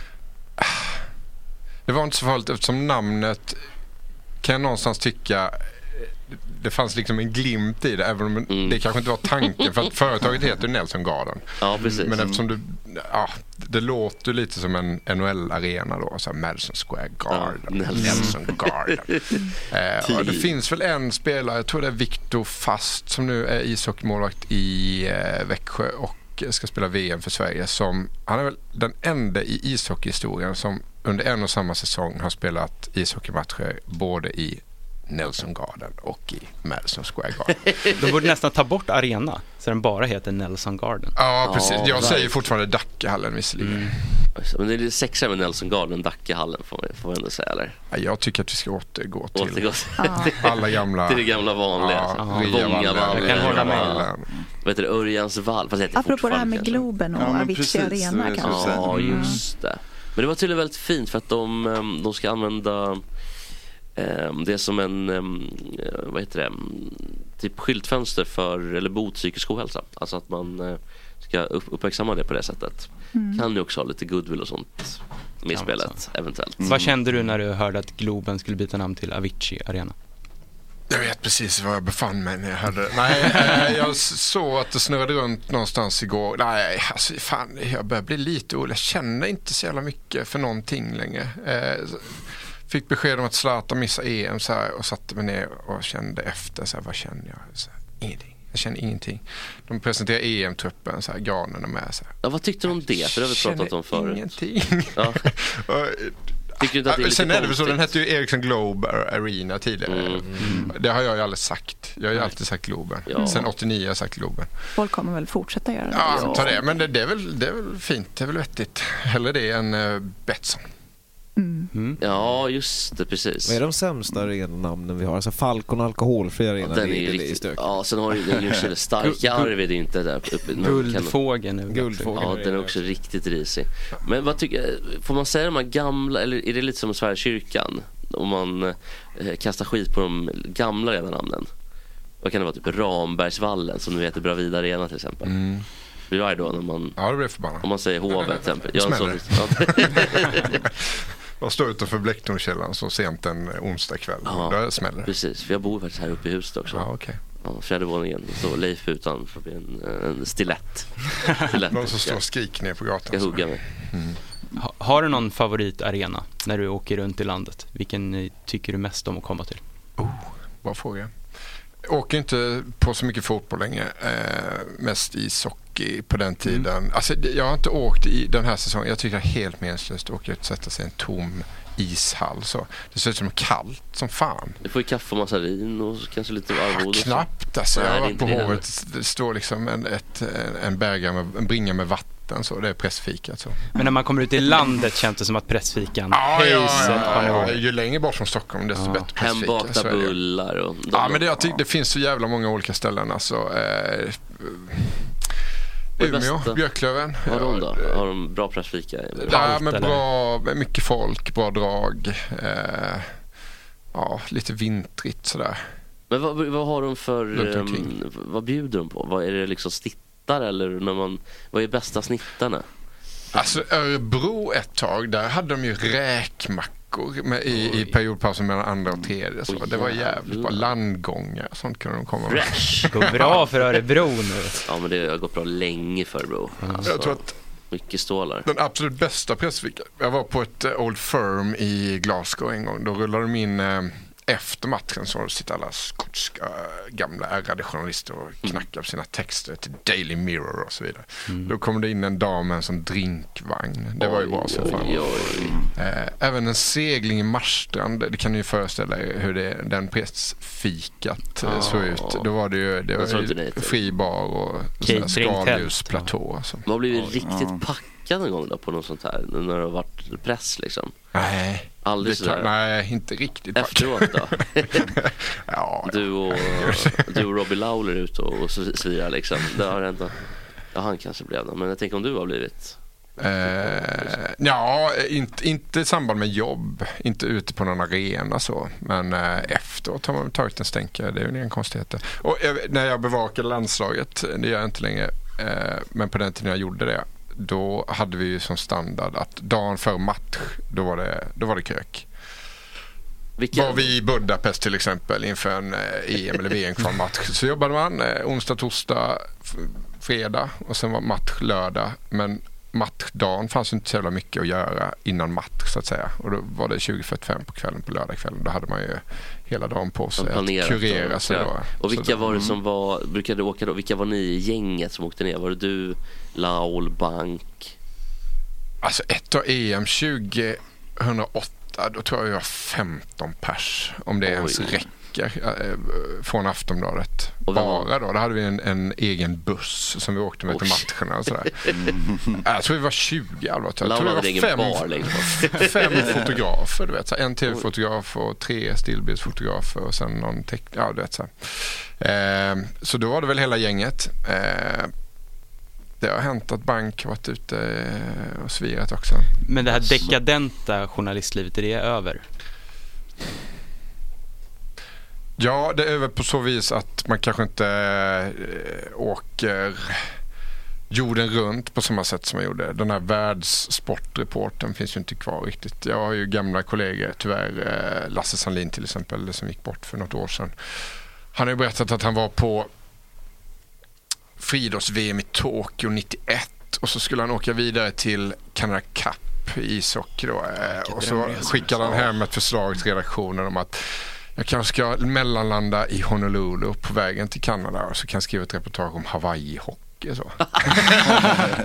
Det var inte så farligt eftersom namnet kan jag någonstans tycka det fanns liksom en glimt i det även om Mm. det kanske inte var tanken för att företaget heter ju Nelson Garden. Ja, precis. Mm. Men eftersom du, ja, det låter ju lite som en NHL-arena då, så här Madison Square Garden. Nelson. Nelson. Garden. eh, och det Tid. finns väl en spelare, jag tror det är Viktor Fast som nu är ishockeymålvakt i eh, Växjö och ska spela VM för Sverige. Som, han är väl den enda i ishockeyhistorien som under en och samma säsong har spelat ishockeymatcher både i Nelson Garden och i Madison Square Garden. De borde nästan ta bort arena, så den bara heter Nelson Garden. Ja, precis. Jag säger right. fortfarande Dackehallen visserligen. Men Mm. det är lite sexigare med Nelson Garden än Dackehallen får man, får man ändå säga eller? Ja, Jag tycker att vi ska återgå till Återgå alla gamla... Till det gamla vanliga. Ja, alltså. Riavallen. Vångavallen. Jag kan hålla med. Vad heter det? Örjans vall. Fast det heter Apropå det här fortfarande med kanske. Globen och Ja, men Avicii precis, Arena det är det kanske. som jag säger. Mm. Ja, just det. Men det var tydligen väldigt fint för att de, ehm, de ska använda ehm, det som en, ehm, eh, vad heter det, typ skyltfönster för, eller bot psykisk ohälsa. Alltså att man eh, ska upp, uppmärksamma det på det sättet. Mm. Kan ju också ha lite goodwill och sånt med i Kan vara spelet eventuellt. Mm. Vad kände du när du hörde att Globen skulle byta namn till Avicii Arena? Jag vet precis var jag befann mig när jag hörde det. Nej, eh, jag s- såg att det snurrade runt någonstans igår. Nej, alltså fan, jag börjar bli lite orolig. Jag känner inte så jävla mycket för någonting längre. Eh, s- Fick besked om att Zlatan missade EM så här och satte mig ner och kände efter. Så här, vad känner jag? Så här, ingenting. Jag känner ingenting. De presenterar EM-truppen, så här, granen är med. Så här. Ja, vad tyckte du om det? För det har vi pratat om förut. Ingenting. Ja. Tycker du inte att det är lite Sen är det väl så, konstigt? Mm. den hette ju Ericsson Globe Arena tidigare. Mm. Det har jag ju aldrig sagt. Jag har ju alltid sagt Globen. Ja. Sen 89 har jag sagt Globen. Folk kommer väl fortsätta göra det. Ja, anta det. Men det, det, är väl, det är väl fint. Det är väl vettigt. Hellre det än eh, Betsson. Mm. Ja, just det, Mm. precis. Vad är de sämsta arenanamnen vi har? Alltså Falcon alkoholfri arena. Den är det- ju det- det riktigt... stökigt. Ja, sen har ju den Ljungskile starka Guld- arv är det ju inte där uppe. men Guldfågeln är väl också- Kan... Ja, den är också riktigt risig. Men vad tycker, får man säga de här gamla, eller är det lite som Sverigekyrkan? Om man eh, kastar skit på de gamla redan namnen. Vad kan det vara? Typ Rambergsvallen som nu heter Bravida Arena till exempel. Mm. Blir du arg då när man... Ja, det blir förbannad. Om man säger hovet till exempel. Det Ja, så- smäller. Jag står utanför Blecktornskällan så sent en onsdag kväll. Ja, Där smäller det. Precis, för jag bor faktiskt här uppe i huset också. Ja, okay. ja, fjärde våningen. Så Leif utanför med en, en stilett. stilett. Någon som står och skriker ner på gatan. Mm. Ska hugga mig. Ha, har du någon favoritarena när du åker runt i landet? Vilken eh, tycker du mest om att komma till? Bra fråga. Jag åker inte på så mycket fotboll längre. Eh, mest ishockey på Mm. den tiden. Alltså, det- jag har inte åkt i den här säsongen. Jag tycker det är helt meningslöst att åka ut och sätta sig i en tom ishall. Så. Det ser ut som kallt som fan. Du får ju kaffe och massarin och kanske lite arvode. och så. Ah, Knappt alltså. Nej, jag har det är varit på inte det Hovet. Det står liksom en, ett, en, bägare med, en bringa med vatten. Så. Det är pressfikat. Så. Men när man kommer ut i landet känns det som att pressfikan, Ja, ja, hejsan, ja, kommer ja, ihåg. ju längre bort från Stockholm desto bättre pressfika. Hembakta Så är det ju. bullar och... Ja, men det, jag tycker, det finns så jävla många olika ställen. Alltså, eh, Det är Umeå, bästa. Björklöven. Har de då? Har de bra pressfika? Ja, men bra, mycket folk, bra drag. Eh, ja, lite vintrigt Mm. sådär. Men vad, vad har de för... Runt ehm, omkring. vad bjuder de på? Vad Är det liksom snittar eller när man... Vad är bästa snittarna? Alltså Örebro ett tag, där hade de ju räkmackor med, i, i periodpausen mellan andra och tredje. Så. Det var jävligt bra. Landgångar och sånt kunde de komma med. Fresh. Ja, men det har gått bra länge för Örebro. Alltså, Jag tror att- Mycket stålar. Den absolut bästa pressveckan. Jag var på ett eh, Old Firm i Glasgow en gång. Då rullade de in eh, efter matchen så sitter alla skotska eh, gamla ärrade journalister Mm. och knackar på sina texter till Daily Mirror och så vidare. Mm. Då kom det in en dam med en sån drinkvagn. Det var ju bra som fan. Eh, Även en segling i Marstrand. Det kan ni ju föreställa er hur det, den pressfikat eh, såg Ja. ut. Då var det ju, det Jag var såg inte ju det. fri bar och sån här Catering, tält. skaldjursplatå. och så. Man har blivit Oj. riktigt Ja. packad någon gång då på något sånt här, när det har varit press liksom. Nej, Aldrig det kan- sådär. nej, inte riktigt packad. Efteråt då? du, och, du och Robbie Lawler är ute och s- slirar liksom. Det har hänt. då. Ja, han kanske blev det. Men jag tänker om du har blivit. Eh, ja, inte, inte i samband med jobb, inte ute på någon arena så. Men eh, efteråt har man tagit en stänkare, det är ju inga konstigheter. Och eh, när jag bevakade landslaget, det gör jag inte längre, eh, men på den tiden jag gjorde det, då hade vi ju som standard att dagen före match, då var det, då var det krök. Var vi i Budapest till exempel inför en eh, EM eller VM-kvalmatch. Så jobbade man eh, onsdag, torsdag, f- fredag och sen var match lördag. Men matchdagen fanns ju inte så jävla mycket att göra innan match så att säga. Och då var det 20.45 på kvällen på lördagskvällen. Då hade man ju hela dagen på sig att planerat kurera sig ja. då. Och Så vilka då- var det som Mm. var, brukade åka då? Vilka var ni i gänget som åkte ner? Var det du, Laul, Bank? Alltså ett av EM 2008, då tror jag jag var 15 pers. Om det ens räcker eh, från Aftonbladet. Bara då. Då hade vi en, en egen buss som vi åkte med till matcherna och sådär. Mm. Äh, jag tror vi var 20 allvarligt. Jag Laul tror hade vi egen var fem, bar liksom. längst liksom. bak. fem fotografer. Du vet, så här, en tv-fotograf och tre stillbildsfotografer och sen någon tekniker. Ja, du vet, så, här. eh, så då var det väl hela gänget. Eh, det har hänt att Bank har varit ute eh, och svirat också. Men det här Alltså- dekadenta journalistlivet, är det över? Ja, det är över på så vis att man kanske inte eh, åker jorden runt på samma sätt som man gjorde. Den här världssportreporten finns ju inte kvar riktigt. Jag har ju gamla kollegor, tyvärr eh, Lasse Sandlin till exempel, som gick bort för något år sedan. Han har ju berättat att han var på friidrotts-VM i Tokyo 91 och så skulle han åka vidare till Canada Cup i ishockey då. Eh, Och så drömresa. skickade han hem ett förslag till redaktionen om att jag kanske ska mellanlanda i Honolulu på vägen till Kanada och så kan jag skriva ett reportage om Hawaii-hockey. Så.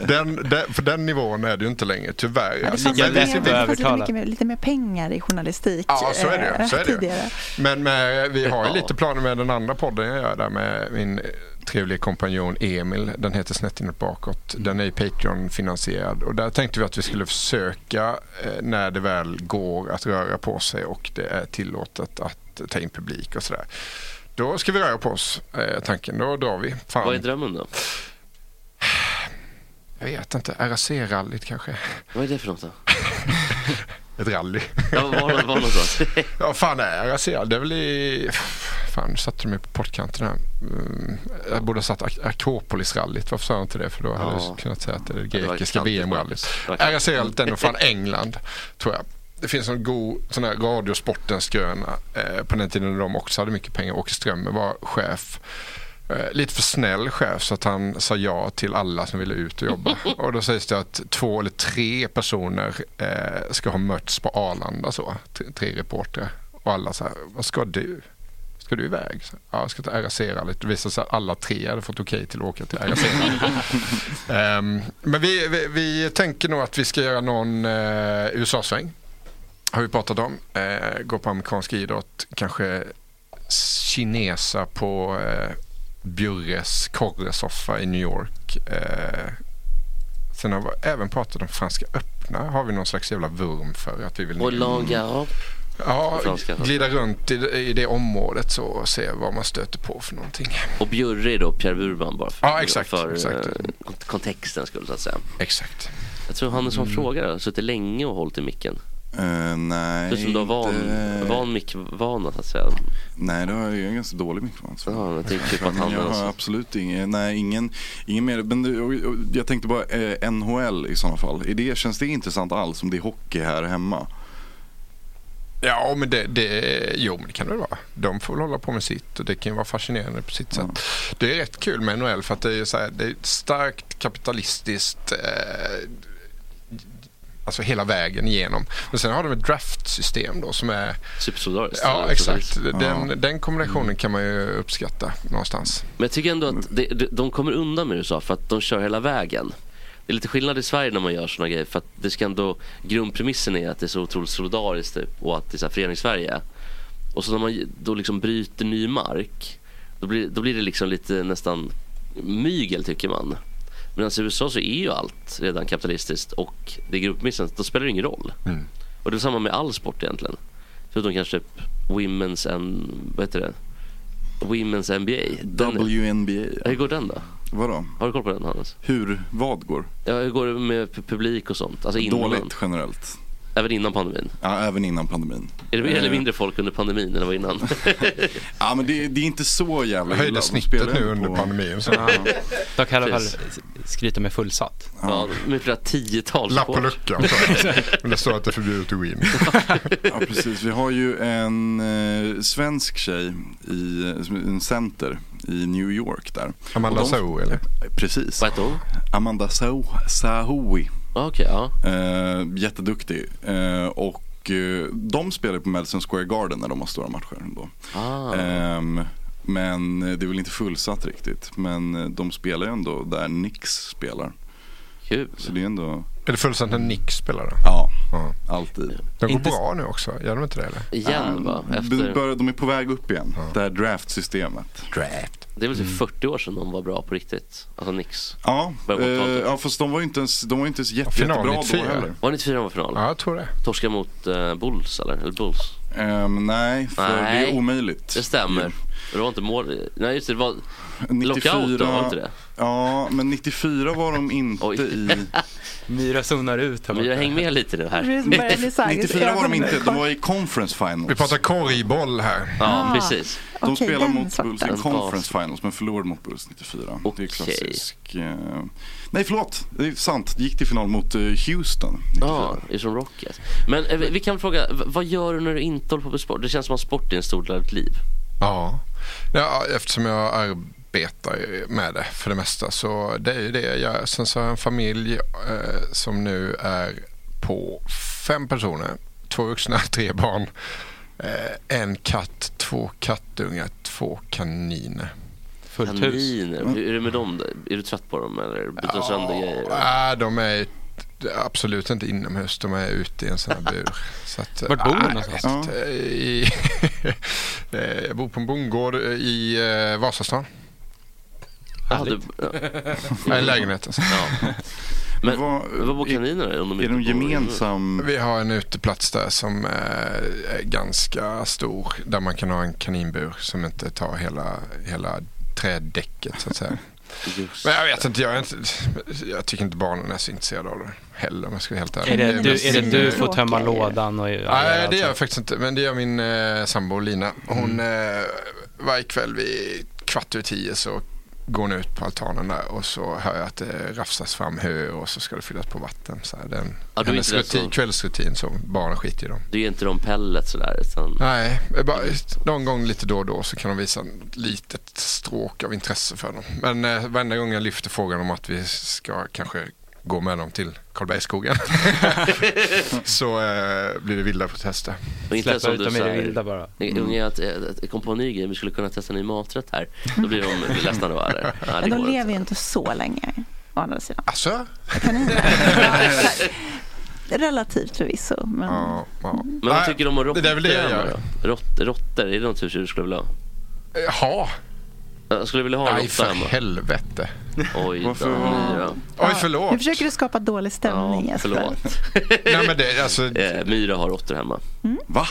den, den, för den nivån är det ju inte längre tyvärr. Alltså, Ja, det fanns, ju mer, det fanns ju mycket, mer- lite mer pengar i journalistik Ja, så är det, ju, eh, så är det. ju. tidigare. Men med, vi har ju Ja. lite planer med den andra podden jag gör där med min trevliga kompanjon Emil. Den heter Snett inåt bakåt. Mm. Den är ju Patreon-finansierad och där tänkte vi att vi skulle försöka eh, när det väl går att röra på sig och det är tillåtet att ta in publik och sådär. Då ska vi röra på oss, eh, tanken. Då drar vi. Fan. Vad är drömmen då? Jag vet inte. RAC-rallyt kanske? Vad är det för något då? Ett rally. Mm. Ja, var- var någonstans? ja, fan är jag ser. Det är väl i... Fan, nu satte du mig på pottkanten här. Mm, Jag borde ha satt Ak- Akropolis-rallyt. Varför sa jag inte det? För då hade Ja. jag kunnat säga att det är det Ja, det var grekiska kantigt, VM-rallyt. var kantigt. RAC-rallyt är nog fan England, tror jag. Det finns en god sån här radiosportens gröna. Eh, på den tiden när de också hade mycket pengar. Åke Strömmer var chef. Eh, lite för snäll chef så att han sa ja till alla som ville ut och jobba. Och då sägs det att två eller tre personer eh, ska ha mötts på Arlanda så. Tre, tre reportrar. Och alla så här, vad ska du? Ska du iväg? Så, Ja, jag ska till RAC-rallyt. Det visade sig att alla tre hade fått okej till att åka till RAC-rallyt. Ehm, men vi, vi, vi tänker nog att vi ska göra någon eh, USA-sväng. Har vi pratat om. Eh, gå på amerikansk idrott. Kanske kinesa på eh, Bjurres korresoffa i New York. Eh, sen har vi även pratat om Franska öppna. Har vi någon slags jävla vurm för att vi vill Mm. Och Lawn Garop? Ja, Franska. glida runt i, i det området så och se vad man stöter på för någonting. Och Bjurre då, Pierre Burman bara för, Ja, exakt, för eh, exakt. kont- kontexten skulle så att säga. Exakt. Jag tror han är som Mm. frågar har suttit länge och hållit i micken. Eh, nej. Du som du har van, inte- van mickvana så att säga. Nej, det har jag ju en ganska dålig mikrovans. Ja, jag tänkte klippa Men jag tanden har alltså. absolut ingen, nej, ingen, ingen mer. Men det, och, och, jag tänkte bara eh, NHL i sådana fall. Är det, känns det intressant alls om det är hockey här hemma? Ja, men det, det, jo, men det kan det vara. De får väl hålla på med sitt och det kan ju vara fascinerande på sitt sätt. Det är rätt kul med NHL för att det är, ju så här, det är ett starkt kapitalistiskt eh, Alltså hela vägen igenom. Men sen har de ett draftsystem då som är... Supersolidariskt. Ja, eller exakt. solidariskt. Den, den kombinationen kan man ju uppskatta någonstans. Men jag tycker ändå att det, de- de kommer undan med USA för att de kör hela vägen. Det är lite skillnad i Sverige när man gör sådana grejer för att det ska ändå, grundpremissen är att det är så otroligt solidariskt typ, och att det är så här förenings-Sverige. Och så när man då liksom bryter ny mark då blir, då blir det liksom lite nästan mygel tycker man. Medan i USA så är ju allt redan kapitalistiskt och det är grundpremissen, då spelar det ingen roll. Och det är samma med all sport egentligen. Förutom kanske typ Women's and, vad heter det? Women's NBA. Den är- WNBA. Hur går den då? Vadå? Har du koll på den Hannes? Hur, vad går? Ja, hur går det med pu- publik och sånt? Alltså innan. Dåligt generellt. Även innan pandemin? Ja, även innan pandemin. Är det mer eller Eh, mindre folk under pandemin än vad innan? Ja, men det, det är inte så jävla Jag höjde illa. De snittet spelar nu ju under på- pandemin, så- De kan i alla fall Precis. skryta med fullsatt. Ja, med flera tiotals Lapp på luckan. så. Men det står att det är förbjudet att gå in. Ja precis, vi har ju en eh, svensk tjej i som är en center i New York där. Amanda Och de- Saho, eller? Precis. Vad heter hon? Ah, Amanda Saho, Sahoui. Okej, ja. Eh, jätteduktig. Eh, och eh, de spelar på Madison Square Garden när de har stora matcher ändå. Ah. Ehm, men det är väl inte fullsatt riktigt. Men eh, de spelar ju ändå där Nix spelar. Kul. Så det är ändå... Är det fullsatt när Nix spelar då? Ja, alltid. De går bra nu också, gör de inte det eller? Ah, de börjar- de är på väg upp igen. Det här draftsystemet. Draft. Det är väl typ 40 år sedan de var bra på riktigt? Alltså Nix? Ja, Början på eh, 80-talet. ja fast de var ju inte ens, de var ju inte ens jätte, Final jättebra då 94. heller. Var det 94 de var final? Ja, jag tror det. Torska mot eh, Bulls eller? eller Bulls? Ehm, nej, för det är omöjligt. Det stämmer. Det var inte mål... Nej just det, det var 94, lockout då, var det inte det? Ja, men 94 var de inte i... Myra zonar ut här Myra, häng med lite nu Vi börjar bli säkra. 94 var de inte, de var i conference finals. Vi pratar korgboll här. Ja, Ah, precis. De okej, spelar den mot Bulls i sorten. conference finals men förlorade mot Bulls 94. Det är klassisk... eh, Nej, förlåt. Det är sant. Gick till final mot eh, Houston 94. Ja, det är som Rockets. Men eh, vi- vi kan fråga, v- vad gör du när du inte håller på med sport? Det känns som att sport är en stor del av ditt liv. Ja. ja, eftersom jag arbetar med det för det mesta så det är ju det jag gör. Sen så har jag en familj eh, som nu är på fem personer. Två vuxna, tre barn. Eh, en katt, två kattungar, två kaniner. Kaniner, Mm. hur är det med dem? då? Är du trött på dem eller byter de sönder grejer? Nej, de är absolut inte inomhus. De är ute i en sån här bur. Så att, Vart bor du ah, någonstans? Jag, vet inte. I, Eh, jag bor på en bondgård i eh, Vasastan. Ja, du, ja. Nej, lägenhet alltså. Men vad bor kaninerna i om de inte bor inne? Vi har en uteplats där som eh, är ganska stor. Där man kan ha en kaninbur som inte tar hela, hela trädäcket så att säga. Just Men jag vet inte jag, är inte, jag tycker inte barnen är så intresserade av det heller om jag ska vara helt ärlig. Är det, du, mest är det min- du får tömma lådan och göra Nej, det allt gör jag Alltså. sånt? faktiskt inte. Men det gör min eh, sambo Lina. Hon Mm. eh, varje kväll vid kvart över tio så går hon ut på altanen där och så hör jag att det rafsas fram hö och så ska det fyllas på vatten. Så här, den, Ja, du är hennes inte rätt rutin, så- kvällsrutin så barnen skiter i dem. Du ger inte dem pellet sådär utan... Nej, bara, någon gång lite då och då så kan de visa ett litet stråk av intresse för dem. Men eh, varenda gång jag lyfter frågan om att vi ska kanske gå med dem till Karlbergsskogen så eh, blir det vilda protester. Och inte ens om du så här- Mm. Unge, jag, jag, jag kom på en ny grej, vi skulle kunna testa en ny maträtt här. Då blir de ledsna då eller? Ja, det Men går de inte. lever ju inte så länge, å andra sidan. Alltså? Relativt förvisso, men... Men vad tycker du om råttor? det är väl det jag gör. Rott, råttor, är det något husdjur du skulle vilja ha? Jaha. Jag skulle vilja ha en Nej, råtta för hemma. helvete. Oj då. Varför? Myra. Oj, Nu förlåt. försöker du skapa dålig stämning, Jesper. Förlåt. Nej, men det, alltså... eh, Myra har råttor hemma. Mm. Va?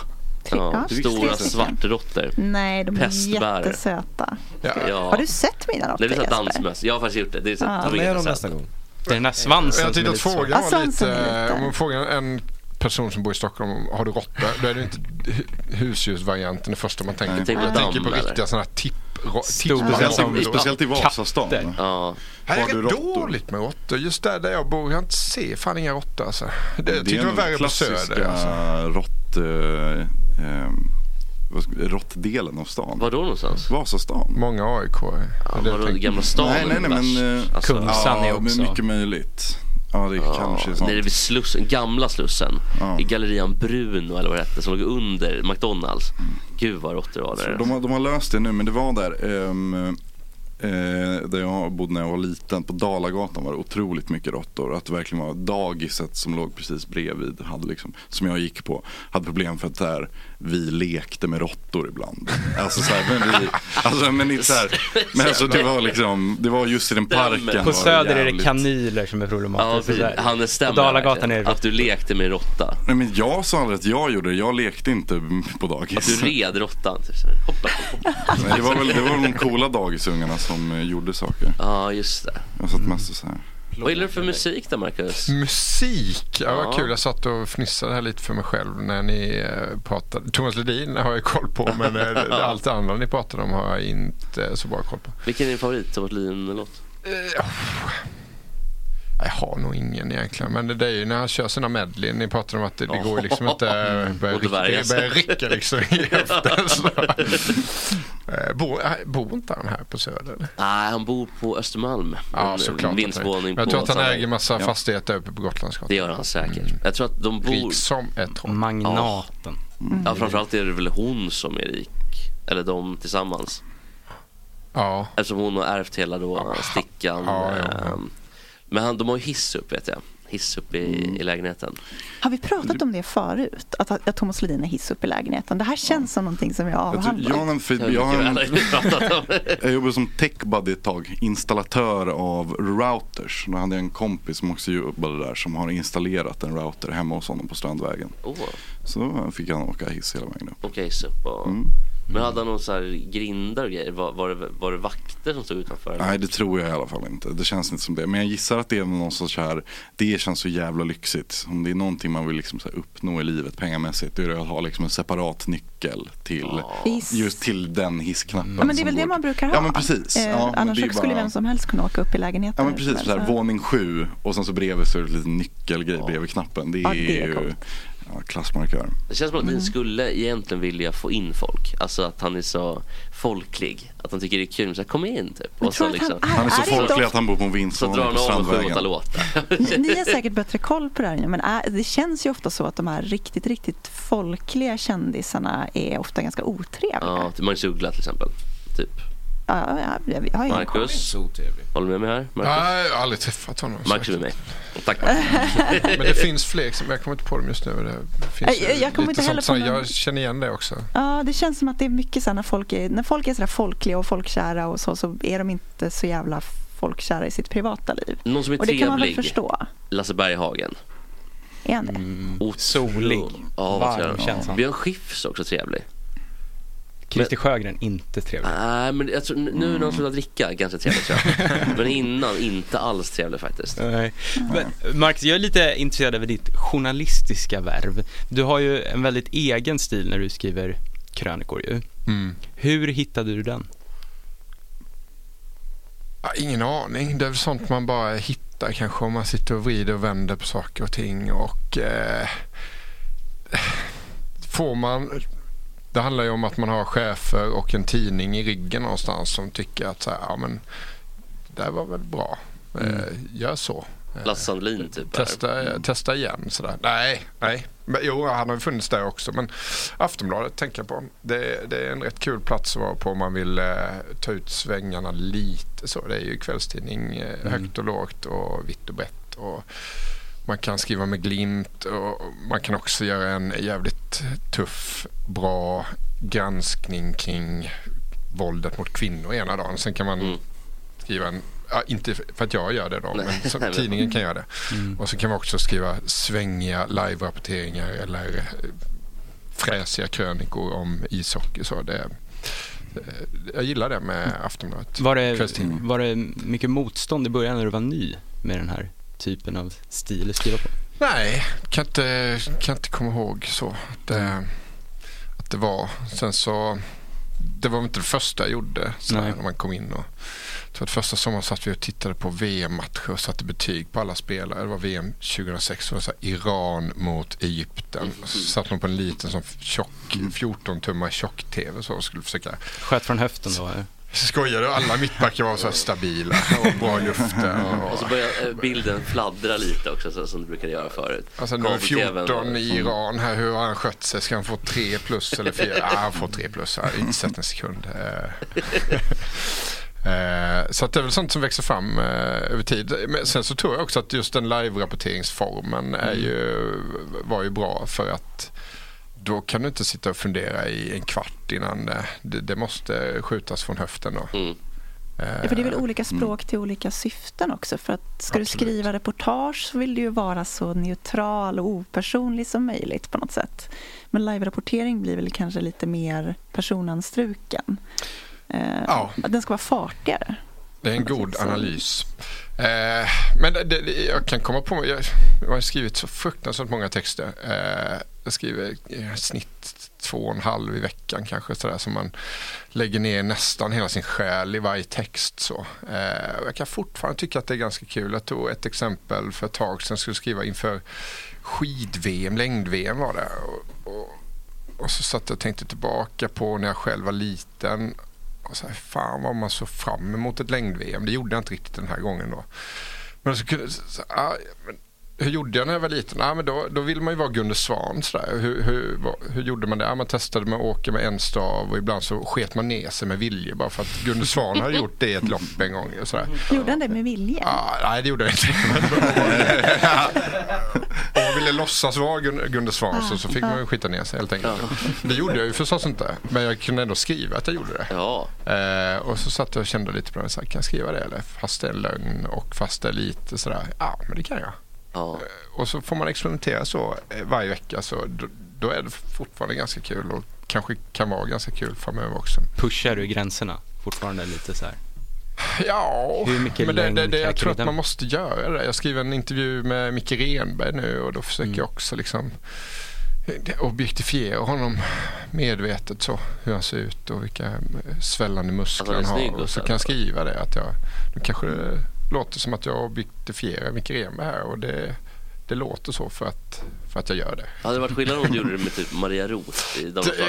Ja, Ja, tre stora stycken. svartråttor. Nej, de är Pestbär. jättesöta. Ja. Har du sett mina Nej, det är råttor, så här dansmöss. Jag har faktiskt gjort det. Det är så Ja. här, Ta med dem nästa gång. Det är den här svansen Jag som är tyckte att lite svår. frågan Ja, var svansen lite... är lite- Om man frågar en person som bor i Stockholm, har du råttor? Då är det inte hu- husdjursvarianten det första man tänker Nej. på. Jag Tänker tänker på damm, riktiga eller? sådana här tipp... ro- Stora tippar- Speciellt i- råttor. speciellt i Vasastan, Katter. va? Ja. Här Har är du det råttor? dåligt med råttor. Just där, där jag bor, jag ser fan inga råttor alltså. Det, jag Det tyckte är det var nog värre på klassiska Söder. Alltså. rått... Eh, ehm, vad ska- råttdelen av stan. Var då någonstans? Vasastan. Många AIK. Ja, vadå, Gamla stan Nej, är nej, nej, värst. men... eh, Alltså- Kungsan ja, är också- Men mycket möjligt. Ja, det kanske är sant. Nere vid slussen, gamla Slussen. I gallerian Bruno eller vad det hette som låg under McDonalds. Gud vad råttor det var Så där. De har, de har löst det nu, men det var där. ehm, eh, där jag bodde när jag var liten, på Dalagatan var det otroligt mycket råttor. Att det verkligen var dagiset som låg precis bredvid, hade liksom, som jag gick på, hade problem för att så här, vi lekte med råttor ibland. Alltså, så här, men vi, alltså, men inte så här, men alltså, det var liksom, det var just i den parken. var På det Söder är det jävligt- kanyler som är problematiska. Ja, sådär. Hannes stämmer På Dalagatan är verkligen. det Att du lekte med råtta. Nej, men jag sa aldrig att jag gjorde det, jag lekte inte på dagis. Att du red råttan. Typ. så här. Hoppa. Nej, det, var väl, det var väl de coola dagisungarna som eh, gjorde saker. Ja, just det. Jag satt mest och så här. Vad gillar du för musik då Marcus? Musik, ja, Ja. vad kul. Jag satt och fnissade här lite för mig själv när ni eh, pratade. Thomas Ledin har jag koll på men eh, det- allt det andra ni pratade om har jag inte så bra koll på. Vilken är din favorit Thomas Ledin-låt? Eh. Jag har nog ingen egentligen men det är ju när han kör sina medley. Ni pratade om att det, det går ju liksom inte Mm. att börja Och det rycka, värjas. det börjar rycka liksom i höften. så. Eh, Bor, eh, bor inte han här på Söder? Nej, han bor på Östermalm. Ja, En såklart. Mm, Vindsvåning jag på tror att han Sandhagen. äger massa Ja. fastigheter uppe på Gotlandsgatan. Det gör han säkert. Jag tror att de bor... Rik som ett troll. Magnaten. Mm. Ja, framförallt är det väl hon som är rik. Eller de tillsammans. Ja. Eftersom hon har ärvt hela då stickan. ehm, Men han, de har ju hiss upp vet jag. Hiss upp i, Mm. i lägenheten. Har vi pratat om det förut? Att, att Thomas Ledin är hiss upp i lägenheten? Det här känns som någonting som jag Jag, tror, avhandlar. jag, har en, Jag fri- vet jag, har en, inte vad jag pratat om. jag jobbade som techbuddy ett tag, installatör av routers. Då hade jag en kompis som också jobbade där som har installerat en router hemma hos honom på Strandvägen. Åh, Så då fick han åka hiss hela vägen upp. Mm. Okej, upp och... Men hade han någon så här grindar och grejer? Var, var, det, var det vakter som stod utanför? Nej, det tror jag i alla fall inte. Det känns inte som det. Men jag gissar att det är någon sorts här, det känns så jävla lyxigt. Om det är någonting man vill liksom så här uppnå i livet pengamässigt, då är det att ha liksom en separat nyckel till Hiss. just till den hissknappen. Ja, men det är som väl det går- man brukar ha? Ja, men precis. Eh, Ja, men annars det är skulle bara- vem som helst kunna åka upp i lägenheten. Ja men hur precis, som så här, helst. våning sju och sen så bredvid så är det lite nyckelgrej bredvid knappen. Det är, Ja, det är ju coolt. ja, klassmarkör. Det känns som att Mm. ni skulle egentligen vilja få in folk. Alltså att han är så folklig. Att han tycker det är kul. Så här, kom in typ. Och så, liksom, Han är så folklig att han bor på en Så vindsvåning drar han på av med sju, åtta Strandvägen. låtar. Ni, ni har säkert bättre koll på det här, men är, det känns ju ofta så att de här riktigt, riktigt folkliga kändisarna är ofta ganska otrevliga. Ja, till Magnus Uggla till exempel. Typ. Ja, ja, jag, jag har ingen koll. Marcus, håller du med mig här? Marcus, Nej, jag har aldrig träffat honom. Marcus är med mig. Tack. Men det finns fler, som, jag kommer inte på dem just nu. Det finns Nej, ju jag kommer lite inte heller sånt på som- någon- Jag känner igen det också. Ja, det känns som att det är mycket så här när folk är, när folk är så där folkliga och folkkära och så, så är de inte så jävla folkkära i sitt privata liv. Någon som är och det kan man väl trevlig. förstå? Lasse Berghagen. Är han det? Mm, Solig. Ja, Varm vad trevlig. känns han. Björn Skifs också trevlig. Christer Sjögren, inte trevlig. Nej, men jag tror, nu när Mm. han slutar dricka, ganska trevlig tror jag. Men innan, inte alls trevlig faktiskt. Nej. Men, Marcus, jag är lite intresserad över ditt journalistiska värv. Du har ju en väldigt egen stil när du skriver krönikor ju. Mm. Hur hittade du den? Ja, ingen aning. Det är väl sånt man bara hittar kanske om man sitter och vrider och vänder på saker och ting. Och eh, får man... Det handlar ju om att man har chefer och en tidning i ryggen någonstans som tycker att så här, ja, men, det här var väl bra. Eh, gör så. Eh, Lasse Sandlin typ. är- Testa, testa igen sådär. Nej, nej. Men, jo, han har ju funnits där också. Men Aftonbladet tänker jag på. Det, det är en rätt kul plats att vara på om man vill eh, ta ut svängarna lite så. Det är ju kvällstidning eh, högt och lågt och vitt och brett. Och man kan skriva med glimt och man kan också göra en jävligt tuff, bra granskning kring våldet mot kvinnor ena dagen. Sen kan man skriva en, ja, inte för att jag gör det då, men som nej, men- tidningen kan göra det. Mm. Och så kan man också skriva svängiga live-rapporteringar eller eh, fräsiga krönikor om ishockey. Så det, eh, jag gillar det med Eh, Aftonbladet. Var det, Kvällstidning. var det mycket motstånd i början när du var ny med den här typen av stil att skriva på? Nej, kan inte, kan inte komma ihåg så. Att det, att det var. Sen så, det var väl inte det första jag gjorde så här, Nej. när man kom in. Och, jag tror att första sommaren satt vi och tittade på VM-matcher och satte betyg på alla spelare. Det var VM 2006 och det var så här, Iran mot Egypten. Och Så satt man på en liten sån tjock, 14-tummar tjock-tv så och skulle försöka Sköt från höften då? eller? skoja. Och Alla mittbackar var så här stabila och bra lufter. Och, Och Alltså, så börjar eh, bilden fladdra lite också så, som det brukade göra förut. Mm. Alltså nu är Mm. Kabel-TV:n 14 i var- Iran här. Hur har han skött sig? Ska han få 3 plus eller 4? Ja, han får 3 plus. Jag har inte sett en sekund. Eh, eh, Så att det är väl sånt som växer fram eh, över tid. Men sen så tror jag också att just den live-rapporteringsformen är ju, var ju bra för att då kan du inte sitta och fundera i en kvart innan det, det, det måste skjutas från höften då. Ja, för det är väl Eh, olika språk till olika syften också. För att ska du skriva reportage så vill du ju vara så neutral och opersonlig som möjligt på något sätt. Men live-rapportering blir väl kanske lite mer personanstruken. Eh, Den ska vara fartigare. Det är en god analys. Eh, men det, det, jag kan komma på, jag, jag har skrivit så fruktansvärt många texter. Eh, jag skriver i snitt två och en halv i veckan kanske sådär som man lägger ner nästan hela sin själ i varje text. Så. Eh, och jag kan fortfarande tycka att det är ganska kul. Jag tog ett exempel för ett tag sedan, jag skulle skriva inför skid-VM, längd-VM var det. Och, och, och så satt jag och tänkte tillbaka på när jag själv var liten. Och så här, fan vad man såg fram emot ett längd-VM. Det gjorde jag inte riktigt den här gången då. Men så kunde, så, så, ah, men hur gjorde jag när jag var liten? Ah, men då, då ville man ju vara Gunde Svan. Så där. Hur, hur, vad, hur gjorde man det? Ah, man testade med att åka med en stav och ibland så sket man ner sig med vilje bara för att Gunde Svan hade gjort det i ett lopp en gång. Och så där. Gjorde han det med vilja? Ah, nej, det gjorde jag inte. Om man ville låtsas vara Gun- Gunde Svansson så fick man ju skita ner sig helt enkelt. Det gjorde jag ju förstås inte, men jag kunde ändå skriva att jag gjorde det. Eh, och så satt jag och kände lite på den, så här, kan jag skriva det eller? Fast det är en lögn och fast det är lite sådär, ja men det kan jag. Eh, och så får man experimentera så eh, varje vecka så då, då är det fortfarande ganska kul och kanske kan vara ganska kul framöver också. Pushar du gränserna fortfarande lite så här? Ja, Hur mycket men det, det, längd det, jag kräker tror du att den? man måste göra det. Jag skriver en intervju med Micke Renberg nu och då Mm. försöker jag också liksom eh, objektifiera honom medvetet så hur han ser ut och vilka eh, svällande muskler Alltså, han han är har. snygg Och och så så. kan jag skriva det att jag, nu kanske det låter som att jag objektifierar Micke Renberg här och det, det låter så för att, för att jag gör det. Hade det varit skillnad om du gjorde det med typ Maria Roth i damslaget?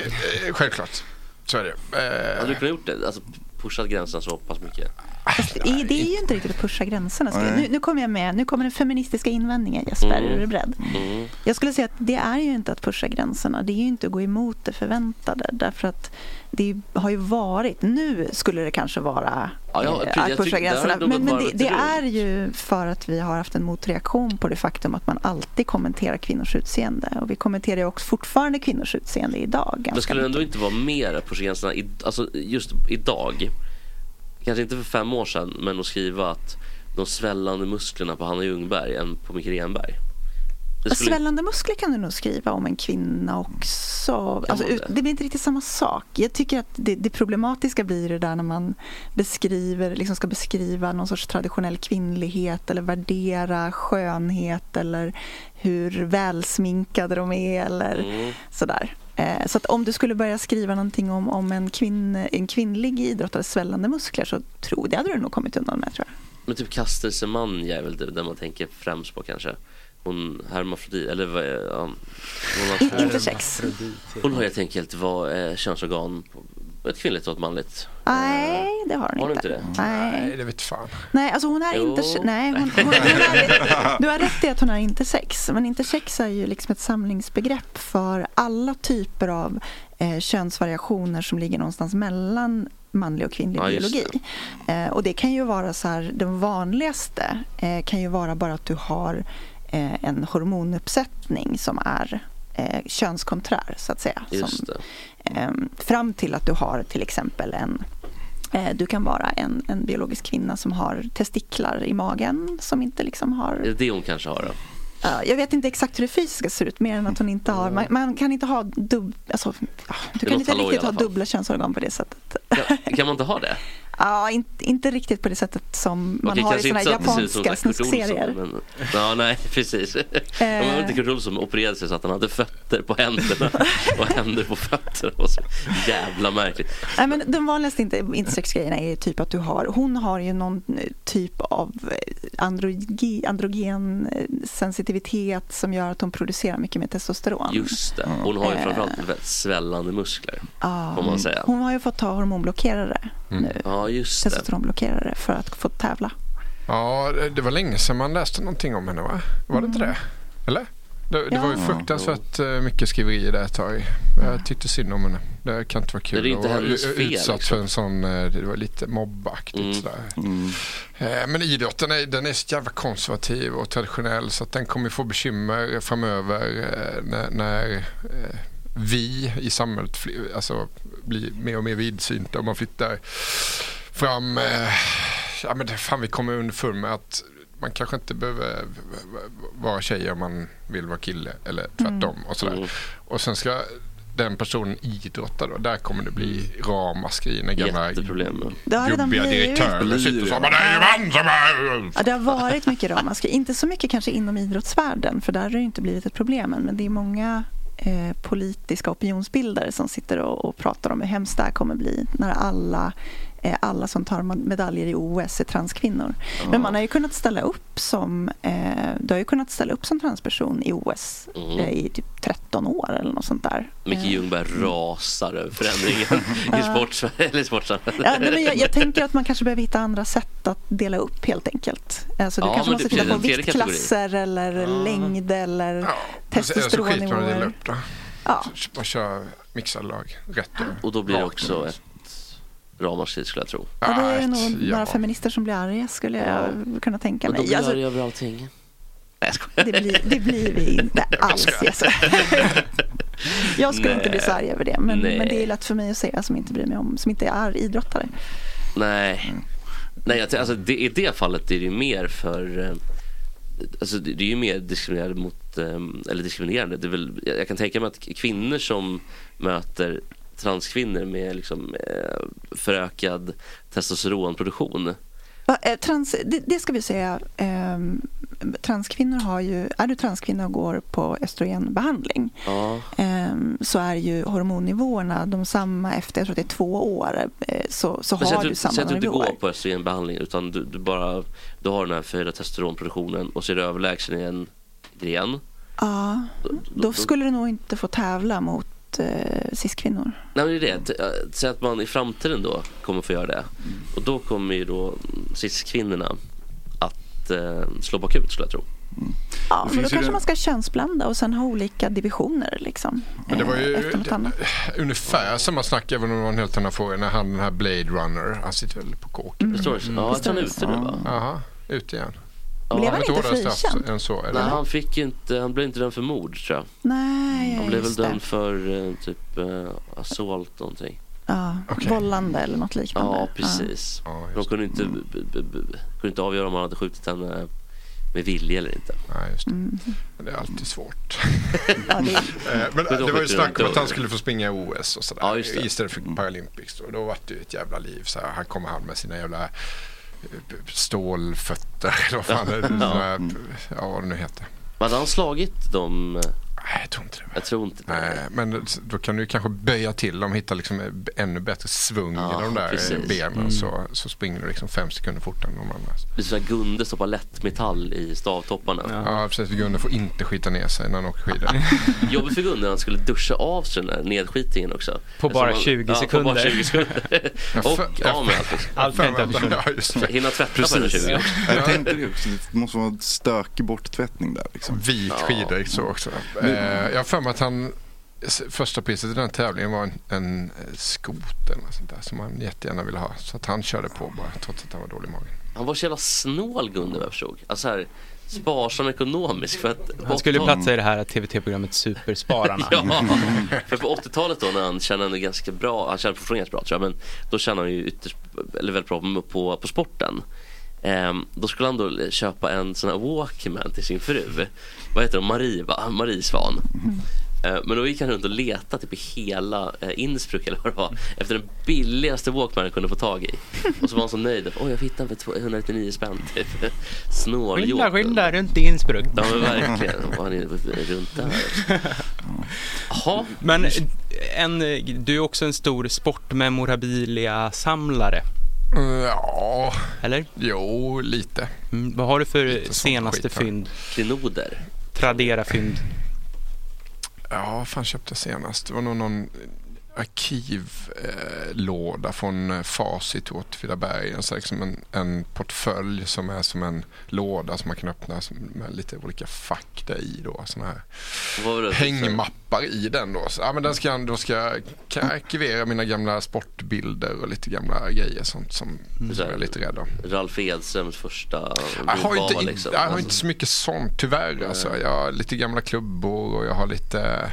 Eh, eh, Självklart, så är det. Eh, Hade du kunnat gjort det? Alltså pushat gränserna så pass mycket? I- Det är ju inte riktigt att pusha gränserna. skulle jag- Nej. Nu, nu kommer jag med. Nu kommer den feministiska invändningen Jesper. Mm. Är du beredd? Mm. Jag skulle säga att det är ju inte att pusha gränserna. Det är ju inte att gå emot det förväntade. Därför att det har ju varit... Nu skulle det kanske vara Ja, ja, eh, precis. att Jag pusha tycker- där har gränserna. det nog Men, men varit det, lite det roligt. är ju för att vi har haft en motreaktion på det faktum att man alltid kommenterar kvinnors utseende. Och vi kommenterar ju också fortfarande kvinnors utseende idag. ganska Men skulle det ändå inte vara mer på gränserna, i- alltså just idag? Kanske inte för fem år sedan, men att skriva att de svällande musklerna på Hanna Ljungberg än på Micke Renberg. Det skulle- Svällande muskler kan du nog skriva om en kvinna också. Alltså, ut, det blir inte riktigt samma sak. Jag tycker att det, det problematiska blir det där när man beskriver, liksom ska beskriva någon sorts traditionell kvinnlighet eller värdera skönhet eller hur välsminkade de är eller Mm. Mm. sådär. Eh, Så att om du skulle börja skriva någonting om, om en, kvinn, en kvinnlig idrottares svällande muskler så tror, det hade du nog kommit undan med tror jag. Men typ Caster Semenya är väl det där man tänker främst på kanske. Hon hermafrodit, eller vad är ja, hon? In- intersex. Hon har helt enkelt var, eh, könsorgan, på- ett kvinnligt och ett manligt. Nej, det har hon Har hon inte. inte det? Nej. det vet fan. Nej, alltså hon är Jo. inte... Nej, hon, hon, hon är, du har rätt i att hon är intersex. Men intersex är ju liksom ett samlingsbegrepp för alla typer av eh, könsvariationer som ligger någonstans mellan manlig och kvinnlig Ja, just biologi. Eh, och det kan ju vara så här, den vanligaste eh, kan ju vara bara att du har eh, en hormonuppsättning som är eh, könskonträr, så att säga. Just som, ehm, fram till att du har till exempel en eh, du kan vara en, en biologisk kvinna som har testiklar i magen som inte liksom har... Är det det hon kanske har då? eh, jag vet inte exakt hur det fysiska ser ut, mer än att hon inte har... Man, man kan inte ha dubb... Alltså, ja, du kan Mm. Det låter inte hallå i riktigt ha alla fall. dubbla könsorgan på det sättet. Kan man inte ha det? Ja, inte, inte riktigt på det sättet som man Okej, har i kanske såna inte så att det ser ut som japanska så här Kurt Olsson, snuskserier. men- Ja, nej, precis. Eh. Det var inte Kurt Olsson som opererade sig så att han hade fötter på händerna och händer på fötter. Det var så jävla märkligt. Nej, men de vanligaste inte- insektsgrejerna är typ att du har, hon har ju någon typ av androgi, androgen eh, sensitivitet som gör att hon producerar mycket mer testosteron. Just det, hon har ju Eh. framförallt väldigt svällande muskler. Ja, Får man säga. hon har ju fått ta hormonblockerare, Ja, just det. testosteronblockerare för att få tävla. Ja, det var länge sedan man läste någonting om henne va? Var det inte det? Eller? Det, det var ju Ja. fruktansvärt eh, mycket skriverier där ett tag. Jag tyckte synd om henne. Det kan inte vara kul Det är inte att vara hennes u- fel, utsatt liksom. Mm. för en sån, eh, det var lite mobbaktigt sådär. Eh, Men idrotten är, den är så jävla konservativ och traditionell så att den kommer få bekymmer framöver eh, när, när eh, vi i samhället fly- alltså, blir mer och mer vidsynta och man flyttar fram... Eh, ja, men det, fan, vi kommer underfund med att man kanske inte behöver v- v- vara tjej om man vill vara kille eller tvärtom. Och, sådär. och sen ska den personen idrotta då. Där kommer det bli ramaskri när gamla Det har redan jobbiga blivit. direktörer sitter och så. "Men det är ju man som är... Ja, det har varit mycket ramaskri. Inte så mycket kanske inom idrottsvärlden, för där har det ju inte blivit ett problem än. Men det är många eh, politiska opinionsbildare som sitter och, och pratar om hur hemskt det här kommer bli när alla, eh, alla som tar ma- medaljer i OS är transkvinnor. Men man har ju kunnat ställa upp som, eh, du har ju kunnat ställa upp som transperson i OS Mm. eh, i typ 13 år eller något sånt där. Micke Ljungberg rasar över förändringen i sports- eller i sportsamhället. Ja, nej, men jag, jag tänker att man kanske behöver hitta andra sätt att dela upp helt enkelt. Alltså, du Ja, kanske men måste det- titta på precis, en tredje kategori. viktklasser eller längd eller Eller alltså, så skiter man i det testosteronnivåer. upp då. Ja. Man kör mixade lag rätt över. Och då blir det också ett ramaskri skulle jag tro. Äh, Ja, det är nog några feminister som blir arga skulle jag kunna tänka Och mig. de blir Alltså, arga över allting. Nej, jag skojar. det, blir, det blir vi inte alls. Jag, skojar. jag skulle inte bli så arg över det, men, Nej. men det är lätt för mig att säga som inte bryr mig om, som inte är idrottare. Nej. Nej, jag, tänker- alltså, det, i det fallet är det ju mer för... eh, Alltså, det, det är ju mer diskriminerande mot... eh, Eller diskriminerande. Det är väl, jag, jag kan tänka mig att k- kvinnor som möter transkvinnor med liksom, eh, förökad testosteronproduktion. Va, eh, Trans, det, det ska vi säga, ehm, transkvinnor har ju, är du transkvinna och går på östrogenbehandling Ja. ehm, så är ju hormonnivåerna de samma efter, jag tror att det är två år, eh, så, så Men säg har att du säg samma att du inte nivåer. går på östrogenbehandling utan du, du bara du har den här förhöjda testosteronproduktionen och så är du överlägsen i en gren. Ja, då skulle du nog inte få tävla mot eh, cis-kvinnor. Nej, men det är det. T- äh, Säg att man i framtiden då kommer få göra det. Och då kommer ju då cis-kvinnorna att eh, slå bakut skulle jag tro. Ja, men då finns ju kanske det- man ska könsblanda och sen ha olika divisioner. Liksom, Men det var ju efter något annat. ungefär samma snack, även om det var en helt annan fråga, när han den här Blade Runner, han sitter väl på kåken? Mm. Pistorius. Ja, jag tror han är ute nu, va? Jaha, ute igen. Ja. Blev han Ett inte hårdare straff frikänd? Än så, eller? Nej, han, fick ju inte, han blev inte dömd för mord tror jag. Nej, han blev väl just det. dömd för eh, typ eh, assault någonting. Ja, Vållande eller något liknande. Ja, precis. De kunde inte, Mm. b, b, b, kunde inte avgöra om han hade skjutit henne med vilja eller inte. Nej, just Mm. Det är alltid svårt. det- Eh, Men Men då det var ju skiter snack de om i att det. han skulle få springa i OS och sådär. Ja, just det. Mm. istället för Paralympics. Då, då var det ju ett jävla liv. Så här, han kommer han med sina jävla eh, b- stålfötter eller vad fan det är. Ja. Såna här, Ja, vad det nu heter. Men hade han slagit dem? eh? Nej, jag tror inte det. Jag tror inte Nej, men då kan du ju kanske böja till dem, hitta liksom ännu bättre svung Ja, i de där eh, precis. benen Mm. så, så springer du liksom fem sekunder fortare än de andra. Det är sådär Gunde stoppar lättmetall i stavtopparna. Ja, precis. För Gunde får inte skita ner sig när han åker skidor. Jobbigt för Gunde när han skulle duscha av sig den där nedskitningen också. På bara Eftersom han- 20 ja, På bara sekunder. 20 sekunder. Jag Och för- jag av för- med Allt allt. kan inte ha försvunnit. Ja, just det. Hinna tvätta på den 20 också. Jag tänkte det också. Det måste vara en stökig borttvättning där. Liksom. Vit skidor så också. Eh, jag har för mig att han s- första priset i den här tävlingen var en, en eh, skoter eller något sånt där, som han jättegärna ville ha. Så att han körde på bara trots att han var dålig i magen. Han var så jävla snål Gunde vad jag förstod. Alltså här, sparsam ekonomisk. För att Han skulle ju platsa i det här TVT-programmet Superspararna. Ja, för på 80-talet då när han tjänade ganska bra, han tjänade fortfarande ganska bra tror jag, men då tjänade han ju ytterst, eller väldigt bra på, på, på sporten. Ehm, då skulle han då köpa en sån här Walkman till sin fru. Vad heter hon? Marie, va? Marie Svan. Eh, Men då gick han runt och letade typ i hela eh, Innsbruck eller vad det var efter den billigaste Walkman han kunde få tag i. Och så var han så nöjd. Oj, jag hittade den för 199 spänn. Typ. Skynda, Snåljåp. skynda runt i Innsbruck. Ja men verkligen. Och han är runt där. Jaha. Men eh, en, du är också en stor sportmemorabilia-samlare. Ja. Eller? Jo, lite. Mm, vad har du för sånt senaste skit här. fynd? Klenoder. Tradera-fynd. Ja, vad fan köpte jag senast? Det var nog någon arkivlåda från eh, Facit i Åtvidaberg. Alltså liksom en, en portfölj som är som en låda som man kan öppna som- med lite olika fack där i. Då, såna här Vad var det? hängmappar i den. Då, så, ja, men den ska, jag- då ska jag, kan jag arkivera mina gamla sportbilder och lite gamla grejer sånt som, Mm. som jag är lite rädd om. Ralf Edströms första Jag har, Rubava, inte, liksom. jag har Alltså, inte så mycket sånt tyvärr. Alltså. Jag har lite gamla klubbor och jag har lite...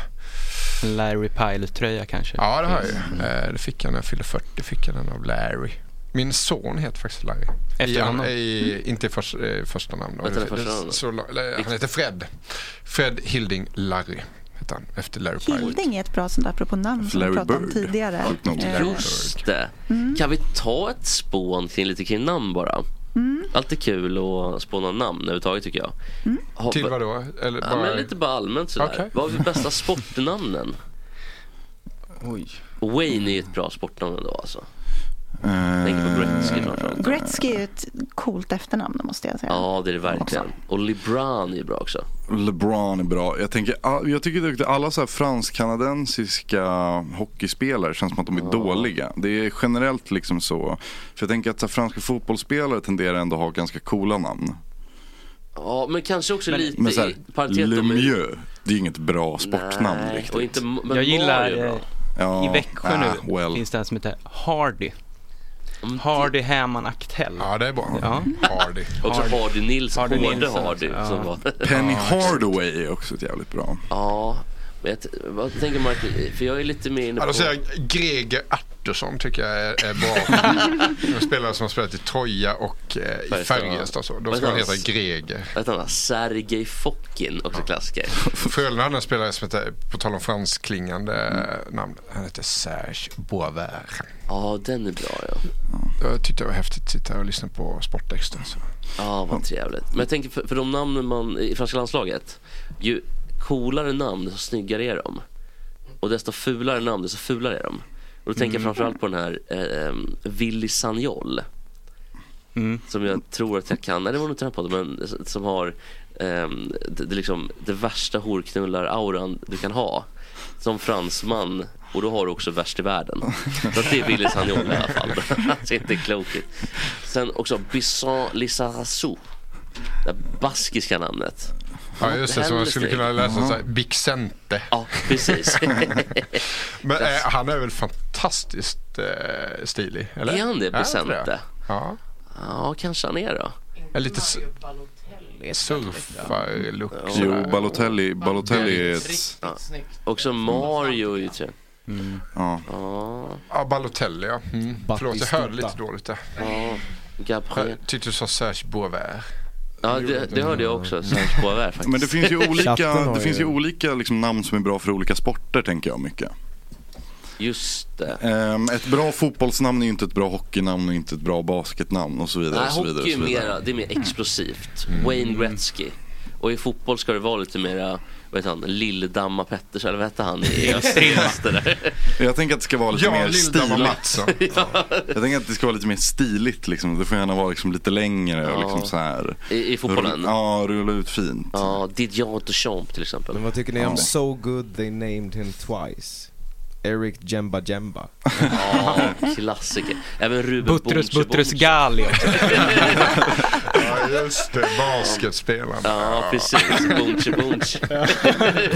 Larry Pilot-tröja kanske? Ja, det har jag ju. Eh, Det fick jag när jag fyllde 40. fick jag den av Larry. Min son heter faktiskt Larry. Efter I, honom? Mm. I, inte i förs- eh, första namn. då. Vad heter Det- det första det- namnet? så la- eller, han heter Fred. Fred Hilding Larry heter han efter Larry Pilot. Hilding är ett bra sånt där, apropå namn som vi Larry pratade om Bird. tidigare. Sjukt nog. Eh, Just det. Kan vi ta ett spån kring lite kring namn bara? Alltid kul att spåna namn överhuvudtaget tycker jag. Har- Till vad då? Eller Ja, bara... men lite bara allmänt sådär. Okej. Vad har vi bästa sportnamnen? Oj. Wayne är ju ett bra sportnamn ändå alltså. Eh, Tänk på Gretzky framförallt. Gretzky är ju ett coolt efternamn, måste jag säga. Ja, det är det verkligen. Och LeBron är ju bra också. LeBron är bra. Jag, tänker, ah, jag tycker duktigt. alla så här fransk-kanadensiska hockeyspelare känns som att de är dåliga. Det är generellt liksom så. För jag tänker att så här, franska fotbollsspelare tenderar ändå att ha ganska coola namn. Ja, men kanske också lite Men men så här, i paritet om- Lemieux, det är inget bra sportnamn Nej, riktigt. och inte, men jag gillar... Mario är bra. eh, I Växjö ah, nu well. finns det en som heter Hardy. Hardy Häman Aktell. Ja, det är bra. Ja. Hardy. Också Hardy. Hardy Nilsson, Hardy Hardy hårde Nilsson, Hardy. ja. Som var. Penny Hardaway är också ett jävligt bra. Ja, men jag t- vad tänker Mark? För jag är lite mer inne Ja, på... då säger jag Greger eh, Artursson tycker jag är, är bra. en spelare som har spelat i Troja och eh, i Färjestad. så. Då ska han heta Greger. Vad heter han? Sergej Fokin, också klassiker. Frölunda hade en spelare som heter, på tal om franskklingande eh, namn, han heter Serge Boisvert. Ja, den är bra ja. Jag tyckte det var häftigt att sitta och lyssna på alltså. sporttexten. Så. Ja, vad trevligt. Men jag tänker för, för de namnen man i franska landslaget, ju coolare namn desto snyggare är de. Och desto fulare namn desto fulare är de. Och då tänker jag Mm. framförallt på den här eh, em, Willy Sagnol. Som jag tror att jag kan, nej det var nog inte den här podden, men som har em, det, det, liksom, det värsta horknullar-auran du kan ha. Som fransman och då har du också värst i världen. Så att det är Willy Sagnol i alla fall. Alltså inte klokt. Sen också Bisson Lizarazu. Det här baskiska namnet. Ja, just det. Som man skulle kunna läsa så här, Bixente. Ja, precis. Men eh, han är väl fantastiskt eh, stilig? Eller? Är han det, inte Bixente? Ja. Ja, kanske han är då. Är lite s- surfarlook. Jo, Balotelli, Balotelli är ett... Ja. Också Mario är ju tre. Ja. Mm. Ja, Balotelli ja. Mm. Förlåt, jag hörde lite dåligt där. Ja, Jag tyckte du sa Serge Boisvert. Ja, det, det hörde jag också. Serge Boisvert faktiskt. Men det finns ju olika, det finns ju olika liksom namn som är bra för olika sporter tänker jag mycket. Just det. Ehm, ett bra fotbollsnamn är ju inte ett bra hockeynamn och inte ett bra basketnamn och så vidare. Nej, och så vidare, och hockey är så vidare. Mm. mera, det är mer explosivt. Wayne Gretzky. Och i fotboll ska det vara lite mera, vad heter han, Lilldamma Pettersson, eller vad hette han i Extrema. Österrike? där? Jag tänker att det ska vara lite Ja, mer Lildan var stiligt. Mattsson. Jag tänker att det ska vara lite mer stiligt liksom. Det får gärna vara liksom lite längre och Ja. liksom så här. I, i fotbollen? Ja, rulla ut fint. Ja, Didier Deschamps till exempel. Men vad tycker ni om So Good They Named Him Twice? Eric Jemba Jemba. Ja, Mm. klassiker. Även Ruben Buttrus, Bonche Buttrus Bonche. Gali. Ja, just det. Basketspelaren. Ja, precis. Bonche Bonche.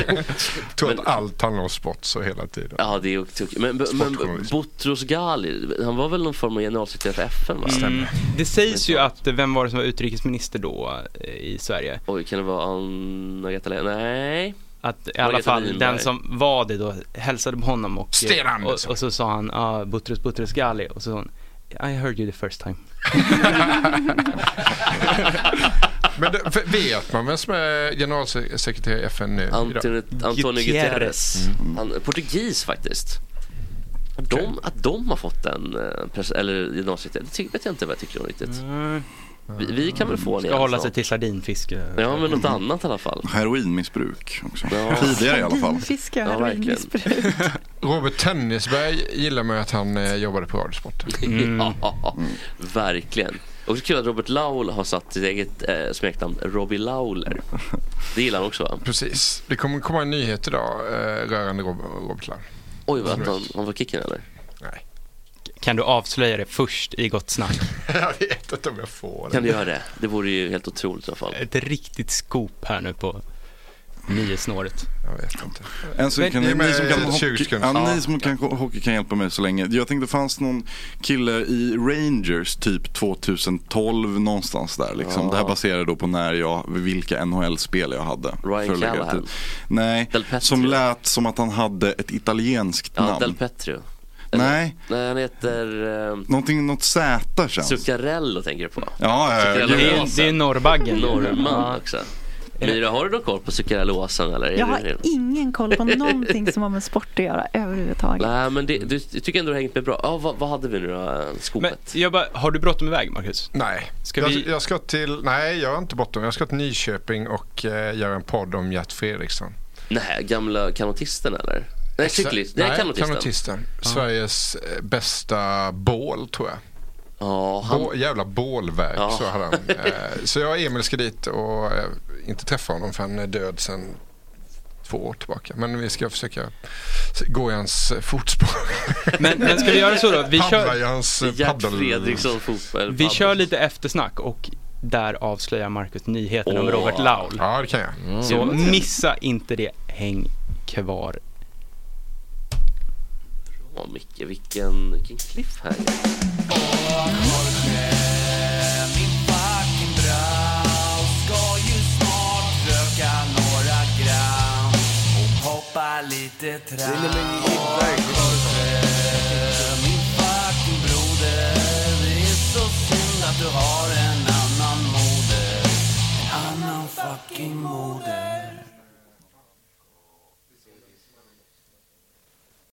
Jag tror att allt handlar om sport så hela tiden. Ja, det är ju tokigt. Men, men Boutros Ghali, han var väl någon form av generalsekreterare för FN va? Mm. Det sägs ju att, eh, vem var det som var utrikesminister då eh, i Sverige? Oj, kan det vara Anna-Greta Leijon? Nej. Att i alla Margareta fall Winberg. den som var det då hälsade på honom och, Sten och, Andersson. och så sa han ah, Butros Butros Ghali och så sa hon I heard you the first time. Men det, för- vet man vem som är generalsekreterare i FN nu? Antonio, Antonio Guterres. Mm. Mm. Han, portugis faktiskt. De, att de har fått en eh, pres- eller gymnasiesekreterare, det ty- vet jag inte vad jag tycker om riktigt. Vi, vi kan väl få en Ska igen hålla snart. sig till eh. sardinfiske. Ja, men något annat i alla fall. Heroinmissbruk också. Tidigare i alla fall. Fiska Ja, verkligen. Robert Tennisberg gillar man ju att han eh, jobbade på Radiosporten. Mm. ja, Mm. verkligen. Och så kul att Robert Laul har satt sitt eget eh, smeknamn Robbie Lauler. Det gillar han också va? Precis. Det kommer komma en nyhet idag eh, rörande Rob- Robert Laul. Oj, vad att han, han var kicken eller? Nej. Kan du avslöja det först i Gott Snack? Jag vet inte om jag får det. Kan du göra det? Det vore ju helt otroligt i alla fall. Ett riktigt scoop här nu på nyhetsnåret. Jag vet inte. En så kan ni, ni som kan hockey, ja, Ja. ni som kan hockey kan hjälpa mig så länge. Jag tänkte det fanns någon kille i Rangers typ 2012 någonstans där. Liksom. Ja. Det här baserar då på när jag, vilka NHL-spel jag hade. Ryan för att lägga Callahan. till. Nej, som lät som att han hade ett italienskt Ja, namn. Del Petrio. Nej, Nej, han heter... ehm, någonting, något Z känns. Zuccarello tänker du på? Ja, ja, ja. Zuccarello Det är- Åsen. det är norrbaggen. Norrman Ja. också. Myra, har du någon koll på Zuccarello Åsen eller? Är Jag det- har ingen koll på någonting som har med sport att göra överhuvudtaget. Nej, men det, du, jag tycker ändå du har hängt med bra. Ja, vad, vad hade vi nu då? eh, Skopet? Jag bara, har du bråttom iväg Marcus? Nej. Ska jag, vi- jag ska till, nej jag har inte bråttom. Jag ska till Nyköping och eh, göra en podd om Gert Fredriksson. Nej, gamla kanotisten eller? Nej, Exa- cyklist. Nej, kanotisten. Ja. Sveriges eh, bästa bål tror jag. Ja, han... jävla bålverk Ja. så hade han. Eh, så jag och Emil ska dit och eh, inte träffa honom för han är död sedan två år tillbaka. Men vi ska försöka s- gå i hans eh, fotspår. Men, men ska vi göra så då? Vi Paddla i hans eh, Gert paddel- Fredriksson Vi kör lite eftersnack och där avslöjar Marcus nyheten om Åh. Robert Laul. Ja, det kan jag. Mm. Så Det var trevligt. missa inte det. Häng kvar. Ja, Micke, vilken, vilken cliffhanger. Hoppa lite trappa